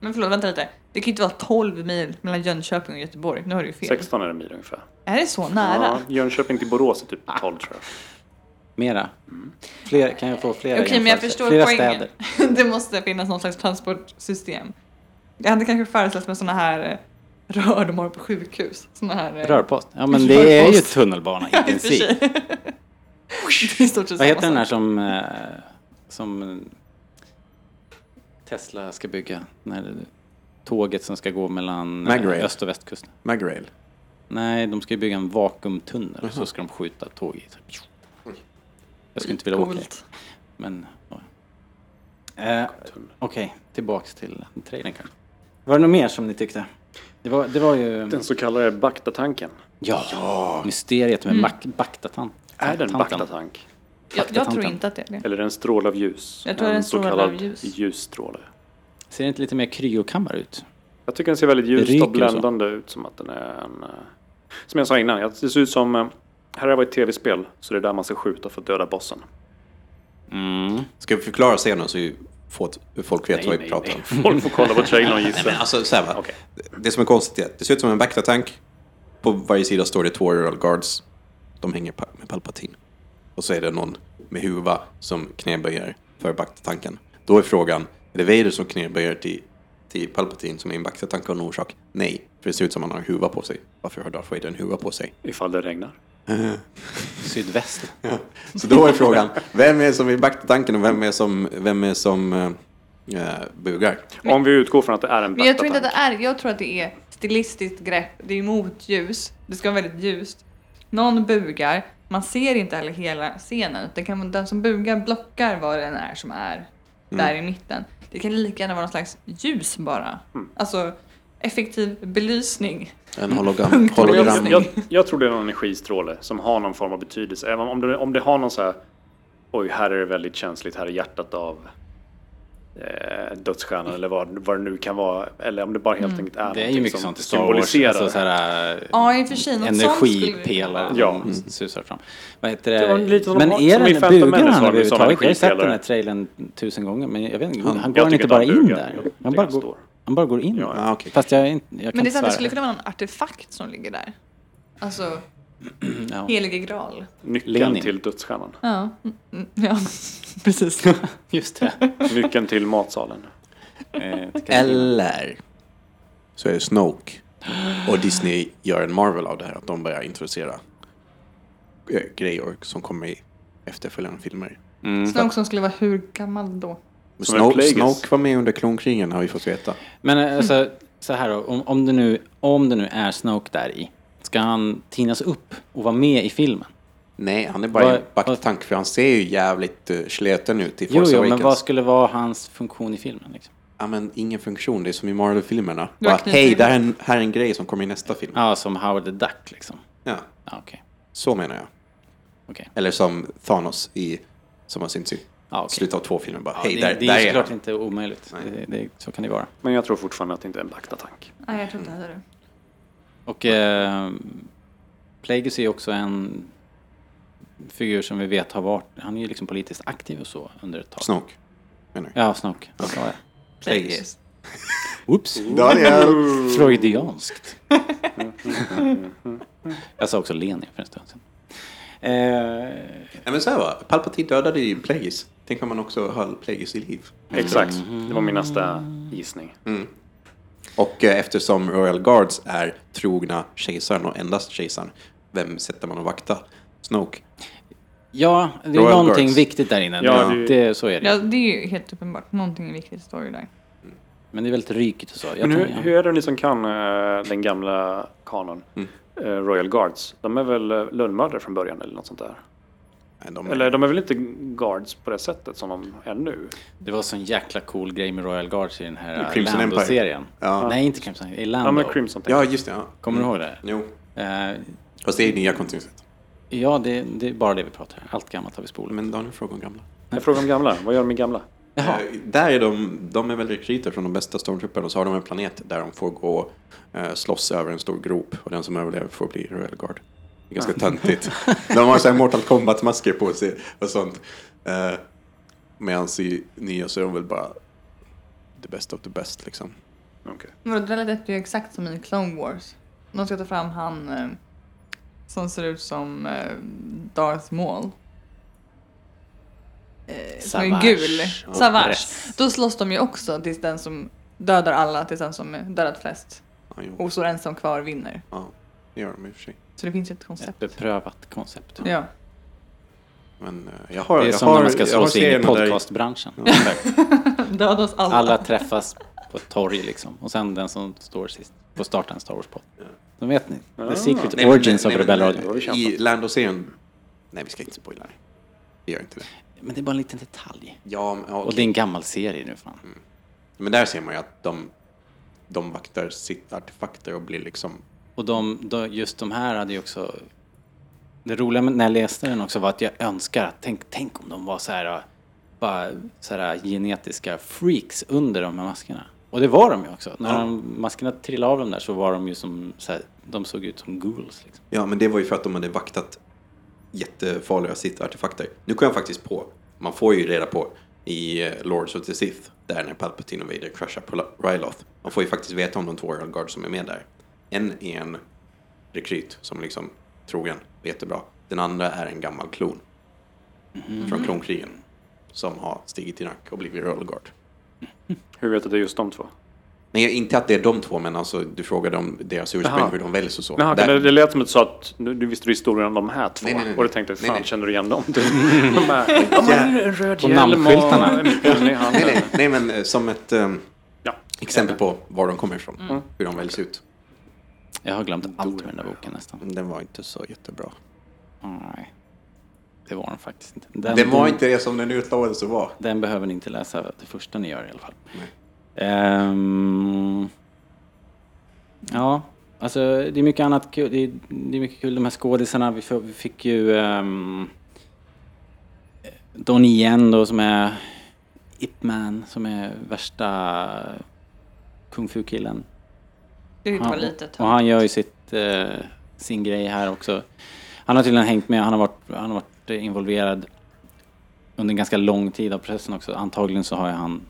D: Men förlåt, vänta lite. Det kan ju inte vara 12 mil mellan Jönköping och Göteborg. Nu har du ju fel.
A: 16 är det mil ungefär.
D: Är det så nära? Ah.
A: Ja, Jönköping till Borås är typ 12 tror jag.
B: Mera? Mm. Fler, kan jag få flera
D: Okej, men jag
B: jämförelser?
D: förstår
B: flera
D: poängen.
B: städer?
D: *laughs* det måste finnas någon slags transportsystem. Jag hade kanske föreställt mig såna här eh, rör de har på sjukhus. Såna här... eh,
B: Rörpost? Ja, men det är ju
D: Rörpost.
B: tunnelbana i
D: *laughs* Ja, i och för
B: princip.
D: sig. *laughs* Det är i stort sett
B: Vad heter den
D: samma
B: här
D: sak.
B: som, eh, som Tesla ska bygga? När tåget som ska gå mellan eh,
E: Magrail.
B: öst och västkusten.
E: Magrail.
B: Nej, de ska ju bygga en vakuumtunnel och så ska de skjuta tåg i. Jag skulle inte vilja åka i,
D: Coolt.
B: men... ja. Eh, Okej, tillbaks till trailern kanske. Var det något mer som ni tyckte? Det var, det var ju...
A: Den så kallade baktatanken.
B: Ja, mysteriet med mm. Baktatant.
A: Är det en
B: tanten.
A: baktatank?
D: Jag, jag tror
B: tanten.
D: inte att det är det.
A: Eller en stråle av ljus?
D: Jag tror det är en stråle
A: så
D: av
A: kallad
D: ljus.
A: ljusstråle.
B: Ser det inte lite mer kryokammare ut?
A: Jag tycker den ser väldigt
B: Det
A: ljus
B: ryker
A: och
B: och så.
A: bländande ut som att den är en... eh, Som jag sa innan, jag- det ser ut som... eh, Här har varit ett tv-spel, så det är där man ska skjuta för att döda bossen.
B: Mm.
E: Ska vi förklara scenen så vi får, folk vet vad vi
A: nej,
E: pratar
A: nej.
E: om?
A: Folk får kolla på trailern och
B: *laughs*
E: Nej,
A: gissa.
E: men alltså, så här, va?
A: Okej.
E: Det som är konstigt är att det ser ut som en Bacta-tank. På varje sida står det två Royal Guards. De hänger pa- med Palpatine. Och så är det någon med huva som knäböjer för Bacta-tanken. Då är frågan, är det Vader som knäböjer till, till Palpatine som är en Bacta-tank av någon orsak? Nej, för det ser ut som att han har en huva på sig. Varför har Darth Vader en huva på sig?
A: Ifall det regnar.
B: Sydväst.
E: Så då är frågan, vem är som är Bacta-tanken och vem är som, vem är som eh, eh, bugar?
A: Om vi utgår från att det är en
D: Men jag tror inte
A: baktatank.
D: att det är Jag tror att det är stilistiskt grepp. Det är mot ljus. Det ska vara väldigt ljust. Någon bugar. Man ser inte heller hela scenen. Det kan, vara- den som bugar blockar vad den är som är där i mitten. Det kan lika gärna vara någon slags ljus bara. Alltså effektiv belysning.
E: En hologram,
A: Men
E: hologram.
A: jag, jag, jag tror det är någon energistråle som har någon form av betydelse. Även om det, om det har någon så här... Oj, här är det väldigt känsligt. Här är hjärtat av eh, dödsstjärnan eller vad, vad det nu kan vara. Eller om det bara helt enkelt är
B: Mm. Det är ju
A: någonting
B: mycket
A: som
B: sånt i Star Wars.
A: symboliserar.
B: Alltså så här, eh,
D: Ja, i och för sig. Något sånt skulle det kunna
B: energipelare
D: vara.
A: Ja.
B: ja. som susar fram. Vad heter
A: Det var
B: det?
A: lite som
B: men
A: de-
B: är
A: som i
B: den
A: Phantom
B: bugar
A: Menace
B: han
A: var det väl sådana
B: överhuvudtaget? Jag har ju sett den
A: energipelare. Mm.
B: här trailern tusen gånger men jag vet inte, han,
A: jag
B: går
A: tycker
B: inte
A: att han
B: bara in
A: bugar.
B: där.
A: Jag
B: Han bara,
A: tycker han
B: går,
A: står.
B: han bara går in.
A: Ja, ja.
E: Ah, okej.
B: Fast jag, är inte- jag kan
D: Men det är
B: inte
D: sant,
B: svära.
D: det skulle kunna vara någon artefakt som ligger där. Alltså,
B: Ja.
D: helige graal.
A: Nyckeln
B: Lenin.
A: till dödsstjärnan.
D: Ja, mm, mm, ja. precis.
B: *laughs* Just det.
A: Nyckeln till matsalen.
B: Eh, det kan-
E: Eller så är det Snoke. Och Disney gör en Marvel av det här. Att de börjar introducera eh, grejer som kommer i efterföljande filmer.
D: Snoke som skulle vara hur gammal då?
E: Men
A: Som en
E: Snoke,
A: Plagueis.
E: Snoke var med under klonkrigen har vi fått veta.
B: Men eh, alltså, så här då, om, om, det nu, om det nu är Snoke där i, ska han tinas upp och vara med i filmen?
E: Nej, han är bara
B: Vad-
E: en backtank för han ser ju jävligt uh, sleten ut i
B: Jo,
E: Force
B: jo, men
E: Awakens.
B: vad skulle vara hans funktion i filmen? Liksom?
E: Ja, men ingen funktion, det är som i Marvel-filmerna.
D: Du har
E: Bara,
D: knutit.
E: Hej, det här är, en, här är en grej som kommer i nästa film.
B: Ja, som Howard the Duck liksom.
E: Ja,
B: Ja, okej.
E: så menar jag.
B: okej.
E: Eller som Thanos i, som har syns i
B: Ja, okej.
E: slutet av två filmer. Bara,
B: Ja,
E: Hej,
B: det,
E: där,
B: det
E: där
B: är ju
E: är
B: såklart
E: han.
B: inte omöjligt.
E: Nej.
B: Det, det, så kan det vara.
A: Men jag tror fortfarande att det inte är en backtank.
D: Nej, jag tror inte heller det.
B: Och eh, Plagueis är ju också en figur som vi vet har varit, han är ju liksom politiskt aktiv och så under ett tag.
E: Snoke. Menar jag.
B: Ja, Snoke. Vad sa jag?
E: Plagueis.
B: Oops.
E: Daniel!
B: Freudianskt. *laughs* jag sa också Lenin för en stund sedan. Eh,
E: Nej, men så här va, Palpatine dödade ju Plagueis. Tänk om man också höll Plagueis i liv.
B: Mm.
A: Exakt, det var min nästa gissning.
E: Och eh, eftersom Royal Guards är trogna kejsaren och endast kejsaren, vem sätter man att vakta? Snoke.
B: ja, det är
E: Royal
B: någonting
E: Guards.
B: viktigt där inne.
A: Ja,
B: det, det, så är det.
D: Ja, det är ju helt uppenbart. Någonting viktigt står ju där.
B: Men det är väldigt rykigt och så. Jag
A: Men hur,
B: tror- ja.
A: hur är det ni som kan eh, den gamla kanon?
E: Mm.
A: Eh, Royal Guards. De är väl eh, lönnmördare från början eller något sånt där?
E: Nej, de-
A: Eller de är väl inte guards på det sättet som de är nu?
B: Det var sån jäkla cool grej med Royal Guards i den här eh,
E: Crimson Empire.
B: Lando-serien.
E: Ja.
B: Nej, inte Crimson Empire.
A: Ja,
B: I Lando.
A: men Crimson tänker
E: Ja,
A: jag.
E: just det. Ja.
B: Kommer du ihåg det?
E: Jo.
B: Eh,
E: Fast det är nya kontinuitet.
B: ja, det, det är bara det vi pratar om. Allt gammalt har vi spolat.
E: Men Daniel frågar om gamla.
A: Jag frågar om gamla. Vad gör de med gamla?
B: Jaha.
E: Eh, Där är de, de är väl rekryter från de bästa stormtrupperna och så har de en planet där de får gå eh, slåss över en stor grop och den som överlever får bli Royal Guard. Det är ganska
B: Ah. *laughs*
E: töntigt. De har så här Mortal Kombat-masker på sig och sånt. Eh, Medan i nya så är de väl bara the best of the best liksom.
A: Okej.
D: Men det där lät ju exakt som i Clone Wars. De ska ta fram han eh, som ser ut som eh, Darth Maul. Eh, som är
B: Savage.
D: gul.
B: Ja,
D: Savage.
B: press.
D: Då slåss de ju också tills den som dödar alla, tills den som dödat flest
E: Ja, jo.
B: Oh.
D: och står ensam kvar vinner.
E: ja det gör de i och för sig.
D: Så det finns ju ett
B: Ett
D: koncept.
B: beprövat koncept.
D: Ja.
E: Men eh, jag har,
B: Det är
E: jag
B: som
E: har,
B: när man ska
E: jag
B: slå
E: har
B: sig in i
E: serierna där
B: podcastbranschen.
E: Ja, exakt. *laughs*
D: *laughs* Döda oss alla.
B: Alla träffas på ett torg liksom. Och sen den som står sist får starta en Star Wars-podd. Då vet ni. The secret
E: Nej, men-
B: origins
E: nej,
B: of
E: men-
B: Rebellradion.
E: I Lando-serien... Nej, vi ska inte spoila det. Vi gör inte det.
B: Men det är bara en liten detalj.
E: Ja, men, ja,
B: Och det är en gammal serie nu fan.
E: Men där ser man ju att de, de vaktar sitt artefakter och blir liksom...
B: Och de, de, just de här hade ju också... Det roliga med, när jag läste den också var att jag önskar att tänk, tänk om de var så här, äh, bara så här genetiska freaks under de här maskerna. Och det var de ju också. När
E: Ja.
B: de, maskerna trillade av dem där så var de ju som så här, de såg ut som ghouls. Liksom.
E: Ja, men det var ju för att de hade vaktat jättefarliga sitt artefakter. Nu kom jag faktiskt på, man får ju reda på i eh, Lords of the Sith, där när Palpatine och Vader kraschar på La- Ryloth. Man får ju faktiskt veta om de två Royal Guards som är med där. En är en rekryt som liksom trogen, jättebra. Den andra är en gammal klon från klonkrigen som har stigit i nack och blivit Royal Guard.
A: Hur vet du att det är just de två?
E: Nej, inte att det är de två, men alltså, du frågade om deras
A: Jaha.
E: ursprung, hur de väljs och så.
A: Jaha,
E: Där-
A: det, det lät som att du sa att du, du visste historien om de här två.
E: Nej, nej, nej.
A: Och du tänkte, fan
E: Nej, nej.
A: känner du igen
E: *laughs*
A: dem? Du, de här, ja, men en röd
B: På
A: hjälm och
B: namnskyltarna.
A: en pinne i
E: nej,
A: handen.
E: nej, nej, men eh, som ett ehm,
A: Ja. Mm.
E: exempel på var de kommer ifrån, hur de väljs ut.
B: Jag har glömt allt med den där boken nästan.
E: Den var inte så jättebra.
B: Nej. Det var den faktiskt inte. Den,
E: Den var
B: den-
E: inte det som den utlovades att vara.
B: Den behöver ni inte läsa, det första ni gör i alla fall. Ehm, ja, alltså det är mycket annat kul. Det är, det är mycket kul, de här skådisarna. Vi, får, vi fick ju um, Donnie Yen då som är Ip Man, som är värsta kung fu-killen.
D: Det tyckte jag var
B: Han,
D: lite
B: och
D: tönt.
B: han gör ju sitt, eh, sin grej här också. Han har tydligen hängt med, han har, varit, han har varit involverad under en ganska lång tid av processen också. Antagligen så har ju han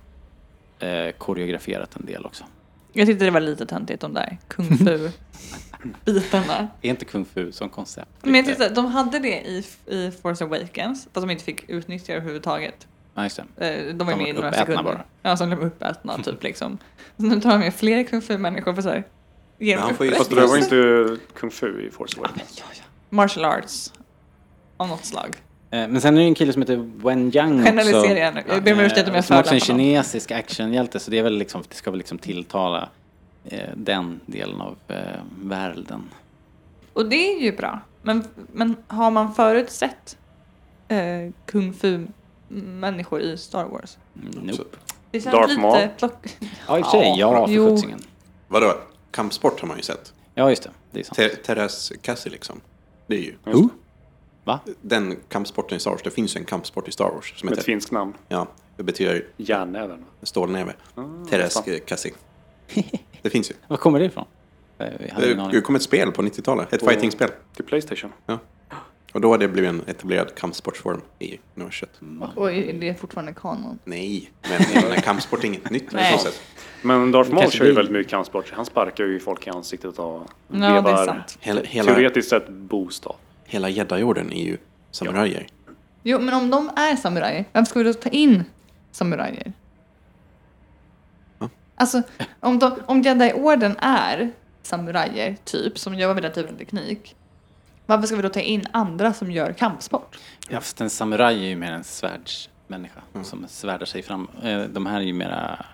B: eh, koreograferat en del också.
D: Jag tyckte det var lite töntigt de där kung fu-bitarna.
B: Är inte kung fu som koncept?
D: Men jag
B: lite-
D: tyckte att de hade det i, i Force Awakens, fast de inte fick utnyttja det överhuvudtaget.
B: Ja, just det.
D: Eh, De var
B: De
D: ju med
B: var
D: i några
B: uppätna
D: sekunder.
B: bara.
D: Ja, som blev uppätna typ liksom. *laughs* Så nu tar de med fler kung fu-människor för så här. ge
E: Men
D: dem
E: han får ju-
A: Fast
D: upprättelse.
A: det där var inte kung fu i Force
D: Men
A: Awakens.
D: ja, ja. Martial arts. Av något slag.
B: Eh, Men sen är det en kille som heter Wen Yang också.
D: Generaliserar jag nu. Jag ber om ursäkt om jag
B: Eh, Som också är en
D: förolämpar någon.
B: kinesisk actionhjälte, så det, är väl liksom, det ska väl liksom tilltala eh, den delen av eh, världen.
D: Och det är ju bra. Men, men har man förut sett eh, kung fu-människor i Star Wars?
B: Nope.
D: Det känns
A: Darth
D: lite
A: Maul.
D: plock... *laughs*
B: Ja, i och för sig. Ja, för
D: Jo.
B: sjuttsingen.
E: Vadå? Kampsport har man ju sett.
B: Ja, just det. Det är sant.
E: Ter- Therese Cassie liksom. Det är ju
A: Mm.
B: Oh. Va?
E: den kampsporten i Star Wars. Det finns ju en kampsport i Star Wars som
A: Med ett
E: heter...
A: finskt namn.
E: Ja, det betyder
A: Järnnäven.
E: stålnäve.
A: Ah, fan.
E: Therese
A: *laughs*
E: Cassie. Det finns ju.
B: Var kommer det ifrån? Eh, Jag hade ingen
E: Det det
B: aning.
E: kom ett spel på 90-talet. Ett
A: På-
E: fightingspel.
A: Till Playstation.
E: Ja. Och då har det blivit en etablerad kampsportsform i universet.
D: Och är det fortfarande kanon?
E: Nej, men kampsport är inget nytt på
D: Nej.
E: så sätt.
A: Men Darth Maul
B: kanske
A: kör ju
B: blir-
A: väldigt mycket kampsport. Han sparkar ju folk i ansiktet och
D: Ja, det är sant.
E: Hela, hela,
A: teoretiskt sett boost av.
E: hela jedi-orden är ju samurajer.
D: Jo, men om de är samurajer, varför ska vi då ta in samurajer? Alltså, om, de, om jedi-orden är samurajer, typ, som gör med den typen av teknik, varför ska vi då ta in andra som gör kampsport?
B: Ja, fast en samuraj är ju mer en svärdsmänniska som svärdar sig fram. Eh, De här är ju mera...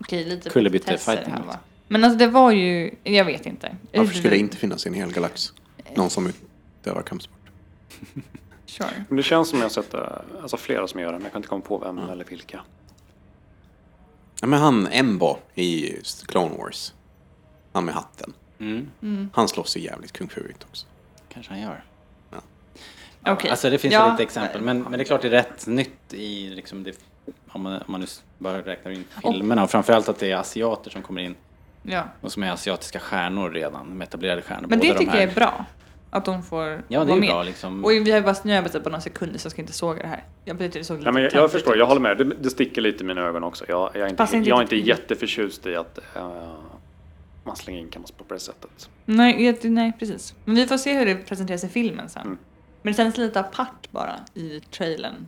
D: Okej, lite
B: Kullerbytte
D: petitesser
B: fighting,
D: här, va?
B: liksom.
D: Men alltså det var ju, jag vet inte.
E: Varför skulle det inte finnas i en hel galax? Någon som utövar kampsport.
D: Sure.
A: Men det känns som jag har sett eh, alltså, flera som gör det, men jag kan inte komma på
B: Mm.
A: vem eller vilka.
E: Ja, men han Embo i Clone Wars. Han med hatten.
D: Mm.
E: Han slåss ju jävligt kung fu-igt också.
B: Kanske han gör.
D: Okej.
B: Alltså det finns
D: Ja.
B: ju lite exempel. Men, men det är klart det är rätt nytt i liksom det, om, man, om man nu s- bara räknar in filmerna. Och framförallt att det är asiater som kommer in.
D: Ja.
B: Och som är asiatiska stjärnor redan. De etablerade stjärnor.
D: Men det
B: båda de
D: tycker
B: här.
D: jag är bra. Att de får
B: Ja, det är
D: vara
B: ju
D: med.
B: bra, liksom.
D: Och vi har ju bara snöat på några sekunder så jag ska inte såga det här. Jag tyckte det såg lite
A: Nej,
D: typ.
A: men jag, jag
D: töntigt
A: förstår,
D: ut.
A: jag håller med. Det, det sticker lite i mina ögon också. Jag, jag, är, inte,
D: Passar inte
A: jag är inte
D: riktigt in.
A: jätteförtjust i att eh, man slänger in kampsport på det sättet.
D: Nej, jag- nej, precis. Men vi får se hur det presenteras i filmen sen. Men det känns lite apart bara i trailern.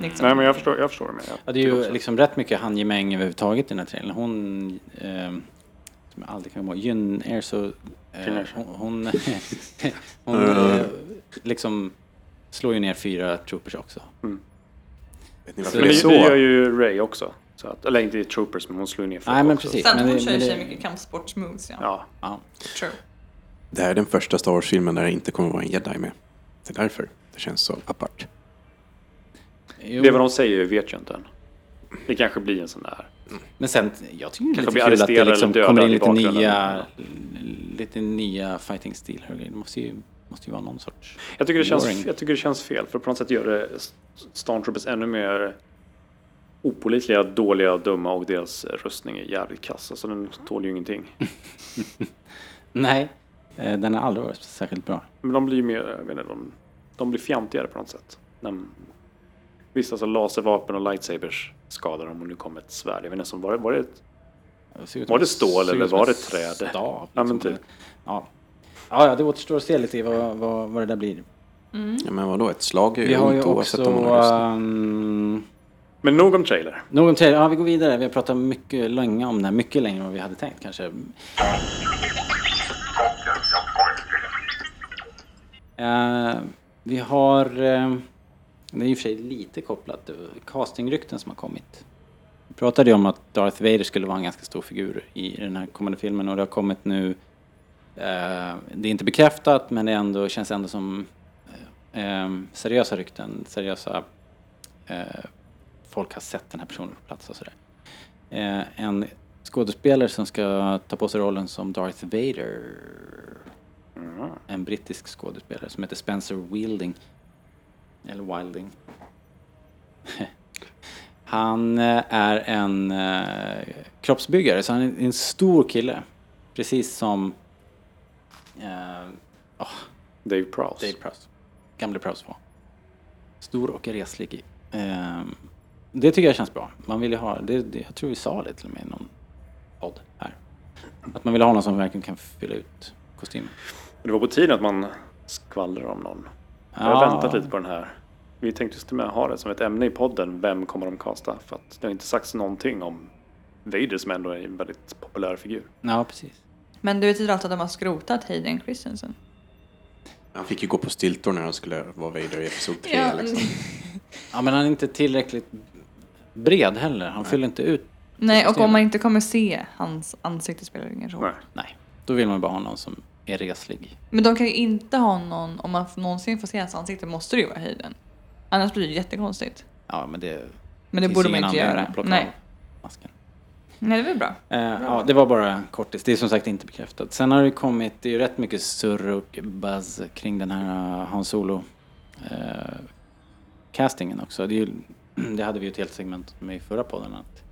D: Liksom.
A: Nej, men jag förstår, jag förstår det. men jag
B: Ja, det är
A: tycker
B: ju
A: Typ också-
B: liksom rätt mycket handgemäng överhuvudtaget i den här trailern. Hon, ehm, som jag aldrig kan komma ihåg, Jyn Erso, eh,
A: Erso.
B: hon, hon,
A: *laughs*
B: hon eh, liksom slår ju ner fyra troopers också.
E: Vet
B: Så
E: ni varför
A: Men
E: det är
A: det, det gör
E: så?
A: ju Ray också. Så att, eller inte i Troopers, men hon slår ju ner folk
B: Nej, men
A: också.
B: precis.
D: Sen
B: men
D: hon
B: det-
D: kör
B: men
D: ju
B: det-
D: sig mycket kampsportsmoves. Ja.
A: Ja.
B: Ja.
D: True.
E: Det här är den första Star Wars-filmen där det inte kommer vara en jedi med. Det är därför det känns så apart.
B: Jo,
A: Det är vad de säger vet jag inte än. Det kanske blir en sån där.
B: Men sen, jag tycker det
A: Kanske
B: är lite
A: blir
B: kul att det
A: arresterad
B: liksom
A: eller dödad
B: kommer in
A: i
B: lite
A: bakgrunden.
B: nya, lite nya fighting-stilar och grejer. Det måste ju, måste ju vara någon sorts...
A: Jag tycker, det
B: Boring.
A: känns, jag tycker det känns fel, för på något sätt gör det Stormtroopers ännu mer opålitliga, dåliga, dumma och deras rustning är jävligt kass. Alltså den tål ju ingenting.
B: Mm. Nej, eh, den har aldrig varit särskilt bra.
A: Men de blir ju mer, jag vet inte, de, de blir fjantigare på något sätt. De, visst, alltså laservapen och lightsabers skadar dem och nu kommer ett svärd. Jag vet inte, som- var det, var det ett
B: Ser ut
A: Var det
B: som-
A: stål
B: ser ut
A: eller
B: som
A: var
B: en
A: det träd?
B: Stav,
A: Ja, men
B: liksom.
A: typ.
B: ja. ja, ja, det återstår att se lite vad, vad, vad det där blir.
E: Ja, men vadå, ett slag är
B: Vi
E: ju
B: har ju
E: ont oavsett
B: också...
E: om man har rustning.
B: ehm,
A: Men nog om trailer.
B: någon trailer. Ja, vi går vidare. Vi har pratat mycket länge om det här. Mycket längre än vad vi hade tänkt kanske. Eh, vi har... eh, det är i och för sig lite kopplat. eh, Castingrykten som har kommit. Vi pratade ju om att Darth Vader skulle vara en ganska stor figur i den här kommande filmen och det har kommit nu... eh, det är inte bekräftat men det är ändå, känns ändå som eh, eh, seriösa rykten, seriösa eh, folk har sett den här personen på plats och sådär. Eh, en skådespelare som ska ta på sig rollen som Darth Vader. En brittisk skådespelare som heter Spencer Wilding. Eller Wilding. *laughs* han eh, är en eh, kroppsbyggare, så han är en stor kille. Precis som eh, ah,
A: Dave Prowse.
B: Dave Prowse. Gamle Prowse var. Stor och reslig. Ehm, det tycker jag känns bra. Man vill ju ha, det, det, jag tror vi sa det till och med i någon podd här. Att man vill ha någon som verkligen kan fylla ut kostymen.
A: Det var på tiden att man skvallrar om någon. Jag har
B: Ja.
A: väntat lite på den här. Vi tänkte just med ha det som ett ämne i podden. Vem kommer de kasta? För att det har inte sagts någonting om Vader som ändå är en väldigt populär figur.
B: Ja, precis.
D: Men det betyder alltså att de har skrotat Hayden Christensen?
E: Han fick ju gå på stiltor när han skulle vara Vader i Episod 3.
D: mm.
E: liksom.
B: Ja, men han är inte tillräckligt bred heller. Han fyller inte ut.
D: Nej, och om man inte kommer se hans ansikte spelar det ingen roll.
A: Nej.
B: Nej, då vill man bara ha någon som är reslig.
D: Men de kan ju inte ha någon, om man någonsin får se hans ansikte måste det ju vara höjden. Annars blir det jättekonstigt.
B: Ja, men det,
D: Men det
B: finns
D: borde man
B: ingen
D: inte
B: anledning
D: göra.
B: att plocka
D: Nej.
B: av masken.
D: Nej, det är väl bra.
B: Eh, ja, det var bara kortis. Det är som sagt inte bekräftat. Sen har det kommit, det är ju rätt mycket surr och buzz kring den här eh, Han Solo eh, castingen också. Det, är ju, *clears throat* det hade vi ju ett helt segment med i förra podden att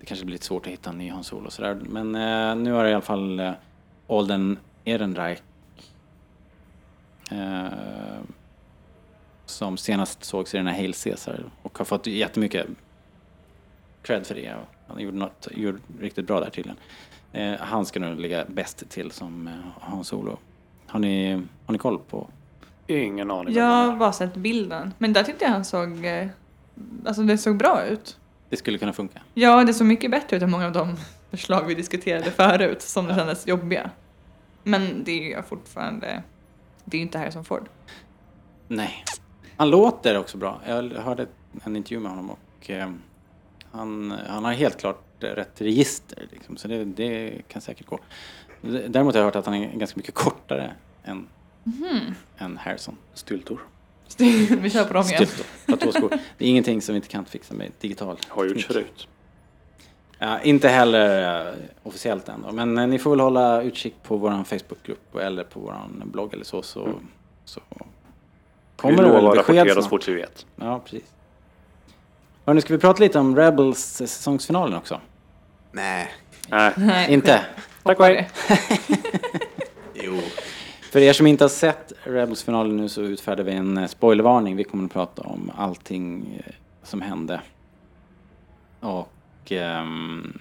B: det kanske blir lite svårt att hitta en ny Han Solo och sådär. Men eh, nu har i alla fall eh, Alden Ehrenreich eh, som senast sågs i den här Hail Caesar och har fått jättemycket cred för det. Och Han gjorde något gjorde riktigt bra där tydligen. Eh, han ska nog ligga bäst till som eh, Hans Solo. Har ni, har ni koll på?
A: Ingen aning.
D: Jag
A: vem han
D: har
A: är.
D: bara sett bilden. Men där tyckte jag han såg... eh, Alltså det såg bra ut.
B: Det skulle kunna funka.
D: Ja, det såg mycket bättre ut än många av de förslag vi diskuterade förut som det kändes jobbiga. Men det är ju fortfarande... Det är ju inte Harrison Ford.
B: Nej. Han låter också bra. Jag hörde en intervju med honom och eh, han, han har helt klart rätt register. Liksom, så det, det kan säkert gå. Däremot har jag hört att han är ganska mycket kortare än, än Harrison. Typ
A: Styltor.
D: Så det- vi kör på dem igen.
B: Stift och platåskor. Det är ingenting som vi inte kan fixa med digital
A: Har gjort
B: teknik.
A: förut.
B: Ja, inte heller eh, officiellt än då. Men eh, ni får väl hålla utkik på vår Facebookgrupp eller på vår blogg eller så. Så,
A: Mm.
B: så kommer
A: vi
B: det
A: lovar
B: väl
A: att
B: besked
A: rapportera så
B: snart.
A: fort vi vet.
B: Ja, precis. Hörni, ska vi prata lite om Rebels eh, säsongsfinalen också?
E: Nej.
A: Nej,
D: Nej,
B: Inte?
A: tack och
D: hoppa
A: hej.
D: det.
E: Jo.
B: För er som inte har sett Rebels-finalen nu så utfärdar vi en eh, spoilervarning. Vi kommer att prata om allting eh, som hände. Och... ehm,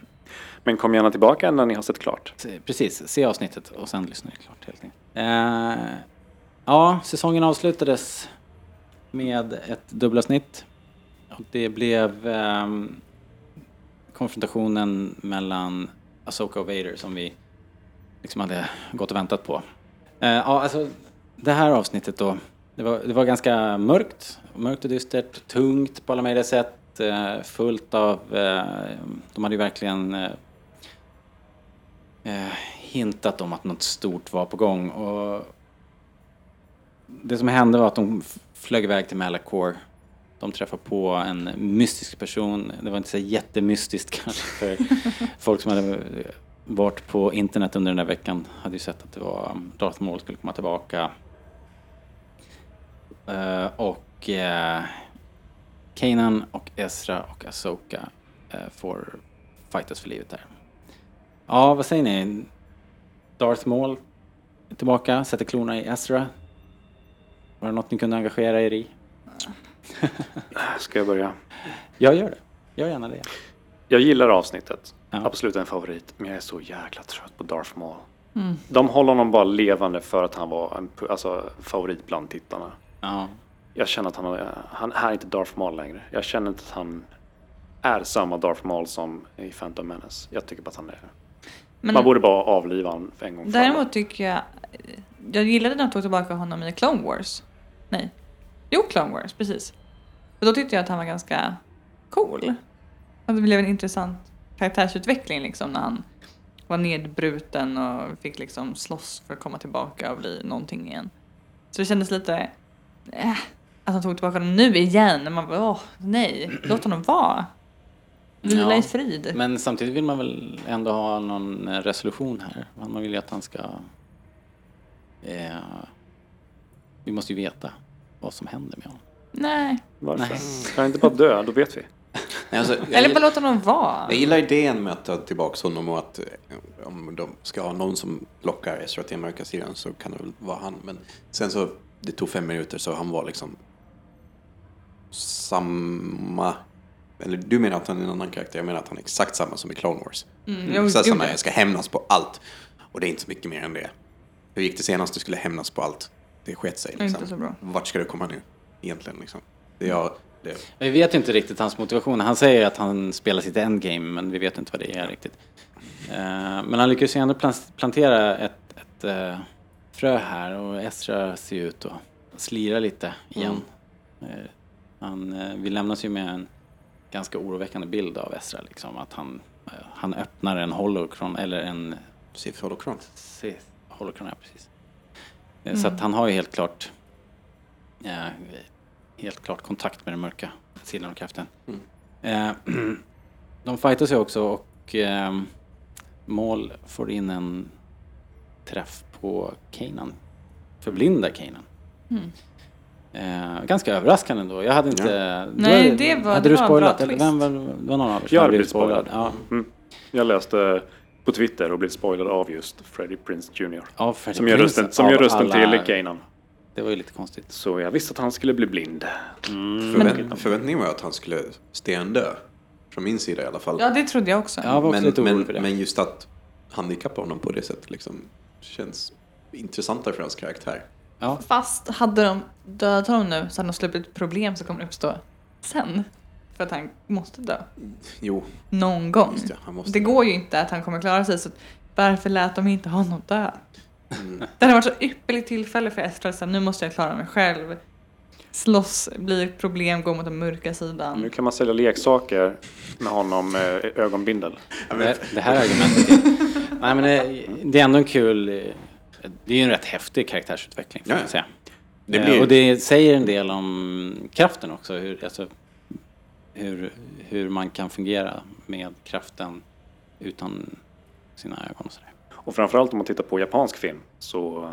A: Men kom gärna tillbaka när ni har sett klart.
B: Se- Precis, se avsnittet och sen lyssna klart helt enkelt. Eh, ja, säsongen avslutades med ett dubbelavsnitt. Och det blev ehm, konfrontationen mellan Asoka och Vader som vi liksom hade gått och väntat på. Eh, ja, alltså det här avsnittet då. Det var, det var ganska mörkt. Mörkt och dystert. Tungt på alla möjliga sätt. Eh, fullt av... Eh, de hade ju verkligen eh, eh, hintat om att något stort var på gång. Och det som hände var att de f- flög iväg till Malacor. De träffade på en mystisk person. Det var inte så jättemystiskt kanske för folk som hade eh, varit på internet under den där veckan hade ju sett att det var um, Darth Maul skulle komma tillbaka. Eh, och eh, Kanan och Ezra och Ahsoka eh, får fightas för livet där. Ja, vad säger ni? Darth Maul är tillbaka, sätter klorna i Ezra. Var det något ni kunde engagera er i?
A: Äh, Ska jag börja?
B: Jag gör det. Gör gärna det.
A: Jag gillar avsnittet.
B: Ja.
A: Absolut en favorit. Men jag är så jäkla trött på Darth Maul. De håller honom bara levande för att han var en pu- alltså, favorit bland tittarna.
B: Ja.
A: Jag känner att han, har- han är inte Darth Maul längre. Jag känner inte att han är samma Darth Maul som i Phantom Menace. Jag tycker bara att han är...
D: Men
A: Man borde bara avliva honom för en gång för alla.
D: däremot tycker jag... Jag gillade när de tog tillbaka honom i Clone Wars. Nej. Jo, Clone Wars, precis. För då tyckte jag att han var ganska cool. Att det blev en intressant karaktärsutveckling liksom när han var nedbruten och fick liksom slåss för att komma tillbaka och bli någonting igen. Så det kändes lite... Äh, att han tog tillbaka honom nu igen. När man bara, åh nej, låt honom vara. Vila
B: Ja.
D: i frid.
B: Men samtidigt vill man väl ändå ha någon eh, resolution här. Man vill ju att han ska... Eh, vi måste ju veta vad som händer med honom.
D: Nej.
A: Varför?
B: Nej.
A: Kan han inte bara dö? Då vet vi.
E: Nej, alltså, jag,
D: Eller bara
E: gillar,
D: låta honom vara.
E: jag gillar idén med att ta tillbaka honom och att eh, om de ska ha någon som lockar Ezra till den mörka sidan så kan det väl vara han. Men sen så, det tog fem minuter så han var liksom samma... Eller du menar att han är en annan karaktär, jag menar att han är exakt samma som i Clone Wars.
D: Mm, jo,
E: Exakt
D: gud,
E: samma,
D: ja.
E: jag ska hämnas på allt. Och det är inte så mycket mer än det. Hur gick det senast du skulle hämnas på allt? Det sket sig
D: Inte
E: liksom.
D: så bra.
E: Vart ska du komma nu egentligen liksom? Det är jag, det,
B: Vi vet ju inte riktigt hans motivation. Han säger att han spelar sitt endgame, men vi vet inte vad det är riktigt. Eh, Men han lyckas ju ändå plan- plantera ett, ett eh, frö här och Estra ser ju ut att slira lite igen. Eh, Han, eh, vi lämnas ju med en ganska oroväckande bild av Estra, liksom att han, eh, han öppnar en holocron, eller en
E: Sif Holocron.
B: Sith Holocron, ja, precis. Eh,
D: Mm.
B: Så att han har ju helt klart eh, helt klart kontakt med den mörka sidan av kraften.
A: Mm.
B: Eh, *clears throat* de fightas ju också och ehm, Maul får in en träff på Kanan. Förblindar Kanan.
D: Mm.
B: Eh, ganska överraskande ändå. Jag hade inte... du
D: Nej,
B: hade-
D: det var-
B: Hade
D: det
B: du
D: var en
B: spoilat?
D: bra
B: Eller
D: twist.
B: vem var, det var någon av er som
A: Jag hade
B: hade
A: blivit spoilad.
B: Ja,
A: Mm. Jag läste på Twitter och blev spoilad av just Freddie Prince Jr.
B: av Freddie
A: Som gör
B: Prinze,
A: rösten, som gör
B: av
A: rösten
B: alla-
A: till Kanan.
B: Det var ju lite konstigt.
A: Så jag visste att han skulle bli blind.
B: Mm.
E: Förvänt, förväntningen var att han skulle stendö. Från min sida i alla fall.
D: Ja, det trodde jag också.
B: Jag var också
E: men,
B: lite
E: men,
B: orolig för det.
E: men just att handikappa honom på det sättet liksom, känns intressantare för hans karaktär.
B: ja.
D: Fast hade de dödat honom nu så hade de sluppit ett problem som kommer uppstå sen. För att han måste dö.
E: Jo,
D: Någon gång.
E: Just det, han måste
D: det
E: dö.
D: går ju inte att han kommer klara sig så att varför lät de inte honom dö?
B: Mm.
D: Det hade varit så ypperligt tillfälle för Estral att säga, nu måste jag klara mig själv. Slåss, bli ett problem, gå mot den mörka sidan.
B: Mm.
A: Nu kan man sälja leksaker med honom eh, ögonbindel.
B: Det här- det här argumentet.
E: *laughs*
B: är- Nej, men det, det är ändå en kul... eh, Det är ju en rätt häftig karaktärsutveckling. Får
E: Ja,
B: man
E: ja.
B: säga.
E: det
B: Eh,
E: blir
B: Och det säger en del om kraften också. Hur, alltså, hur, hur man kan fungera med kraften utan sina ögon och sådär.
A: Och framförallt om man tittar på japansk film så,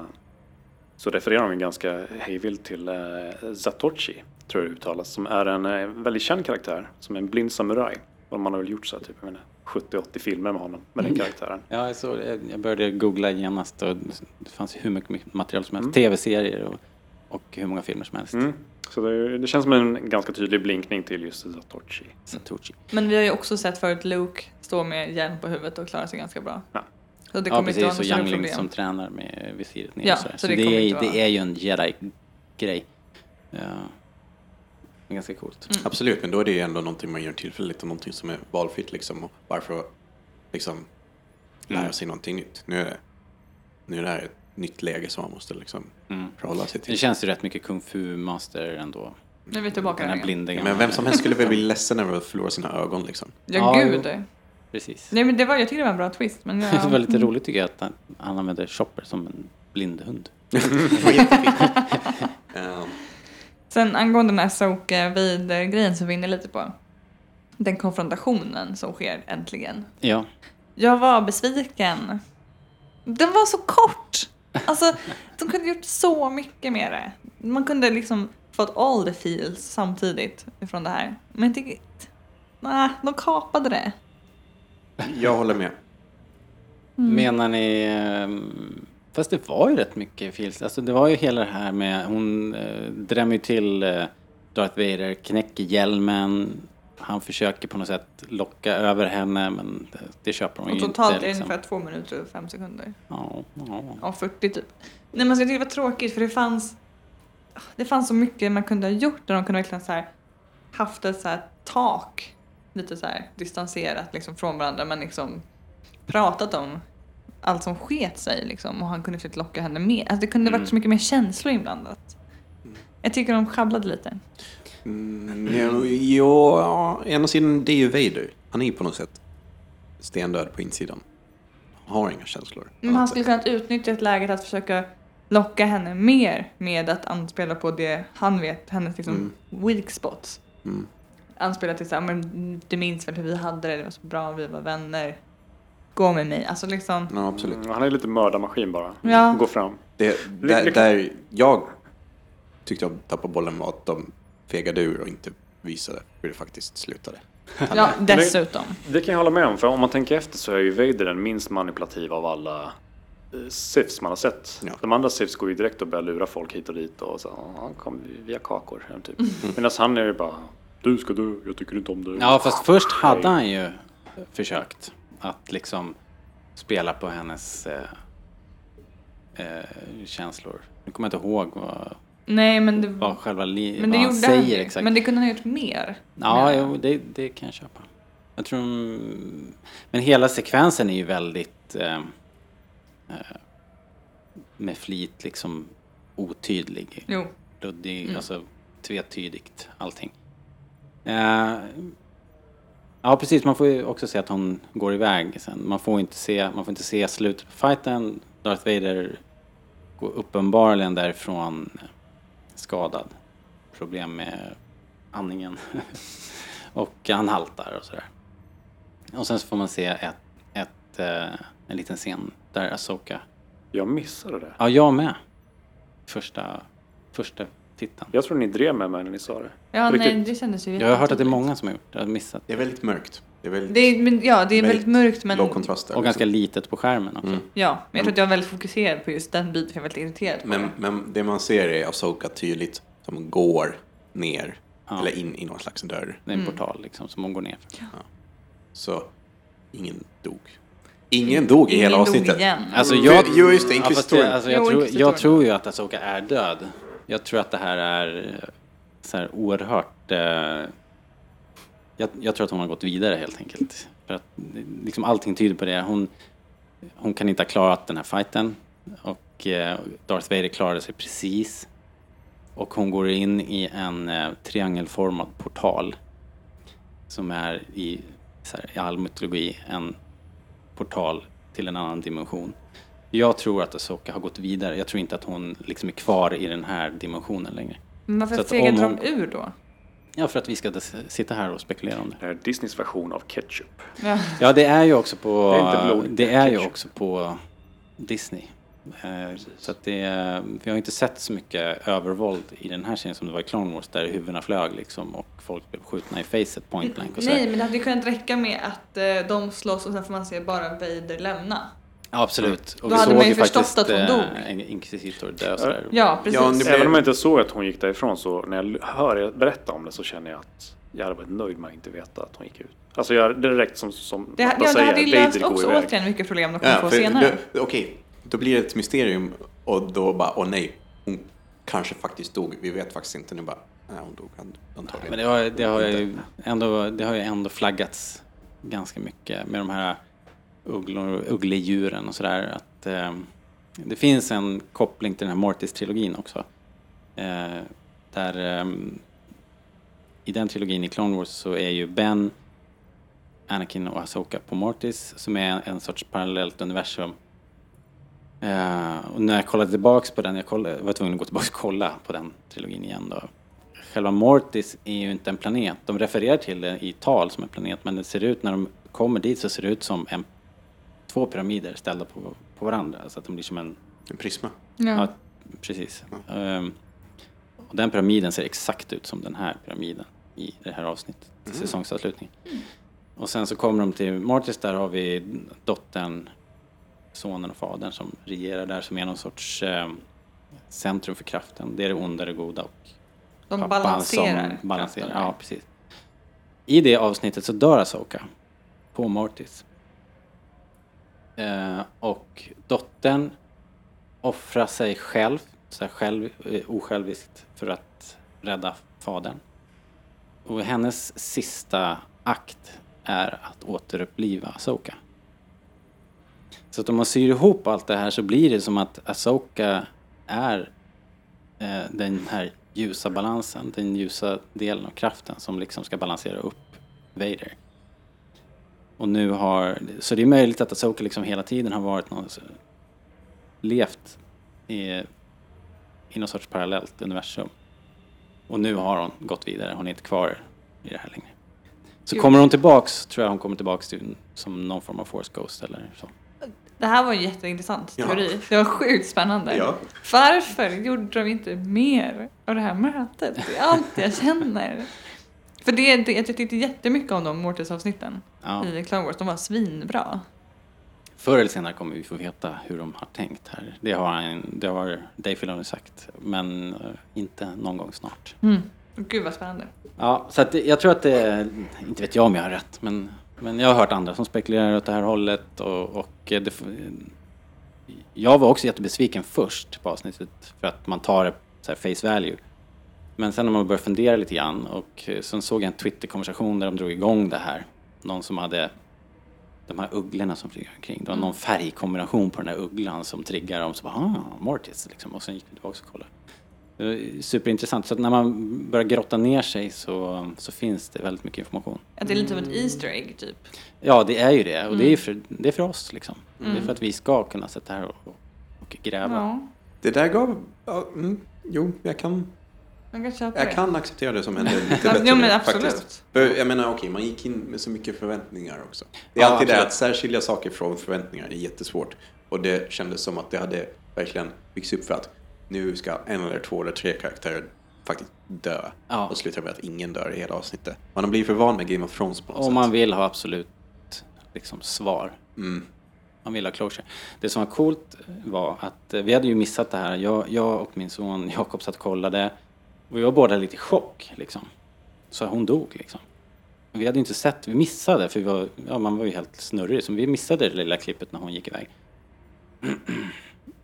A: så refererar de ganska hejvilt till eh, Zatochi, tror jag det uttalas, som är en eh, väldigt känd karaktär, som en blind samuraj. Och man har väl gjort så här, typ, jag menar, 70-80 filmer med honom, med den karaktären.
B: Ja, jag, såg, jag- jag började googla genast och det fanns ju hur mycket material som helst.
E: Mm.
B: Tv-serier och, och hur många filmer som helst.
A: Mm. Så det, det känns som en ganska tydlig blinkning till just Zatochi.
B: Satoshi.
D: Men vi har ju också sett förut Luke stå med hjälm på huvudet och klara sig ganska bra.
A: Ja.
D: Så det
B: Ja,
D: kommer inte
B: precis. Och
D: vara något
B: Youngling
D: problem.
B: som tränar med eh, visiret ner.
D: Ja,
B: och sådär.
D: så
B: så
D: det
B: det,
D: kommer
B: är,
D: inte vara-
B: det är ju en jedi-grej. Ja. Det är ganska coolt.
D: Mm.
E: Absolut, men då är det ju ändå någonting man gör tillfälligt och någonting som är valfritt liksom. Och varför liksom lära sig någonting nytt? Nu är det, nu är det här ett nytt läge som man måste liksom förhålla sig
B: Det
E: till.
B: känns ju rätt mycket Kung Fu-master ändå.
D: Nu är vi tillbaka
B: Den
D: där
B: här
D: igen.
B: blindingen.
E: Men vem som helst skulle väl bli ledsen över att förlora sina ögon liksom.
D: Ja,
B: Ja,
D: gud.
B: Precis.
D: Nej, men det var, jag tycker det var en bra twist. Men jag,
B: *laughs* Det var lite roligt tycker jag att han, han använder Chopper som en blindhund.
E: Ehm,
D: Sen angående den här Soka vid eh, grejen som vi är inne lite på. Den konfrontationen som sker äntligen.
B: Ja.
D: Jag var besviken. Den var så kort!
B: *laughs*
D: Alltså, de kunde gjort så mycket med det. Man kunde liksom fått all the feels samtidigt från det här. Men jag tycker... Nej, de kapade det.
E: jag håller med.
D: Mm.
B: Menar ni... ehm, Fast det var ju rätt mycket feels. Alltså det var ju hela det här med... Hon eh, drämmer ju till eh, Darth Vader, knäcker hjälmen. Han försöker på något sätt locka över henne men det, det köper hon
D: Och
B: ju
D: totalt är
B: inte. liksom.
D: det ungefär två minuter och fem sekunder.
B: Ja, ja.
D: Ja, 40 typ. Nej men så jag tyckte det var tråkigt för det fanns Det fanns så mycket man kunde ha gjort där de kunde verkligen så här haft ett så här tak lite så här distanserat liksom från varandra men liksom pratat om allt som sket sig liksom och han kunde försökt locka henne med. Alltså det kunde varit så mycket mer känslor inblandat. Jag tycker de sjabblade lite.
E: Mm, ja, ja, å ena sidan, det är ju Vader. Han är ju på något sätt stendöd på insidan. Han har inga känslor. Alltså.
D: Men han skulle kunnat utnyttja ett läge till att försöka locka henne mer med att anspela på det han vet, hennes liksom weak spots.
E: Mm.
D: Anspela till såhär, men du minns väl hur vi hade det, det var så bra, vi var vänner. Gå med mig, alltså liksom.
E: Ja, absolut.
A: Mm, Han är lite mördarmaskin bara.
D: Ja.
A: Går fram.
E: Det,
A: Lyck-
E: där,
B: liksom-
E: där jag tyckte jag tappade bollen var att de fegade ur och inte visade hur det faktiskt slutade.
D: Ja, dessutom.
A: Det kan jag hålla med om, för om man tänker efter så är ju Vader den minst manipulativa av alla eh, Siths man har sett.
E: Ja.
A: De andra Siths går ju direkt och börjar lura folk hit och dit och så "Ja, han kom via kakor. här, Typ.
D: Mm.
A: Medan han är ju bara du ska dö, jag tycker inte om dig.
B: ja, fast först hade han ju försökt att liksom spela på hennes eh, eh, känslor. Nu kommer jag inte ihåg vad,
D: Nej men det,
B: vad själva li-
D: men det
B: vad
D: gjorde
B: han säger
D: ju.
B: exakt.
D: Men det kunde han ha gjort mer.
B: Ja,
D: menar jag.
B: jo, det, det kan jag köpa. Jag tror... de- Men hela sekvensen är ju väldigt... Eh, eh, med flit liksom otydlig.
D: Jo.
B: Luddig, alltså tvetydigt allting. Eh, ja, precis. Man får ju också se att hon går iväg sen. Man får inte se, man får inte se slutet på fighten. Darth Vader går uppenbarligen därifrån skadad. Problem med andningen. *laughs* och han haltar och sådär. Och sen så får man se ett, ett, eh, en liten scen där Asoka...
A: Jag missade det.
B: Ja, jag med. Första, första titeln.
A: Jag tror ni drev med mig när ni sa det.
D: Ja,
A: Riktigt.
D: nej, det kändes ju
B: Jag har hört att det är
D: jättetydligt.
B: många som har gjort det, har missat.
E: Det är väldigt mörkt. Det är väldigt
D: Det är, men, ja, det är väldigt mörkt men...
E: låg kontrast där. liksom.
B: Och ganska litet på skärmen också.
D: Ja, men jag tror att jag var väldigt fokuserad på just den biten för jag var väldigt irriterad på
E: Mm. men,
D: det.
E: men det man ser är Asoka tydligt som går ner.
B: Ja.
E: Eller in i någon slags dörr.
B: Det är en portal liksom som hon går ner för.
E: Så ingen dog. Ingen dog i
D: Ingen
E: hela
D: dog
E: avsnittet.
D: igen.
B: Alltså
E: Mm.
B: jag...
E: Jo, just det,
B: Ja, fast
E: Inquisitorn.
B: det- alltså, jag,
D: Jo,
B: tror,
D: Inquisitorn.
B: jag tror ju att Asoka är död. Jag tror att det här är eh, så här oerhört... Eh, jag, jag tror att hon har gått vidare helt enkelt. För att eh, liksom allting tyder på det. Hon, hon kan inte ha klarat den här fighten. Och eh, Darth Vader klarade sig precis. Och hon går in i en eh, triangelformad portal. Som är i, så här, i all mytologi en portal till en annan dimension. Jag tror att Asoka har gått vidare. Jag tror inte att hon liksom är kvar i den här dimensionen längre.
D: Men
B: så
D: varför
B: att om
D: fegade
B: hon-
D: de ur då?
B: Ja, för att vi ska des- sitta här och spekulera om det.
A: Det här är Disneys version av ketchup.
D: Ja.
B: Ja, det är ju också på...
A: Det är inte blodigt,
B: det är ju
A: ketchup.
B: också på Disney. Eh, Så att det, är- vi har inte sett så mycket övervåld i den här serien som det var i Clone Wars där huvudena flög liksom och folk blev skjutna i facet point blank och så.
D: Nej, men det hade ju kunnat räcka med att eh, de slåss och sen får man se bara Vader lämna.
B: Ja, absolut. Och
D: Då hade man ju förstått att hon
B: eh,
D: dog.
B: en inkvisitor dö och sådär.
D: Ja, precis.
E: Ja, nu- Det-
A: Även om jag inte såg att hon gick därifrån så när jag l- hör er berätta om det så känner jag att jag hade varit nöjd med att inte veta att hon gick ut. Alltså jag, det räckte som, som
D: Det, ja,
A: Lotta
D: det
A: säger,
D: hade ju
A: Vader
D: löst
A: går
D: också
A: iväg.
D: återigen mycket problem de kommer
E: Ja,
D: få
E: för
D: senare.
E: då- Okej, då blir det ett mysterium och då bara, åh nej, hon kanske faktiskt dog. Vi vet faktiskt inte. Nu bara, nej hon dog an- antagligen.
B: Men det har, det, har ju ändå, det har ju ändå flaggats ganska mycket med de här ugglor, uggledjuren och sådär. Att, eh, det finns en koppling till den här Mortis-trilogin också. Eh, där eh, I den trilogin i Clone Wars så är ju Ben, Anakin och Ahsoka på Mortis som är en sorts parallellt universum. Eh, och när jag kollade tillbaks på den, jag kollade, var tvungen att gå tillbaks och kolla på den trilogin igen då. Själva Mortis är ju inte en planet. De refererar till det i tal som en planet men det ser ut när de kommer dit så ser det ut som en, två pyramider ställda på, på varandra. Så att de blir som en
E: En prisma.
B: Ja, precis. Ehm, och den pyramiden ser exakt ut som den här pyramiden i det här avsnittet, säsongsavslutningen. Och sen så kommer de till Martis, där har vi dottern, sonen och fadern som regerar där, som är någon sorts ehm, centrum för kraften. Det är det onda, det goda och
D: De
B: pappan
D: balanserar.
B: Som balanserar. Ja, precis. I det avsnittet så dör Asoka på Mortis. Eh, och dottern offrar sig själv, så här själv eh, osjälviskt, för att rädda fadern. Och hennes sista akt är att återuppliva Asoka. Så att om man syr ihop allt det här så blir det som att Asoka är eh, den här ljusa balansen, den ljusa delen av kraften som liksom ska balansera upp Vader. Och nu har, så det är möjligt att Asoka liksom hela tiden har varit någon, levt i, i någon sorts parallellt universum. Och nu har hon gått vidare, hon är inte kvar i det här längre. Så
D: Gud.
B: kommer hon tillbaks, tror jag hon kommer tillbaks till, som någon form av force ghost eller så.
D: Det här var en jätteintressant
E: Ja.
D: teori. Det var sjukt spännande.
E: Ja.
D: Varför gjorde de inte mer av det här mötet? Det är allt jag känner. För det, det, jag tyckte jättemycket om de Mortis-avsnitten
B: Ja.
D: i Clone Wars. De var svinbra.
B: Förr eller senare kommer vi få veta hur de har tänkt här. Det har, han- det har Dave Filoni sagt, men eh, inte någon gång snart.
D: Mm. Gud vad spännande.
B: Ja, så att det- jag tror att det, inte vet jag om jag har rätt, men, men jag har hört andra som spekulerar åt det här hållet och, och eh, det, f- eh, jag var också jättebesviken först på avsnittet för att man tar det så här face value. Men sen när man började fundera lite grann och eh, sen såg jag en Twitter-konversation där de drog igång det här. Någon som hade de här ugglorna som flyger omkring. Det var någon färgkombination på den här ugglan som triggar dem. Så bara, ah, Mortis liksom. Och sen gick vi tillbaka och kollade. Det var Superintressant. Så att när man börjar grotta ner sig så, så finns det väldigt mycket information.
D: Att det är lite som ett Easter egg typ.
B: Ja, det är ju det. Och det, är för, det är för oss liksom. Det är för att vi ska kunna sätta här och, och och gräva.
D: Ja,
E: Det där gav... Ja, mm, jo, jag kan,
D: jag kan köpa det.
E: jag kan acceptera det som hände lite
B: *laughs*
D: Ja,
E: bättre
D: jo, men
E: nu,
D: absolut.
E: För jag menar, okej, man gick in med så mycket förväntningar också. Det är
B: Ja,
E: alltid det
B: absolut.
E: att särskilja saker från förväntningar är jättesvårt. Och det kändes som att det hade verkligen byggts upp för att nu ska en eller två eller tre karaktärer faktiskt dö.
B: Ja.
E: Och slutar med att ingen dör i hela avsnittet. Man har blivit för van med Game of Thrones på något
B: Om
E: sätt.
B: man vill ha absolut liksom, svar.
E: Mm.
B: Man vill ha closure. Det som var coolt var att eh, vi hade ju missat det här. Jag, jag och min son Jakob satt och kollade. Och vi var båda lite i chock. Liksom. Så hon dog liksom. Vi hade ju inte sett, vi missade för vi var, ja, man var ju helt snurrig. Så vi missade det lilla klippet när hon gick iväg.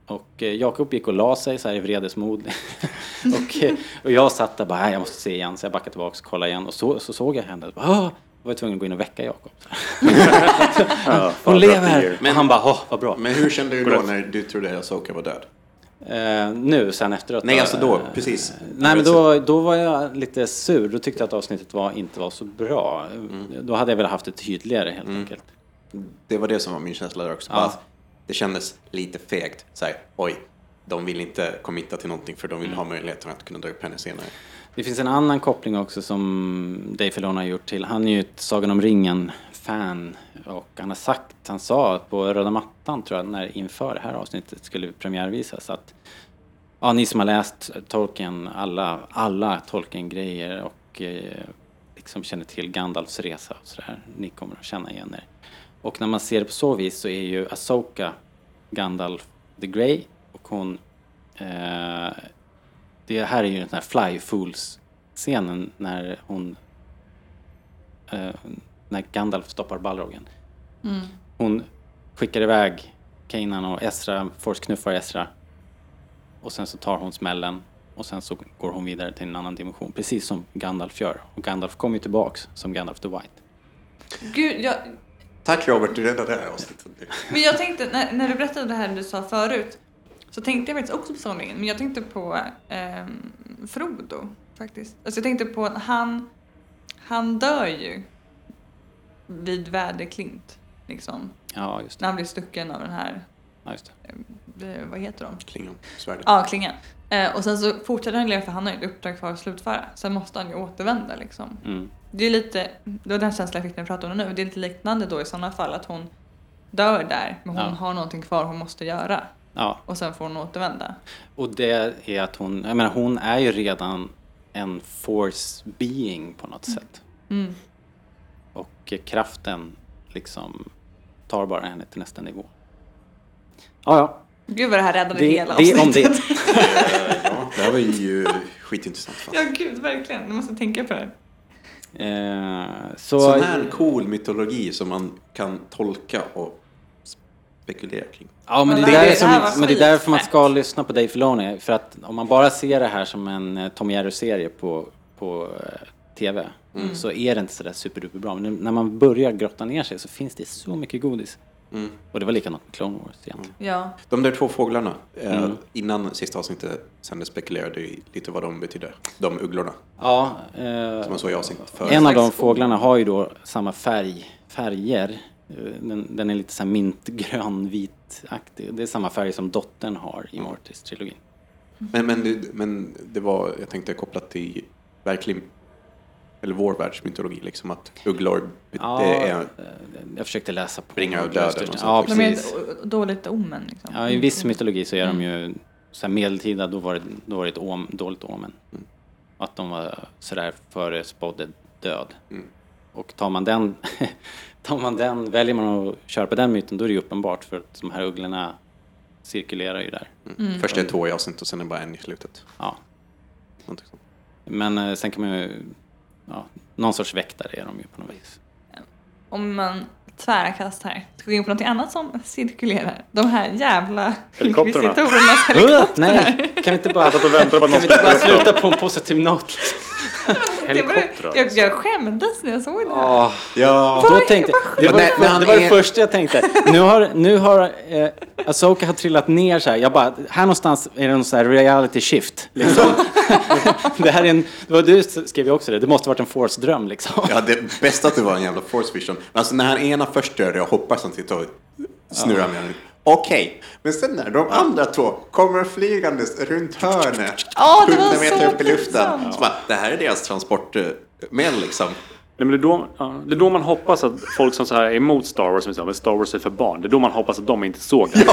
B: Och eh, Jakob gick och la sig så här i vredesmod. *laughs* och, eh, och jag satt där bara, "Nej, jag måste se igen. Så jag backade tillbaka och kollade igen. Och så, så såg jag henne. Och bara, "Ah!" Jag var tvungen att gå in och väcka Jakob.
A: *laughs* Ja,
B: Hon lever!
A: lever!
B: Men han bara, åh, vad bra.
E: Men hur kände du då när du trodde att Soka var död?
B: Eh, nu sen efteråt.
E: Nej, alltså då,
B: eh,
E: precis.
B: Nej, men då, då var jag lite sur. Då tyckte jag att avsnittet var, inte var så bra.
E: Mm.
B: Då hade jag velat haft det tydligare helt enkelt.
E: Det var det som var min känsla där också. Bara att det kändes lite fegt. Så här, oj, de vill inte committa till någonting för de vill ha möjligheten att kunna dra upp henne senare.
B: Det finns en annan koppling också som Dave Filoni har gjort till. Han är ju ett Sagan om ringen-fan. Och han har sagt, han sa på röda mattan tror jag, när inför det här avsnittet skulle premiärvisas att ja, ni som har läst Tolkien, alla, alla Tolkien-grejer och eh, liksom känner till Gandalfs resa och sådär, ni kommer att känna igen er. Och när man ser det på så vis så är ju Asoka Gandalf the Grey och hon eh, det här är ju den här Fly Fools-scenen när hon... Eh, när Gandalf stoppar Balrogen. Mm. Hon skickar iväg Kanan och Esra, forsknuffar Esra. Och sen så tar hon smällen och sen så går hon vidare till en annan dimension. Precis som Gandalf gör. Och Gandalf kommer ju tillbaks som Gandalf the White.
D: Gud, jag,
E: Tack Robert, du räddade det här avsnittet.
D: men jag tänkte, när, när du berättade det här du sa förut, så tänkte jag faktiskt också på Sagan men jag tänkte på ehm, Frodo faktiskt. Alltså jag tänkte på att han, han dör ju vid väderklint, liksom.
B: Ja, just det.
D: När han blir stucken av den här,
B: Ja, just det.
D: eh, vad heter de?
E: Klingon, svärdet.
D: Ja, klingan. Eh, och sen så fortsätter han leva för han har ju ett uppdrag kvar att slutföra. Sen måste han ju återvända liksom.
B: Mm.
D: Det är lite, det var den känslan jag fick när vi pratade om det nu. Det är lite liknande då i sådana fall att hon dör där men hon
B: Ja.
D: har någonting kvar hon måste göra.
B: Ja,
D: Och sen får hon återvända.
B: Och det är att hon, jag menar hon är ju redan en force being på något sätt.
D: Mm.
B: Och eh, kraften liksom tar bara henne till nästa nivå. Ja, ja.
D: Gud vad det här räddade
B: Det,
D: hela
B: det är om
D: avsnittet. *laughs*
B: det.
E: Eh, Ja, *laughs* det här var ju skitintressant. Fan.
D: Ja gud, verkligen. Jag måste tänka på det.
B: Eh, så,
E: Sån här cool mytologi som man kan tolka och spekulera kring.
B: ja, men, det,
D: Men
B: är
D: det-
B: där
D: det
B: som,
D: här var
B: men det är därför man ska
D: skitsnack.
B: lyssna på Dave Filoni. För att om man bara ser det här som en eh, Tom Jerry-serie på, på eh, TV så är det inte sådär superduperbra. Men när man börjar grotta ner sig så finns det så mycket godis. Och det var likadant med Clone Wars egentligen.
D: Ja.
E: De där två fåglarna, eh, innan sista avsnittet sändes spekulerade ju lite vad de betydde. De ugglorna,
B: Ja,
E: som
B: eh,
E: man såg i avsnittet förut.
B: en av de
D: slags
B: fåglarna har ju då samma färg, färger. Eh, Den, den är lite så här mintgrön, vitaktig. Det är samma färg som dottern har
E: Mm.
B: i Mortis-trilogin.
E: Men, men, det- men det var, jag tänkte kopplat till verklig, eller vår världsmytologi, liksom att ugglor be-
B: Ja,
E: det är,
B: eh, jag försökte läsa på.
E: Ringar av döden och sånt.
B: Ja,
D: De är ju
B: precis.
D: ett o- dåligt omen liksom.
B: Ja, I viss mytologi så är de ju så här medeltida, då var det, då var det ett om, dåligt omen. Att de var sådär förespådde död. Och tar man den, *laughs* tar man den, väljer man att köra på den myten, då är det ju uppenbart för att de här ugglorna cirkulerar ju där.
D: Mm.
E: först är det två i avsnittet och sen är det bara en i slutet.
B: Ja.
E: Någonting sånt.
B: Men eh, sen kan man ju, ja, någon sorts väktare är de ju på något vis.
D: Om man tvärkast här. Ska gå in på något annat som cirkulerar. De här jävla
A: Helikoptrarna.
D: inkvisitorernas
B: Uh, *laughs* nej, kan vi inte bara,
A: Jag
B: kan
A: satt och väntade på att någon
B: vi inte bara
A: skulle...
B: sluta på en positiv not?
D: Det var-
A: Helikoptrar,
D: Jag, jag skämdes när jag såg det här.
B: Ja,
E: *laughs* Ja,
B: då tänkte jag, det var,
E: Men när- när han
B: det, var det
E: är-
B: första jag tänkte. Nu har, nu har eh, Asoka har trillat ner så här. Jag bara, här någonstans är det någon så här reality shift. Liksom. det här är en, det var du som skrev ju också det, det måste varit en force-dröm liksom.
E: ja, det bästa att det var en jävla force vision. Men alltså när han ena först dör det och hoppas han tittar och snurrar med den. Okej, men sen när de andra två kommer flygandes runt hörnet.
D: Ja, det var
E: 100 meter
D: så
E: upp i luften.
D: pinsamt.
E: Så bara, det här är deras transportmedel liksom.
A: Nej, men det, är då, ja, det är då man hoppas att folk som så här är emot Star Wars, som säger att Star Wars är för barn, det är då man hoppas att de inte såg det.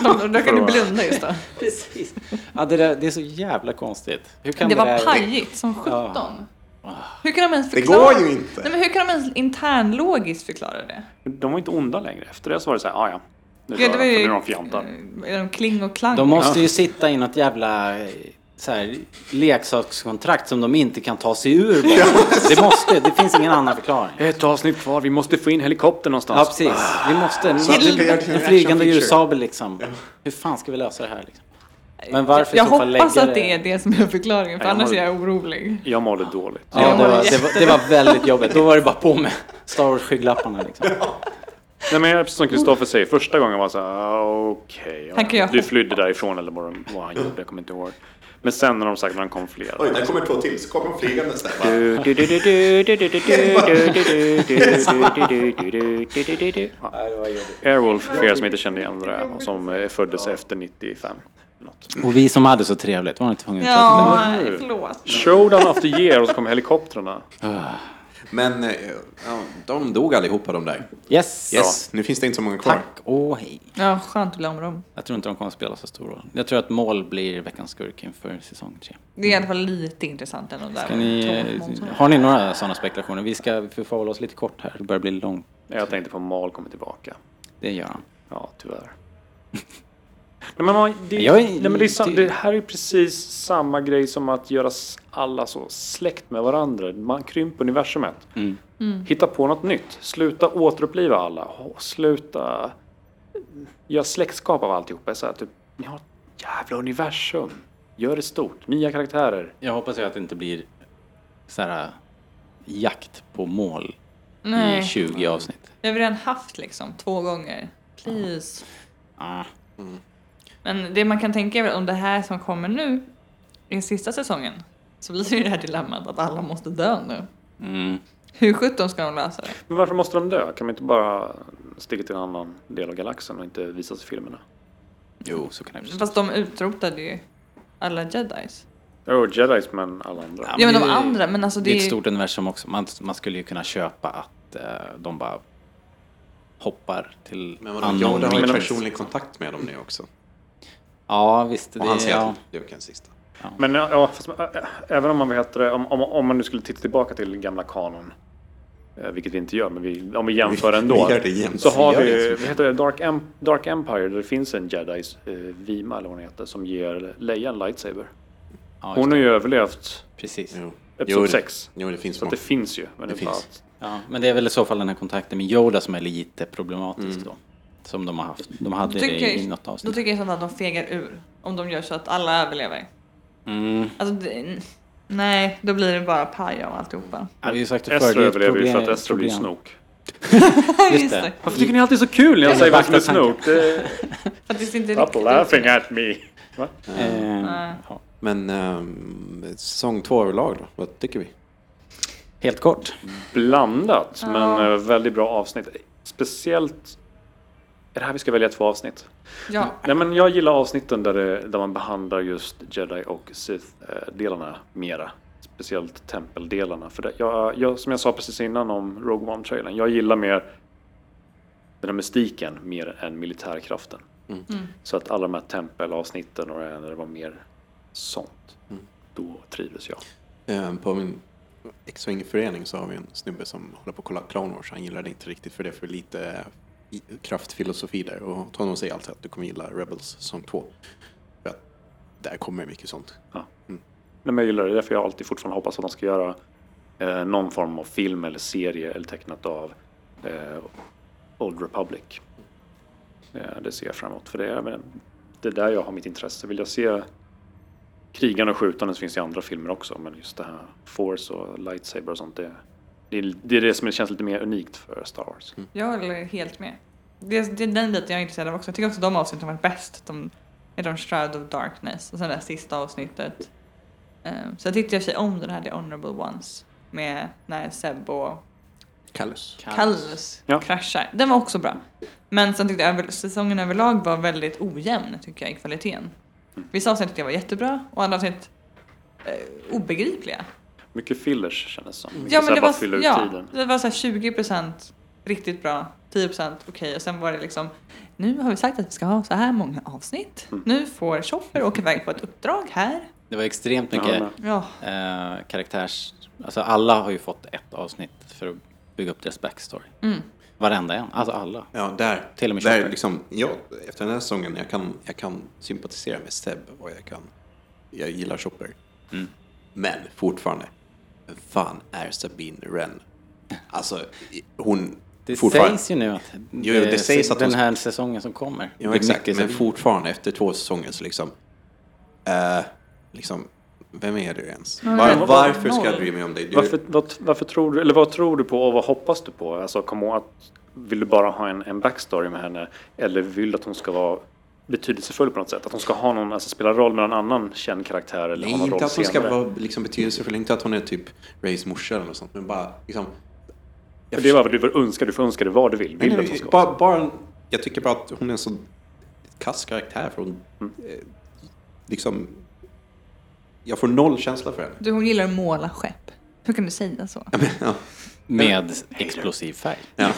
D: Då, då kan du blunda just då.
B: Precis. Ja, det, där, det är så jävla konstigt. Hur kan
D: Det
B: det,
D: var
B: där...
D: pajigt som
B: Ja.
D: sjutton. Hur kan de ens
E: Det
D: förklara
E: går ju inte.
D: Nej, men hur kan de ens internlogiskt förklara det?
A: De var inte onda längre. Efter det så var det så här, ah, ja. Nu,
D: Ja, det var ju...
A: nu är de fjantar.
D: eh, är de kling och klang?
B: De måste ju sitta i något jävla eh, så här, leksakskontrakt som de inte kan ta sig ur. Bara. Det måste, det finns ingen annan förklaring.
A: Ett avsnitt kvar, vi måste få in helikoptern
B: Ja,
A: någonstans.
B: precis. Vi måste.
E: Så att det blir
B: En, en
E: verkligen
B: flygande
E: action
B: djursabel liksom. Hur fan ska vi lösa det här? Liksom? Men varför i
D: jag
B: så fall
D: hoppas
B: lägga
D: att det är det som är förklaringen, för
A: Ja, jag
D: annars
A: har-
D: är jag orolig.
A: Jag mådde dåligt.
B: Ja, det var, det, var, det var väldigt jobbigt. Då var det bara på med Star Wars-skygglapparna liksom.
A: Nej, men jag- precis som Kristoffer säger, första gången var jag så här, ah, okej.
D: Han kan
A: ja,
D: ju
A: du
D: hoppa.
A: flydde därifrån eller vad, de- vad han gjorde, jag kommer inte ihåg. Men sen när de sagt när de kom flera.
E: Oj, där kommer två till. Så kommer de flygandes där. Bara,
A: Du, du, du, du, du, du, du, du, du, du, du, du, du, du, du, du, du, du, du. Ja. Airwolf, för er som inte kände igen det där, och som eh, föddes efter 95. Något.
B: Och vi som hade så trevligt, var det inte tvungna att prata om
D: Ja,
B: det?
D: nej, förlåt.
A: Showdown of the year och så kom helikoptrarna.
E: Men eh, ja, de dog allihopa de där.
B: Yes!
E: Yes, nu finns det inte så många kvar.
B: Tack och hej.
D: Ja, skönt att bli av med dem.
B: Jag tror inte de kommer att spela så stor roll. Jag tror att mål blir veckans skurk inför säsong tre.
D: Det är i alla fall lite intressant än de där.
B: Ska ni, eh, har ni några sådana spekulationer? Vi ska förfalla oss lite kort här. Det börjar bli långt.
A: Jag tänkte på Mal kommer tillbaka.
B: Det gör han.
A: Ja, tyvärr. *laughs* Nej, men, man- det,
B: Jag är-
A: nej, men det, är, sam-
B: det-
A: det här är precis samma grej som att göra s- alla så släkt med varandra. Man krymper universumet.
B: Mm.
A: Hitta på något nytt. Sluta återuppliva alla. H- Sluta göra släktskap av alltihopa. Så här, typ, ni har ett jävla universum. Gör det stort. Nya karaktärer.
B: Jag hoppas ju att det inte blir så här äh, jakt på mål i
D: Nej,
B: 20 avsnitt.
D: jag har vi redan haft liksom två gånger. Please.
B: Ah.
D: Men det man kan tänka är väl om det här som kommer nu i sista säsongen så blir det ju det här dilemmat att alla måste dö nu.
B: Mm.
D: Hur sjutton ska de lösa det?
A: Men varför måste de dö? Kan man inte bara sticka till en annan del av galaxen och inte visas i filmerna?
B: Jo, så kan det bli.
D: Fast de utrotade ju alla jedis.
A: Oh, Jedis men alla andra.
B: Ja,
D: Ja men de
B: det-
D: andra, men alltså
B: Det är ett
D: det är
B: stort universum också. Man, man skulle ju kunna köpa att eh, de bara hoppar till
E: Men vadå, Yoda har
A: Men
E: ju
A: de-
E: personlig kontakt med dem nu också.
B: Ja, visst. Det,
E: Och han
B: är-
E: säger
B: ja.
E: att du kan sista.
A: Men ja, ja, fast, man- ä- ä- även om man vet det, om, om, om man nu skulle titta tillbaka till gamla kanon, eh, vilket vi inte gör, men vi, om vi jämför
E: *laughs* Vi-
A: ändå.
E: vi gör det jämt.
A: Så har
E: Vi gör
A: vi,
E: det.
A: vad heter det, Dark, Em- Dark Empire, där det finns en Jedi, eh, Vima eller vad hon heter, som ger Leia en lightsaber.
B: ja
A: Hon
B: just,
A: har ju överlevt
B: precis.
A: Episod
E: Jo, det-
A: sex.
E: Jo, det finns
A: så att
E: många.
A: det finns ju. Men det
E: Det
A: är bara
E: finns.
A: att-
B: Ja, men det är väl i så fall den här kontakten med Yoda som är lite problematisk
E: Mm.
B: då. Som de har haft. De hade
D: Då
B: det i något
D: Då
B: avsnitt.
D: tycker jag sånt att de fegar ur. Om de gör så att alla överlever.
B: Mm.
D: Alltså, det, nej, då blir det bara paj av alltihopa. *laughs*
B: Ja, vi har ju sagt det förr,
A: Ezra
B: det är ett
A: överlever ju för att
B: problem-
A: Ezra blir
B: problem.
A: Snoke.
B: Just det.
A: Varför tycker ni alltid är så kul när jag
B: Det är
A: säger vem som
B: vackra
A: är Snoke? Det-
D: För att det ser inte
A: Stop
D: riktigt
A: laughing at me! Va?
B: Eh,
D: Nej.
B: ja.
E: Men ehm, säsong två överlag då? Vad tycker vi?
B: Helt kort.
A: blandat,
D: Ja.
A: men eh, väldigt bra avsnitt. Speciellt... Är det här vi ska välja två avsnitt?
D: Ja,
A: Nej, men jag gillar avsnitten där, det, där man behandlar just Jedi och Sith-delarna mera. Speciellt tempeldelarna. För det, jag, jag, som jag sa precis innan om Rogue One-trailern, jag gillar mer den här mystiken mer än militärkraften. Så att alla de här tempelavsnitten och det här, när det var mer sånt, då trivdes jag.
E: Eh, På min X-Wing-förening så har vi en snubbe som håller på att kolla Clone Wars. Han gillar det inte riktigt för det är för lite eh, i- kraftfilosofi där. Och Tono säger alltid att du kommer gilla Rebels säsong två. För att där kommer mycket sånt.
A: Ja. Nej, men jag gillar det. Därför jag alltid fortfarande hoppas att de ska göra eh, någon form av film eller serie eller tecknat av eh, Old Republic. Eh, det ser jag fram emot. För det är, väl- det är där jag har mitt intresse. Vill jag se krigarna och skjutandet så finns det i andra filmer också. Men just det här Force och Lightsaber och sånt. Det, det, är, det är det som känns lite mer unikt för Star Wars.
D: jag håller helt med. Det, det är den biten jag är intresserad av också. Jag tycker också de avsnitten har varit bäst. De, är de Shroud of Darkness och sen det här sista avsnittet. Ehm, Um, så jag tyckte jag sig om den här The Honorable Ones med när Seb och
E: Kallus.
D: Kallus
A: Ja.
D: kraschar. Den var också bra. Men sen tyckte jag över, säsongen överlag var väldigt ojämn tycker jag i kvaliteten. Vissa avsnitt tyckte jag var jättebra och andra avsnitt eh, obegripliga.
A: Mycket fillers kändes som. Mycket
D: Ja,
A: så här
D: men det
A: bara
D: var,
A: fylla ut
D: ja,
A: tiden.
D: det var så här 20% riktigt bra, 10% okej och sen var det liksom nu har vi sagt att vi ska ha så här många avsnitt. Nu får Tjoffer åka iväg på ett uppdrag här.
B: Det var extremt
A: Jag
B: mycket
A: håller
D: Ja,
B: eh, karaktärs... Alltså alla har ju fått ett avsnitt för att bygga upp deras backstory.
D: Mm.
B: Varenda en, alltså alla.
E: Ja, där.
B: Till och med
E: där
B: Shopper.
E: liksom, ja, efter den här säsongen, jag kan, jag kan sympatisera med Seb och jag kan, jag gillar Chopper.
B: Mm.
E: Men fortfarande, vem fan är Sabine Wren? Alltså, i- hon...
B: Det
E: fortfarande-
B: sägs ju nu att
E: Jo, jo, det
B: eh,
E: sägs att
B: den
E: hon-
B: här säsongen som kommer.
E: Ja,
B: det är
E: exakt.
B: mycket
E: Men
B: så-
E: fortfarande, efter två säsonger så liksom... Eh, liksom vem är du ens?
D: Ja,
E: Var,
D: men-
E: varför ska
D: noll.
E: jag bry mig om dig? Du,
A: Varför, vad, varför tror du, eller vad tror du på och vad hoppas du på? Alltså, kom ihåg att, vill du bara ha en, en backstory med henne? Eller vill du att hon ska vara betydelsefull på något sätt? Att hon ska ha någon, alltså spela roll med någon annan känd karaktär eller
E: Nej,
A: ha någon roll
E: inte att hon ska
A: senare?
E: vara liksom, betydelsefull, inte att hon är typ Rays morsa eller något sånt, men bara liksom... Jag
A: För det är vad du önskar, du får önska det vad du vill. Vill
E: Nej,
A: du
E: nej,
A: att hon ska vara?
E: bara, bara, en- jag tycker bara att hon är en så kass karaktär. För hon,
D: Mm.
E: eh, liksom, jag får noll känsla för henne. *laughs*
D: du hon gillar att måla skepp. Hur kan du säga så?
B: Med explosiv färg.
E: Ja, ja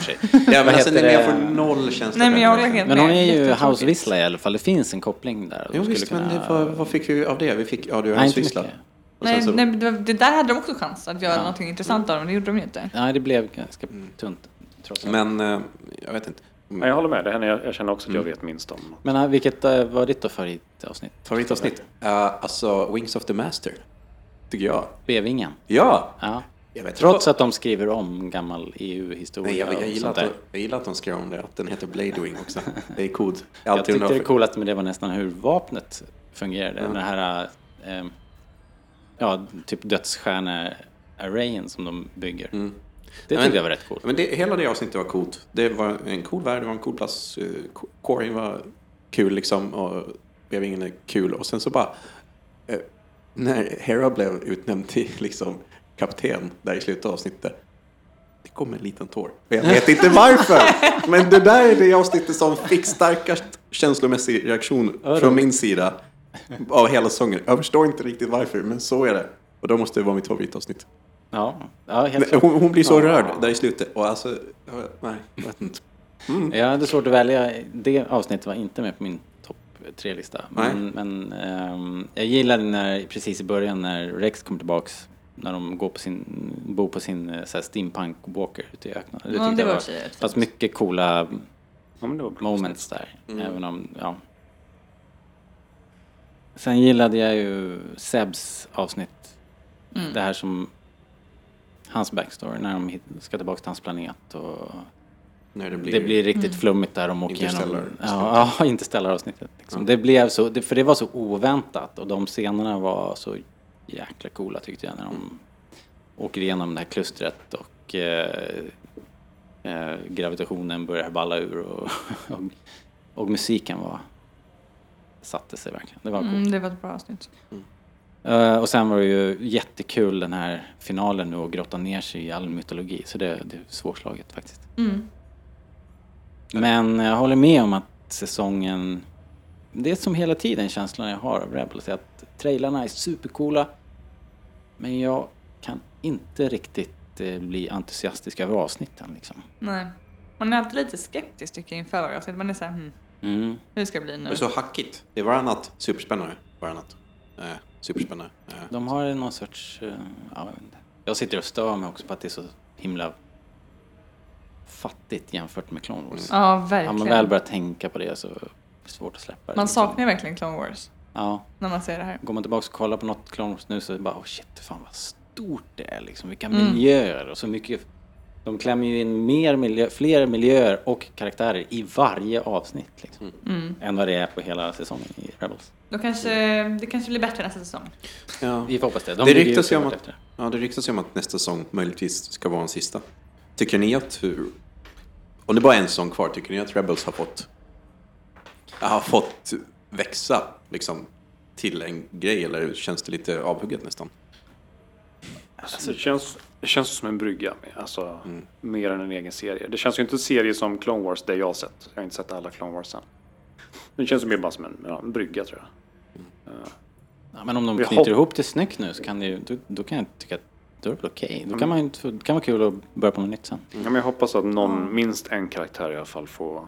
E: men alltså,
B: heter
E: nej, men jag
B: det?
E: får noll känsla
D: Nej,
E: för
D: men jag
E: henne.
D: håller helt
B: Men hon är ju
D: Jättetråkigt.
B: House Vissla i alla fall. Det finns en koppling där.
E: Jo,
B: Skulle
E: visst, men
B: kunna-
E: det, vad, vad fick vi av det? Vi fick, ja, du
B: Nej,
E: har en
B: inte
E: syssla.
B: mycket.
E: Och sen
D: Nej,
E: så-
D: nej, det, det där hade de också chans att göra någonting intressant av, men det gjorde de ju inte.
B: Nej, det blev ganska tunt. Trots allt.
E: Mm. Men eh, jag vet inte.
A: Nej, jag håller med, det är henne jag, jag känner också att jag
E: Mm.
A: vet minst om.
B: Men eh, vilket eh, var ditt då favoritavsnitt?
E: Favoritavsnitt? Uh, alltså, Wings of the Master. Tycker jag.
B: Bevingen.
E: Ja!
B: Ja.
E: Jag vet,
B: Trots att de skriver om gammal EU-historia
E: Nej, jag, jag,
B: och
E: gillar
B: sånt
E: att,
B: där.
E: de- jag gillar att de skrev om det, att den heter Blade Wing också. Det är coolt. Jag
B: *laughs*
E: har
B: Jag
E: alltid
B: tyckte
E: undrat
B: det coolaste med det var nästan hur vapnet fungerade. Den här eh, eh, ja, typ dödsstjärne-arrayen som de bygger. Det tyckte
E: Mm. Men-
B: jag var rätt coolt.
E: Men det, hela det avsnittet var coolt. Det var en cool värld, det var en cool plats. eh, co- Corin var kul liksom och Bevingen är kul. Och sen så bara, eh, när Hera blev utnämnd till *laughs* liksom kapten där i slutet av avsnittet. Det kom en liten tår. Och Jag vet inte varför! Men det där är det avsnittet som fick starkast känslomässig reaktion från min sida av hela sången. Jag förstår inte riktigt varför, men så är det. Och då måste det vara mitt favoritavsnitt.
B: Ja, ja helt
E: Nej,
B: klart.
E: Hon, hon blir så rörd där i slutet. Och alltså, jag- nej, jag vet inte.
B: Jag hade svårt att välja. Det avsnittet var inte med på min topp tre-lista. Men,
E: Nej.
B: men ehm, jag gillade när, precis i början när Rex kom tillbaks. När de går på sin, bor på sin eh, så här, steampunk walker ute i öknen.
D: Ja,
B: tyckte
D: det
B: jag
D: var i och för sig rätt
B: Fast
D: fint.
B: mycket coola
A: Ja, men det var bra.
B: moments där. Även om, ja. Sen gillade jag ju Sebs avsnitt. Det här som... Hans backstory när de hit- ska tillbaka till hans planet och
E: När det blir...
B: det blir riktigt flummigt där de åker igenom.
E: Interstellar-avsnittet.
B: Ja, *laughs* ja, interstellar-avsnittet. Liksom. Det blev så, det, för det var så oväntat och de scenerna var så jäkla coola tyckte jag när de åker igenom det här klustret och eh, eh, gravitationen börjar balla ur och, *laughs* och, och musiken var satte sig verkligen. Det var coolt.
D: Mm, det var ett bra avsnitt.
B: Eh, och sen var det ju jättekul den här finalen nu och grotta ner sig i all mytologi. Så det, det är svårslaget faktiskt.
D: Mm.
B: Men jag håller med om att säsongen... Det är som hela tiden känslan jag har av Rebels. är Att trailarna är supercoola. Men jag kan inte riktigt eh, bli entusiastisk över avsnitten liksom.
D: Nej. Man är alltid lite skeptisk tycker jag inför varje avsnitt. Man är såhär, hm,
B: Mm.
D: hur ska det bli nu?
E: Det är så hackigt. Det är varannat superspännande. Varannat. Eh, superspännande. Eh.
B: De har någon sorts... eh, Ja, jag, vet inte. jag sitter och stör mig också på att det är så himla fattigt jämfört med Clone Wars.
D: Ja,
B: Har
D: verkligen.
B: man väl börjar tänka på det så är det svårt att släppa det.
D: Man
B: liksom.
D: saknar verkligen Clone Wars
B: Ja.
D: när man ser det här.
B: Går man tillbaka och kollar på något Clone Wars nu så är det bara oh shit, fan vad stort det är liksom. Vilka miljöer och så mycket. De klämmer ju in mer miljö, fler miljöer och karaktärer i varje avsnitt liksom. Än vad det är på hela säsongen i Rebels.
D: Då kanske, det kanske blir bättre nästa säsong.
E: Ja.
B: Vi får hoppas det. De
E: Det
B: ligger ju
E: ryktas ju om
B: såklart
E: att, ja, det ryktas ju om att nästa säsong möjligtvis ska vara en sista. Tycker ni att... hur- Om det bara är en säsong kvar, tycker ni att Rebels har fått... Har fått växa liksom till en grej eller känns det lite avhugget nästan?
A: Alltså, det, känns, det känns som en brygga, alltså,
E: Mm.
A: mer än en egen serie. Det känns ju inte en serie som Clone Wars, det jag har sett. Jag har inte sett alla Clone Wars än. Det känns ju mer bara som en, ja, en brygga tror jag.
B: Ja, men om de
A: Vi
B: knyter
A: hopp-
B: ihop det snyggt nu så kan det ju, då, då kan jag tycka att då är det väl okej. Då kan man ju inte- det kan vara kul att börja på något nytt sen.
A: Ja, men jag hoppas att någon, minst en karaktär i alla fall får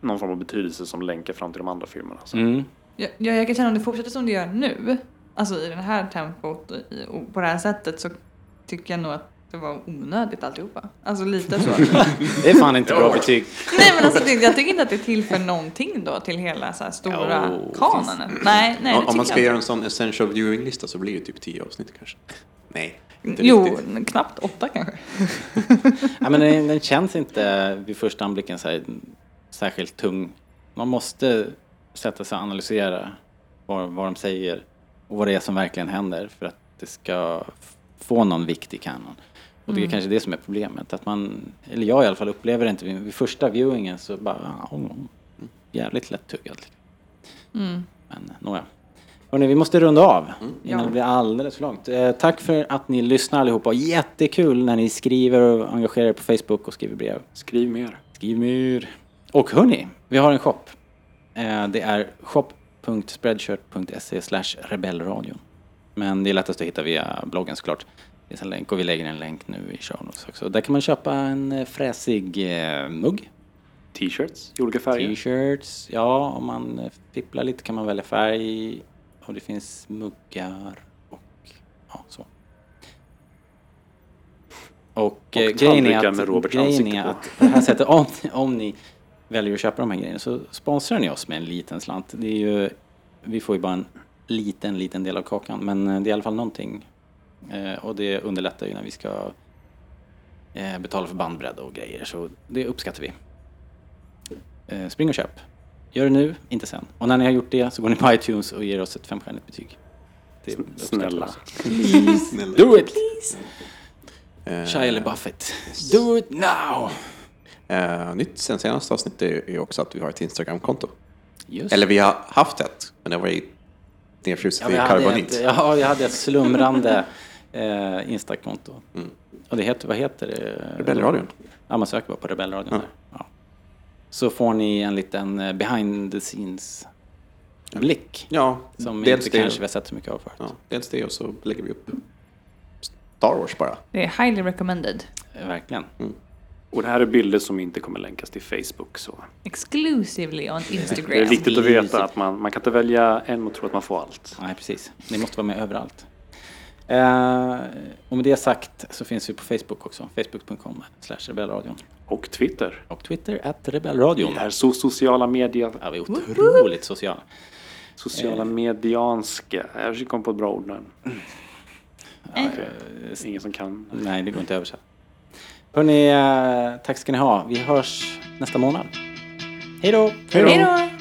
A: någon form av betydelse som länkar fram till de andra filmerna. Så.
D: Ja, ja, jag kan känna om det fortsätter som det gör nu, alltså i det här tempot och, i, och på det här sättet så tycker jag nog att det var onödigt alltihopa. Alltså lite så.
B: Det är fan *laughs* inte bra betyg.
D: nej men alltså det, jag tycker inte att det tillför någonting då till hela så här stora
E: Jo,
D: kanonen. Nej, nej det
E: om
D: tycker
E: man
D: jag
E: ska göra en
D: inte.
E: sån essential viewing-lista så blir det typ tio avsnitt kanske. *laughs* Nej, inte
D: Jo,
E: riktigt.
D: knappt åtta kanske.
B: Ja, men den, den känns inte vid första anblicken så här, särskilt tung. Man måste sätta sig och analysera vad, vad de säger och vad det är som verkligen händer för att det ska f- få någon vikt i kanon. Och det är kanske det som är problemet. Att man, eller jag i alla fall upplever det inte. Vid, vid första viewingen så bara, ja, hon- hon- jävligt lättuggad. Liksom. Men nåja. Hörrni, vi måste runda av innan
D: Ja.
B: det blir alldeles för långt. Eh, tack för att ni lyssnar allihopa. Jättekul när ni skriver och engagerar er på Facebook och skriver brev.
A: Skriv mer.
B: Skriv mer. Och hörni, vi har en shop. Eh, det är shop.spreadshirt.se slash rebellradion. Men det är lättast att hitta via bloggen såklart. Det finns en länk och vi lägger en länk nu i show notes också. Där kan man köpa en eh, fräsig eh, mugg.
A: T-shirts i olika färger.
B: T-shirts, ja om man eh, fipplar lite kan man välja färg. Och det finns muggar och ja, så. Och, eh, grejen är
A: tallrikar
B: att,
A: med Robert
B: grejen
A: ansikte
B: är
A: på.
B: att på det här sättet, om, om ni väljer att köpa de här grejerna så sponsrar ni oss med en liten slant. Det är ju, vi får ju bara en liten, liten del av kakan men eh, det är i alla fall någonting. Eh, Och det underlättar ju när vi ska eh, betala för bandbredd och grejer så det uppskattar vi. Eh, spring och köp. Gör det nu, inte sen. Och när ni har gjort det så går ni på *laughs* iTunes och ger oss ett femstjärnigt betyg. Det uppskattar vi
A: Snälla.
B: också. Do it!
E: Eh,
B: Shia Buffett. Do it now!
E: eh, nytt sen senaste avsnittet är ju också att vi har ett Instagram-konto.
B: Just.
E: Eller vi har haft ett, men det var ju
B: ja,
E: nedfruset
B: men jag
E: i
B: hade ett, eh, *laughs*
E: karbonit.
B: ja, jag hade ett slumrande eh, Insta-konto. Och det heter, vad heter det?
E: Rebellradion.
B: Ja, man söker bara på Rebellradion där. Ja. Så får ni en liten eh, behind the scenes-blick.
E: Ja,
B: Som vi
E: dels
B: inte kanske vi
E: det,
B: har sett så mycket av förut.
E: ja, dels det och så lägger vi upp Star Wars bara.
D: Det är highly recommended.
B: Eh, Verkligen.
E: Mm.
A: Och det här är bilder som inte kommer länkas till Facebook. Så.
D: Exclusively on Instagram.
A: Det är viktigt att
B: Easy.
A: veta att man, man kan inte välja en och tro att man får allt.
B: Nej, precis. Ni måste vara med överallt. Eh, och med det sagt så finns vi på Facebook också. Facebook.com slash rebellradion.
A: Och Twitter.
B: Och Twitter at rebellradion.
A: Det här so sociala medier,
B: Ja, vi är otroligt sociala.
A: sociala medianska. Jag kom på ett bra ord nu. Det är Ingen som kan.
B: Nej, det går inte att översätta. Hörni, eh, tack ska ni ha. Vi hörs nästa månad. Hej då!
D: Hej då!